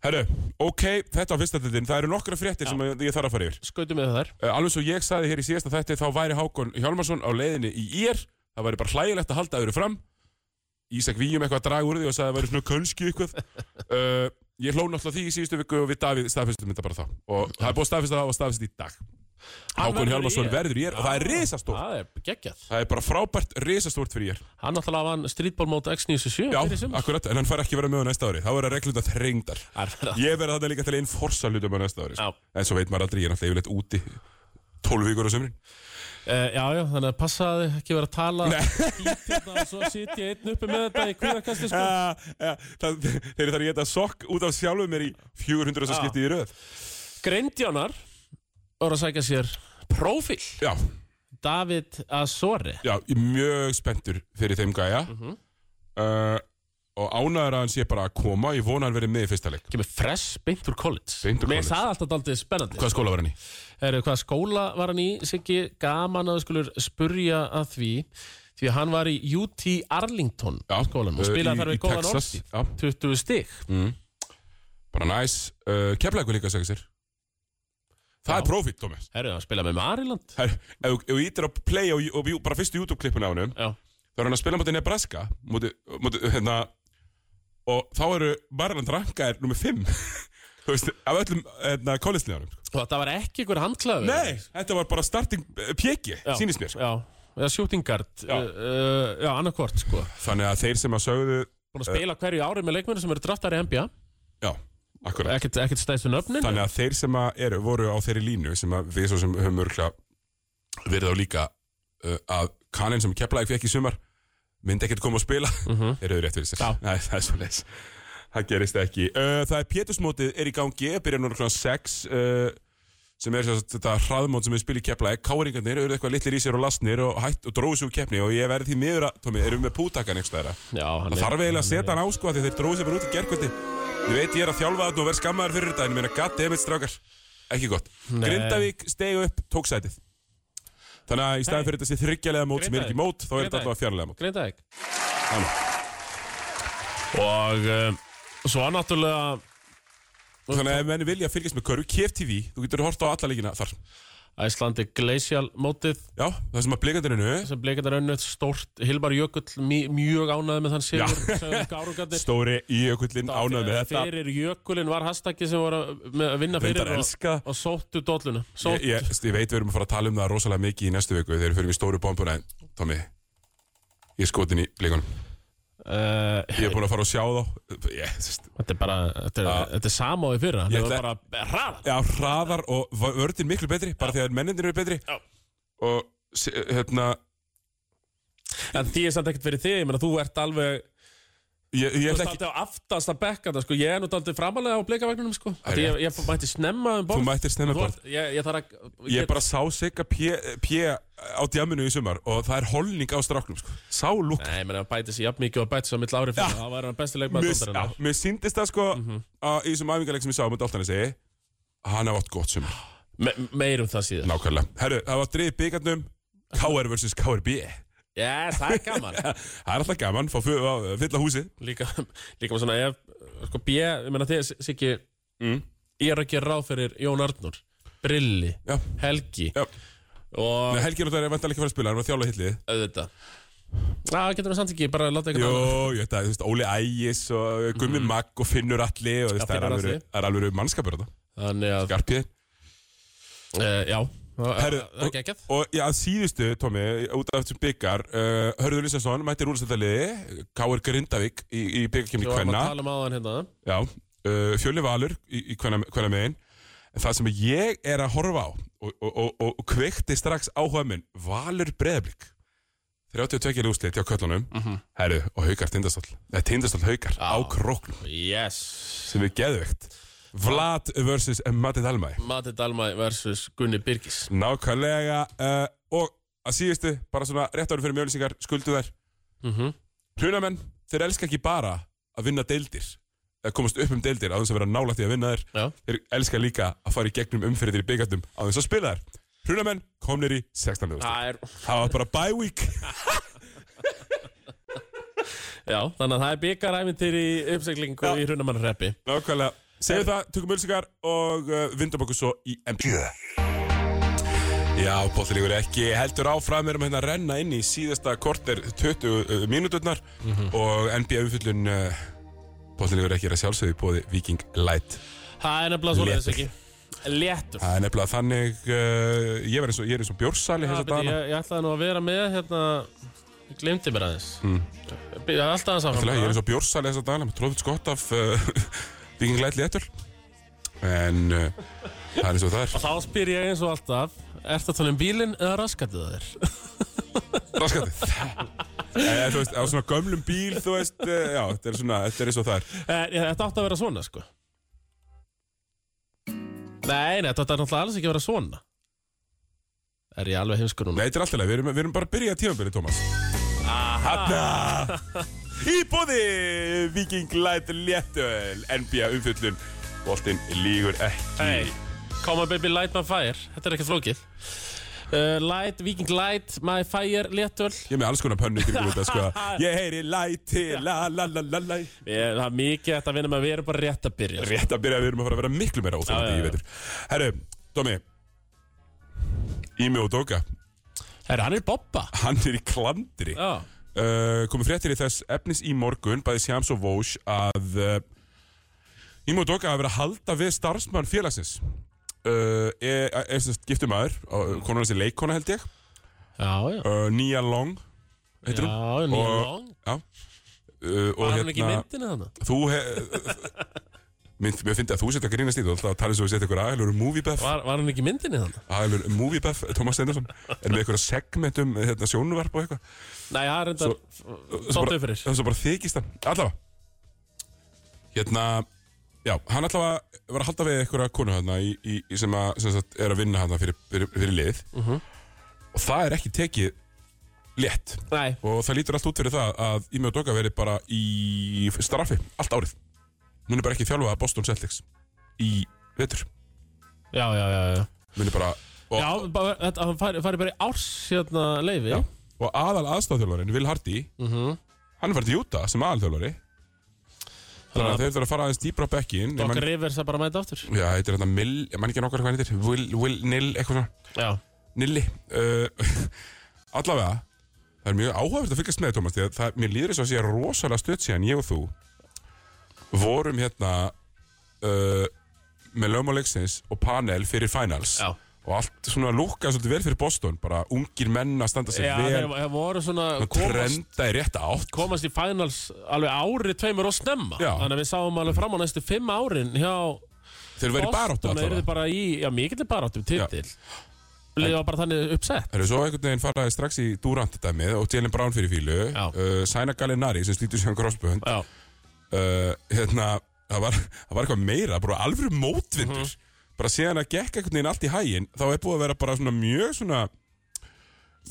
Herru, ok, þetta á fyrstöldin Það eru nokkra fréttir sem að ég þarf að fara yfir Skautum við þær Eh, alveg svo ég saði hér í síðasta þætti þá væri Hákon Hjálmarsson á leiðinni í ír það væri bara hlægilegt að halda öðru fram Ísak Víum eitthvað að draga úr því og sagði að það væri svona kannski (laughs) eitthvað uh, ég hló náttúrulega því í síðustu viku og við Davíð staðfestum þetta bara þá og það er búið að staðfesta það og staðfesta í dag Hákon verður í Hjálmarsson ÍR. Ah. verður í ír og það er risastórt Það er geggjað það er bara frábært risastórt fyrir ír Hann náttúrulega vann streetballmót X97 Já, fyrir sumar. akkurat, en hann fær ekki verið með á næsta ári þá verður reglunda þrengdar Það er verið að- ég verður þarna líka til einn forsa hlutum á næsta ári Já. sko. en svo veit maður aldrei, ég er náttúrulega yfirleitt úti 12 vikur á sömrin Eh, já, já, þannig að passaði ekki verið að tala skít hérna og svo sit ég einn uppi með þetta í kvíðakasti sko. Ja, ja, það- Þeir eru þar að geta sokk út af sjálfum mér í 400 sem Já. skipti í röð Greindjánar voru að sækja sér Profil Já, David Azori já, ég er mjög spenntur fyrir þeim gæja Mhm. uh, Og ánæður að hann sé bara að koma Ég vona að hann verið með í fyrsta leik Kemur fresh beint úr college Beint úr Mér college. sagði alltaf daldið spennandi Hvað skóla var hann í? Heru, hvaða skóla var hann í, Siggi? Gaman að þú skulur spurja að því. því að hann var í UT Arlington Já, skólanum og uh, í- spilaði þar í við góðan Texas, orðstír já. 20 stig Bara næs uh, Keflækur líka segir sér Það Já. er profit, Thomas Herru, hann spilaði með Mariland Her, Ef ef þú ítir að play á, á, á bara fyrstu YouTube-klippinu á hennum Já, þá er hann að spila mútið Nebraska múti, múti, hérna, og þá eru Marland rankaðir nummer 5 (laughs) þú veist, af öllum hérna, kollislegarum og þetta var ekki ykkur handklaður Nei, þetta var bara starting eh, pjeki, sýnist mér sko. Já, eða shooting guard Já, Já. uh, já annarkvort sko Þannig að þeir sem að sögðu Búin Eh. að spila hverju ári með leikmennu sem eru draftar í NBA Já, akkurat Ekkert, ekkert stæðstu nöfnin Þannig að þeir sem að eru, voru á þeirri línu sem að við svo sem höfum örgulega verið á líka uh, að kaninn sem keplaði fekk í sumar myndi ekkert koma að spila þeir eru rétt fyrir sér Já. Nei, það er svo leis Það gerist ekki uh, Það er Pétursmótið er í gangi, byrjar núna klokkan 6 uh, sem er sem sagt þetta hraðmót sem við spilum í keplaði Káringarnir eru eitthvað litlir í sér og lastnir og, hætt, og dróðu sig úr keppni og ég verði því miður að Tómi, erum við með pútakan einhvers þeirra Já, hann Það er- þarf eiginlega að setja hann á sko af því þeir dróðu sér bara út í gerkvöldi Ég veit ég er að þjálfa þetta og verð skammaður fyrir þetta en ég meina goddammit strákar Ekki gott Grindavík stegu upp, tók sætið Þannig að í staðin fyrir þessi þryggjalega mót sem er ekki mót þá er þetta alltaf fjarlæga mót Grindavík Þannig. Og uh, svo náttúrulega Þannig að ef menni vilja fylgjast með körfu, KF TV þú getur hort á alla leikina þar Æslandi Glacial mótið Já, það sem að blikandirinu sem bleikandar önnut stórt Hilmar Jökull mi- mjög ánæði með þann sigur Já. sagði (laughs) Gárugarnir. Stóri í ökullin ánægð með þetta Fyrir Jökullin var hashtaggi sem voru að- með að vinna fyrir Reyndar elska og sóttu dolluna ég, Sóttu ég, ég veit við erum að fara að tala um það rosalega mikið í næstu viku þegar við fyrir í stóru bombuna en Tommy, ég er skotin í blikunum uh, Ég er búin að fara að sjá þá ég, sest, Þetta er bara, þetta er, þetta er samóði fyrra Ég Þetta var ætla- bara hraðar Já, hraðar og v- vörðin miklu betri bara því að mennindir eru betri Já. og se- hérna En því er samt ekkert fyrir þig, ég meina þú ert alveg ég, ég Þú ætla ert ekki, alltaf á aftasta bekkanda sko. Ég er nú alltaf framalega á bleikavagninum sko. Það er Því ég, ég mætti snemma um þú borð mættir snemma Þú bara ert- Ég, ég þarf að ég bara sá sigga pjö á djaminu í sumar og það er holning á stráknum sko. sá lúk Nei, menn að bæti sér jafn mikið og bæti sér mitt ári fyrir Það var hann besti leikmaður Mis- já, deildarinnar. mér síndist það sko Mhm. að í þessum æfingarleik sem ég sá um Daltan að segja hann hafa átt gott sumar Me, Meir um það síðan nákvæmlega herru, það var drið byggarnum KR vs. KRB Yes, það er gaman (laughs) það er alltaf gaman fá fu- að fylla húsi Líka, líka með svona ef, sko, B, ég menna þið Siggi, Mm. ég er að gera ráð fyrir Jón Arnur Brilli, já, Helgi já og Nei, Helgi er náttúrulega vantanlega ekki að fara að spila, hann var að þjálfa hillið auðvitað Já, getur það samt ekki, bara láta eitthvað Jó, annað. ég veit að, þú veist, Óli Ægis og eh, Gummi Magg og Finnur Alli og þú veist, Mm. Já, það er Finnur alveg, Atli. það er alveg mannskapur þetta, Þannig að, garpið uh, já Það Herru, það er geggjað Og já, að síðustu, Tómi, út af þessum byggar uh, Hörður Lísansson, mættir úrstættaliði Káir Grindavík í, í byggarkemni Svo varum Kvenna að tala um áðan hérna Já, uh, Fjölni Valur í, í Kvenna, kvenna megin En það sem ég er að horfa á og, og, og, og, og kveikti strax áhuga minn Valur Breðablík 32 úrslit hjá köllunum Mhm. Herru, og haukar tindastóll Nei, tindastóll haukar á króknum Yes sem er geðveikt Vlad vs. Matti Dalmæ Mati Dalmæ versus Gunni Birgis Nákvæmlega uh, og að síðustu, bara svona rétt ári fyrir mjölsingar skuldu þær Mhm. Hrunamenn, þeir elska ekki bara að vinna deildir að komast upp um deildir á þess að vera nálægt í að vinna þær Já. þeir elska líka að fara í gegnum umfyrir í byggandum á þess að spila þær Hrunamenn komnir í 16. úrslit. Það er, Það var bara bye week já, þannig að það er byggaræfintir í uppseglingu í hrunamannreppi Nákvæmlega, segjum það, tökum mjölsingar og uh, vindum okkur svo í MB sjö, Já, bóttilíkur ekki heldur áfram, erum hérna að renna inn í síðasta korter 20 uh, mínúturnar Mhm. og NBA umfyllun uh, bóttilíkur ekki er að sjálfsögðu bóði Viking Light. Það er nefnilega svona þess Léttur. ekki Léttur Það er nefnilega þannig, uh, ég, var eins og, ég er eins og bjórsali Já, þess að beti, dana. ég, ég ætlaði nú að vera með hérna Ég glemdi mér aðeins mm. Alltaf Ég, ég aðeins Hmm. er áfram eins og bjórsali þess að dana, maður tróðið skott af uh, (laughs) Viking Light léttur. En uh, það er eins og það er. Þá spyr ég eins og alltaf Ert það tónum um bílinn eða raskatið það þér? Raskandi. Eh, þú veist, á svona gömlum bíl, þú veist, uh, já, þetta er, svona, þetta er eins og það er. Eh, Þetta átti að vera svona sko Nei, nei, þetta átti náttúrulega alls ekki að vera svona Er ég alveg heimskur núna? Nei, þetta er alltaf leið, við erum, við erum bara að byrja tímanbyrði, Tómas Hanna Í bóði Viking Light Léttöl NBA umfyllun Boltinn lígur ekki Hey, Come on baby light my fire Þetta er ekkert flókið uh, Light, Viking Light, My Fire, Léttöl Ég er með alls konar pönnu til þetta sko (laughs) Ég heyri læti, la la la la la Ég- Það er mikið þetta að vinna með, við erum bara rétt að byrja sko. Rétt að byrja að við erum að fara að vera miklu meira óþólandi Já, já, í já. veitur Herru, Dómi Ími og Dóka Herra, hann er Bobba Hann er í klandri Já, uh, komið fréttir í þess efnis í morgun, bæði Sjams og Vós, að uh, Ímo Dóka hafa verið að halda við starfsmann félagsins. Uh, er, er, er sérst giftum aður, uh, konan hans er leikkona held ég, já, já uh, Nia Long, heitir hún. Já, Neil Og- Long Uh, og Var hann ekki í myndinu þannig? Þú hef... (laughs) Mynd, mér finnst að þú setja að grínast í þú, alltaf að tala eins og við setja ykkur aðeilur um moviebuff, Var, var hann ekki í myndinu þannig? aðeilur um moviebuff, Tómas Stendarsson, en með ykkur segment um hérna, sjónvarp og eitthvað. Nei, hann er Svo- reyndar svo bara- Sáttu fyrir Það er svo bara þykist hann Allavega Hérna Já, hann allavega var að halda við einhverja konu hérna í, í, í sem, að, sem sagt, er að vinna hérna fyrir, fyrir, fyrir lið og það er ekki tekið létt Nei, og það lítur allt út fyrir það að Ími og Doga verið bara í straffi allt árið Hún er bara ekki þjálfað að Boston Celtics í vetur já, já, já, já. Hún er bara og, Já, bara, þetta, hann fari, fari bara í árs hérna leifi Já. og aðal aðstafþjálfarin Vil Hardy hann er farið til Utah sem aðalþjálfari þannig að þeir þurfa að fara aðeins dýbra á bekkin Doc Rivers að bara mæta aftur Já, þetta er þetta Mill, ég man ekki nokkar hvað hann heitir Will, Will, Nill, eitthvað svona Já, Nilli uh, (laughs) Allavega, það er mjög áhugavert að fylgjast með Thomas því að það, mér líður þess að sé rosalega stöð síðan ég og þú vorum hérna uh, með lögmál leiksins og panel fyrir finals já og allt svona lúkkaði svolítið vel fyrir Boston bara ungir menn að standa sig Já, þeir vel þeir voru svona og komast, trenda í rétta átt komast í finals alveg ári tveimur og snemma Já. Þannig að við sáum alveg fram á næstu fimm árin hjá þeir verið baráttu Boston allavega Þeir bara í, já, mikill baráttu, titill Lefa bara þannig uppsett Það eru svo einhvern veginn faraði strax í Durant-dæmið og Jalen Brown fyrir fílu Já. uh, Sæna Gallinari sem slítur sér um crossbund Já, uh, hérna, það var, það var eitthvað meira bara alveg mótvindur Mhm. bara síðan að gekk einhvern veginn allt í hægin þá er búið að vera bara svona mjög svona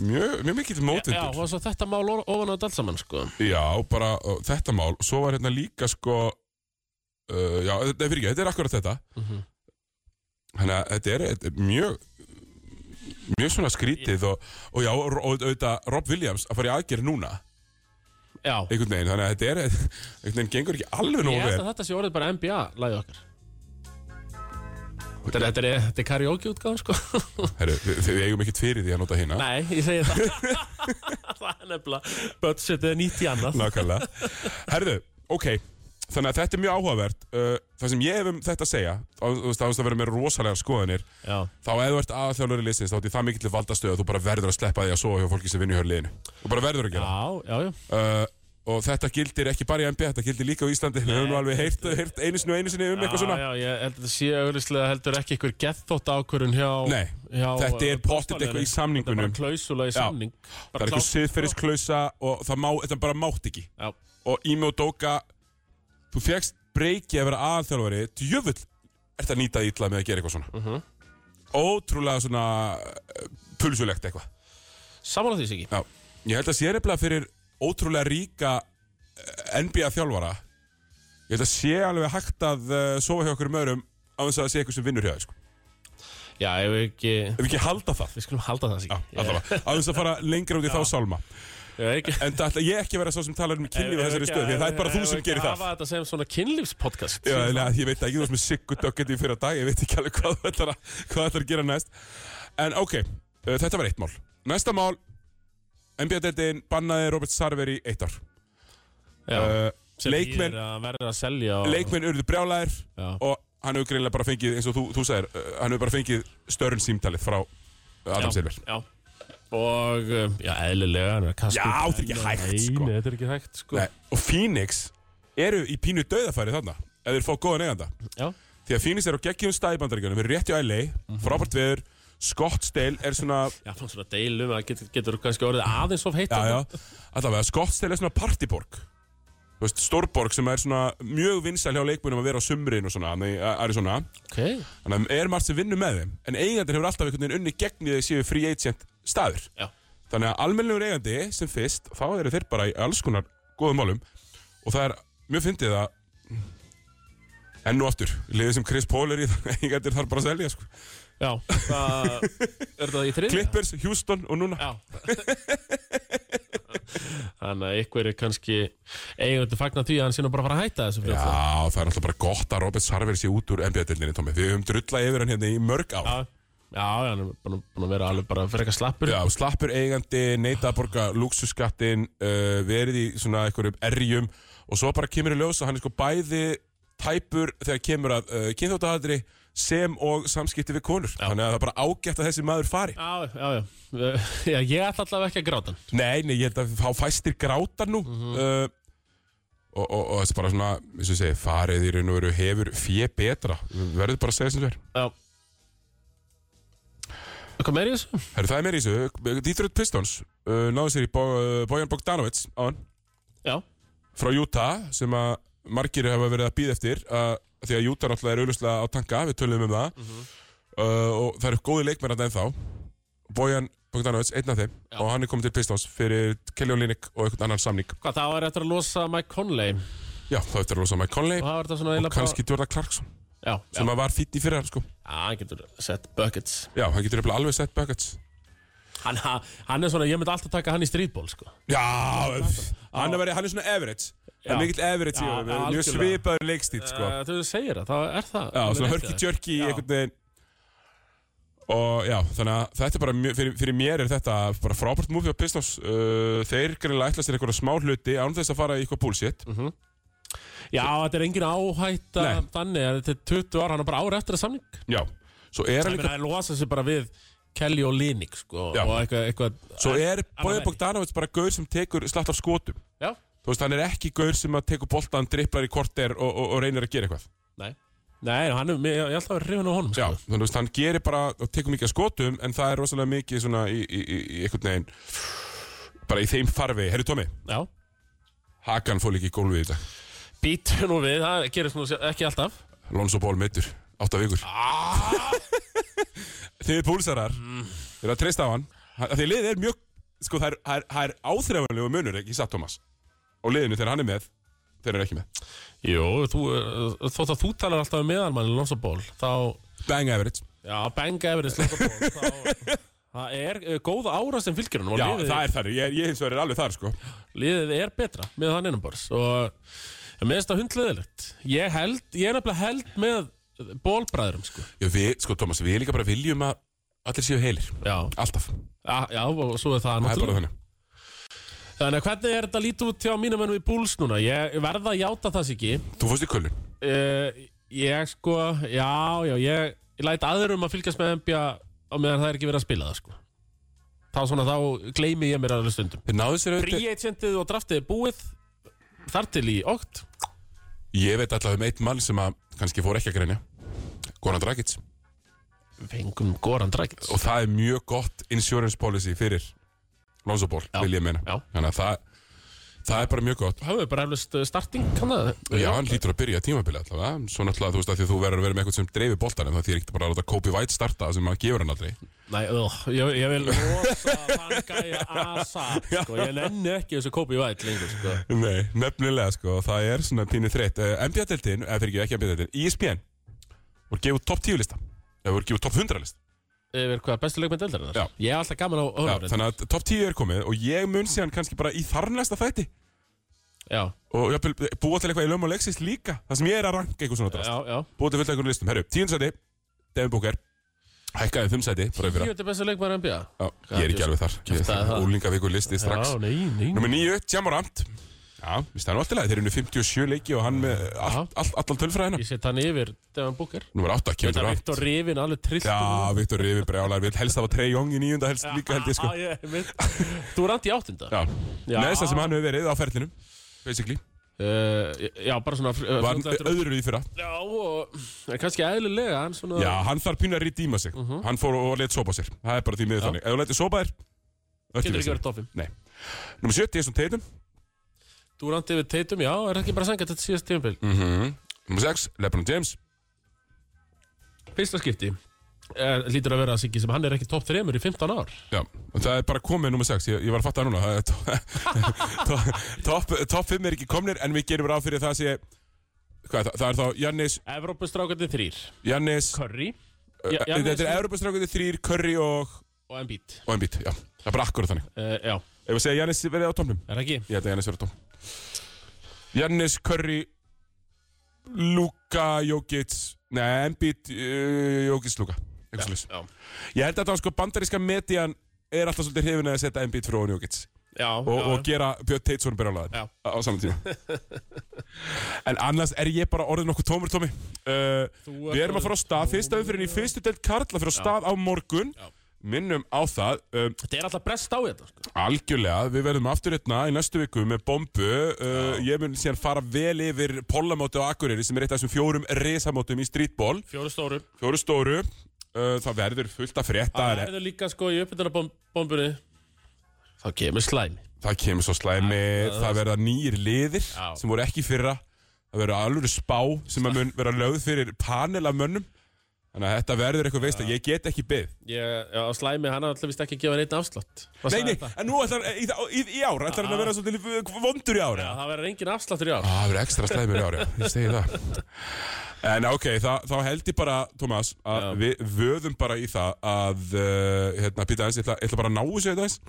mjög, mjög mikill já, mótvindur og svo þetta mál o- ofan á þetta allt saman, sko Já, bara uh, þetta mál Svo var hérna líka sko uh, Já, þetta er fyrir ekki, þetta er akkurat þetta Þannig að þetta er, þetta er mjög mjög svona skrítið og, og já, og og auðvitað Rob Williams að fara í aðgerð núna Já, einhvern veginn, þannig að þetta er e, (laughs) einhvern veginn gengur ekki alveg nógu ég held vel að þetta sé orðið bara NBA-læði okkar Þetta er, þetta er, þetta er karaoke-útgáðan, sko Herru, við, við eigum ekkert fyrir því að nota hina Nei, ég segi það (laughs) Það er nefnilega Budgetið er nýtt í annað Nákvæmlega Herðu, ok Þannig að þetta er mjög áhugavert uh, Það sem ég hef um þetta að segja á- Þú veist, það að vera með rosalega skoðanir Já, Þá ef þú ert aðalþjálfur í liðsins Þá ert í það mikill valdastöð að Þú bara verður að sleppa því að sofa hjá fólki sem vinnu hjá liðinu Þú bara verður að já, gera já, já. uh, Og þetta gildir ekki bara í NBA Þetta gildir líka á Íslandi Við höfum nú alveg heyrt, heyrt einu sinni og einu sinni um eitthvað svona Já, já, ég held að þetta sé auðvitað heldur ekki einhver gethótt ákvörun hjá Nei, hjá, þetta er uh, pottet eitthvað í dómaranum. Þetta er bara samningunum klausula í Já. samning Það er eitthvað siðferðisklausa Og það má, þetta bara mátt ekki Já, og Ími og Dóka þú fegst breyki að vera aðalþjálfari djöfull ert að nýta ítla með að gera eitthvað svona ótrúlega svona eh, pulsulegt eitthvað samanlega því siki Já. ég held að sé nefnilega fyrir ótrúlega ríka eh, NBA þjálfara ég held að sé alveg hægt að uh, sofa hjá okkur um öðrum á þess að það sé eitthvað sem vinnur hjá þér sko. Já, ef við ekki ef við ekki halda það Við skulum halda það Já, siki allavega, á þess að fara lengra út í þá sálma Ég veit ekki En það ætla ég ekki að vera svo sem talar um kynlíf á þessari stöð Því að það er bara þú sem gerir Ef við ekki það hafa þetta sem svona kynlífspodcast Já, en að ég veit ekki, þú veist með Siggu Döggett í fyrra dag, ég veit ekki alveg hvað þú ætlar að, hvað þú ætlar að gera næst. En ok, uh, þetta var eitt mál. Næsta mál, NBA-deltin bannaði Robert Sarver í eitt ár. já. Uh, Sem leikmenn- þýðir að verða að selja og, Leikmenn urðu brjálæðir Já. og hann hefur greinlega bara fengið, eins og þú, þú sagðir, uh, hann hefur bara fengið störn símtalið frá uh, Adam já, Silver. já. Og, um, já, eðlilega hann er að kasta Já, upp þetta er ekki hennar. hægt, Nei, sko. Nei, þetta er ekki hægt, sko Nei, og Phoenix eru í pínu dauðafæri þarna, ef þeir fá góðan eiganda. Já, Því að Phoenix er á geggjum stæðbandaríkjunum, við erum rétt í LA, Mhm. frábært veður, Scottsdale er svona já, fann svona deilum að getur, getur kannski orðið aðeins of heitt Já, já, allavega Scottsdale er svona partyborg Þú veist, stórborg sem er svona mjög vinsæl hjá leikbunum að vera á sumrin og svona, þannig að er svona Ok, Þannig að er margt sem vinnur með þeim En eigandir hefur alltaf einhvern veginn unni gegn í þeir séu free agent staður já, Þannig að almennilegur eigandi sem fyrst, þá eru þeir bara í alls konar góðum málum Og það er mjög fyndið (laughs) að Enn og aftur, liðið sem Chris Paul er í, það eigandir þarf bara að selja sko Já, það er það í þrið Clippers, Houston og núna Já Þannig að ykkur er kannski eiginlega fagnar því að hann sé nú bara að fara að hætta þessu Já, fljóðlega það er alltaf bara gott að Robert Sarver sé út úr NBA-dildinni, Tómi. Við höfum drullað yfir hann hérna í mörg ár. Já, já, hann er búin búin að vera alveg bara frekar slappur Já, slappur eigandi, neita að borga lúksusskattin, uh, verið í svona einhverjum erjum og svo bara kemur í ljós að hann er sko bæði tæpur þegar kemur að uh, kynþjóttaðadri sem og samskipti við konur. Þannig að það er bara ágætt að þessi maður fari. Já, já, já, (laughs) já Ég ætla allavega ekki að gráta hann Nei, nei, ég held að þá fæstir gráta nú uh, og, og, og þessi bara svona, eins og ég segi, farið í raun og veru hefur fjö betra. Við verðum bara að segja sem þér. Já Hvað meir í þessu? Herru, það er meira í þessu. Detroit Pistons uh, náðu sér í Bo uh, Bojan Bogdanovic á hann. Já, frá Utah sem að margir hafa verið að býða eftir að, því að Utah náttúrulega er auðvitað á tanka við tölum um það Mhm. uh, og það eru góði leikmenn að ennþá Bojan Bogdanovic, einn af þeim Já. og hann er komið til Pistons fyrir Kelly Olynyk og einhvern annan samning hvað þá er eftir að losa Mike Conley já, þá eftir að losa Mike Conley og það var þetta svona og eiginlega kannski Jordan Clarkson bara Já, sem já, að var fýtt í fyrra sko. já, hann getur sett buckets já, hann getur jafnvel alveg sett buckets hann, hann er svona, ég myndi alltaf taka hann í streetball sko. já, öff. hann er, verið- hann er svona average hann er Já. mikill average í Já, honum, mjög algjörlega. svipaður leikstíl sko. uh, Þú segir það, þá er það Já, alveg svona rétt hjá þér. hörki-tjörki í Já. einhvern veginn Og já, þannig að þetta er bara mjög, fyrir, fyrir mér er þetta bara frábært múfi á Pistons uh, Þeir greinlega ætla sér einhverja smá hluti án þess að fara í eitthvað bullshit Mhm. Já, þetta er engin áhætta Nei. þannig að þetta er 20 ára, hann er bara ára eftir að samning Já, svo er hann Það líka er að losa sig bara við Kelly og Linik sko, Já. og eitthvað, eitthvað Eh, Svo er Bója verri. Bogdanovic bara gaur sem tekur slatt af skotum Já, Þú veist, hann er ekki gaur sem að tekur boltan, dripplar í korter og, og, og reynir að gera eitthvað nei Nei, hann er, mér- ég ætla að vera hrifin á honum Já, sko. þannig að hann gerir bara og tekur mikið af skotum en það er rosalega mikið svona í, í, í, í einhvern veginn bara í þeim farfi, herru Tómi, Já, Hakan fór líka í gólfið í dag býtu nú við, það gerir svona ekki alltaf Lonzo Ball meittur, átta vikur (laughs) Þið er púlsarar mm. Þið er að treysta á hann Af Því að liðið er mjög Sko það er, það er, það er áþrefanlegu munur ekki satt Thomas Og liðinu þegar hann er með Þeir eru ekki með Jú, þú, eh, þótt að þú talar alltaf um meðalmann í Lonsa Ból þá, Bang average já, benga yfir í Lonsa Ból þá, það er eh, góð ára sem fylgir hann og Já liðið, það er þar, ég, ég hins vegar er alveg þar sko liðið er betra með hann innanbors og ég meðist það hundleðilegt ég held, ég er nefnilega held með bólbræðurum, sko Já, við, Sko Thomas, við líka bara viljum að Allir séu heilir, já, alltaf já, já og svo er það Það er bara náttúrulega þannig þannig að hvernig er þetta lítið út hjá mínum ennum í búls núna ég verða að játa það sér ekki Þú fórst í kölun uh, ég sko, já, já ég, ég læt aðrum að fylgjast með NBA á meðan það er ekki verið að spila það, sko þá svona, þá gleymi ég mér alveg stundum Þeir náðu sér auðvitað Príeitsendið og draftið er búið þar til í ótt Ég veit alltaf um eitt mann sem að kannski fór ekki að greinja Goran Dragic fengum Goran Dragic og það er mjög gott insurance policy fyrir Lonzo Ball, Já. vil ég meina Já. þannig að það, það er bara mjög gott Hafum við bara eflust uh, starting kann það? Já, hann lítur að byrja tímabilið allavega Svo náttúrulega, þú veist að því að þú verður að vera með eitthvað sem dreifir boltan En það þýr ekki bara að láta Kobe White starta sem maður gefur hann aldrei Nei, öð, ég, ég vil rosa þann gæja ASAP sko. Ég nenni ekki þessu Kobe White lengur sko. Nei, nefnilega sko, það er svona pínu þreytt uh, NBA-deltin, eða fyrir ekki NBA-deltin ESPN, voru gefið topp 10 lista Eða voru gefið topp 100 lista Yfir hvað bestu leikmenn deildarinnar Já. Ég er alltaf gaman á Já, orðurinn Þannig að topp 10 er komið og ég mun síðan kannski bara í þarnæsta þætti já, Og jafnvel búa til eitthvað í lögum og leksins líka Það sem ég er að ranka eitthvað svona drast já, já búið til fullt af einhverjum listum Herru, tíundsæti, Devin Booker Hækkaði um fimmsæti, bara yfir Ég að veit bestu leikmenn NBA Já, Ég er ekki alveg þar Ég Kjaftaði er það. Úlingavíkur listi strax Já, nei, nei Númer níu, Tjamorant Já, við stæðum alltaf leið, þeir eru nú 57 leiki og hann með allt, allt, allan tölfræðina Ég set hann yfir Devon Booker Númer 8, Kevin Þetta er Durant Viktor Rivin alveg trillt Já, Viktor Rifi brjálar, við helst hafa Trey Young í níunda helst líka held ég sko Þú er andi áttunda Já, Já. neðsta sem hann hefur verið á ferlinum Basically, Uh, já, bara svona uh, var fljóta eftir- öðru í fyrra Já, og eh, kannski eðlilega hann svona, Já, hann þarf pínu að redeema sig Hann fór og let sopa sér, það er bara því miður Mhm. Já. þannig Ef þú letið sopa þér, öll í getur ekki veseni. verið toffum Nei Númer 7, Jason Tatum Durant yfir Tatum, já, er ekki bara sangað þetta síðast tímabil Mhm. Númer 6, Lebron James Mm. Fyrsta skipti er, lítur að vera að Siggi sem hann er ekki topp 3 í 15 ár Já, og það er bara komið nummer 6, ég, ég var að fatta það núna Það er to- (laughs) to- Topp top 5 er ekki komnir en við gerum ráð fyrir það sé Hvað er það? Það er þá Jannis, Evrópustrákandi 3 Jannis eh, Curry Já, já, Þetta er já. Evropastrákundi þrýr, Curry og og en bít. og Embiid, já, það er bara akkurat þannig Uh, já, Ef við segja Jannis verið á tómnum er það ekki? Ég held að Jannis verið á tómnum Jannis, Curry Luka, Jokic Nei, Embiid, uh, Jokic, Luka Eitthvað svoleiðis. Já, Ég held að það sko bandaríska median er alltaf svolítið hrifin að setja Embiid frá Jokic já, og, já, og gera Björn Teitsson byrjálaðin Já. á á saman tíma (laughs) En annars er ég bara orðin okkur tómur, Tómi uh, Þú Við ert erum að fara á stað, fyrsta umfyrin í fyrstu delt Karla fyrir á stað á morgun Já. Minnum á það um, þetta er alltaf brest á þetta sko. Algjörlega, við verðum aftur hérna í næstu viku með bombu uh, Ég mun síðan fara vel yfir pollamóti á Akureyri sem er eitt af þessum fjórum resamótum í streetball Fjóru stórum Fjóru stóru, uh, það verður fullt að frétta Það það, er líka sko í uppbytunarbombunni Þá kemur slæmi það kemur svo slæmi, það verða nýjir liðir Já. sem voru ekki í fyrra Það verður alveg spá sem að mun vera lögð fyrir panel af mönnum Þannig að þetta verður eitthvað veist að ég get ekki byggð Ég, já, slæmi, hann er alltaf vist ekki að gefa neitt afslátt Nei, Hvað sagði nei, þetta? en nú ætlar, í, í, í ára ætlar hann að vera svolítið vondur í ára Já, það verður engin afsláttur í ár Á, Það verður ekstra slæmur í ári, ég segi það. En ok, þa, þá held ég bara, Tómas, að Já. við vöðum bara í það að, uh, hérna, býta aðeins, ég ætla, ég ætla bara að ná þessu þetta aðeins.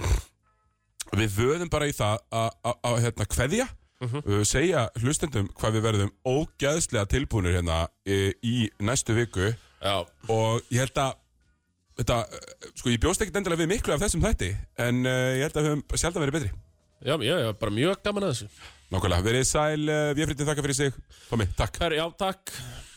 Við vöðum bara í það að- að, að, hérna, kveðja, uh, segja hlustendum hvað við verðum ógæðslega tilbúinir hérna í, í næstu viku Já, og ég held að, Þetta, uh, sko ég bjóst ekkert endilega við miklu af þessum þætti en uh, ég held að við höfum sjálf að vera betri já, já, já, bara mjög gaman að þessu Nákvæmlega, verið sæl, uh, við fyrir þakka fyrir sig Tómi, takk Herri, já, takk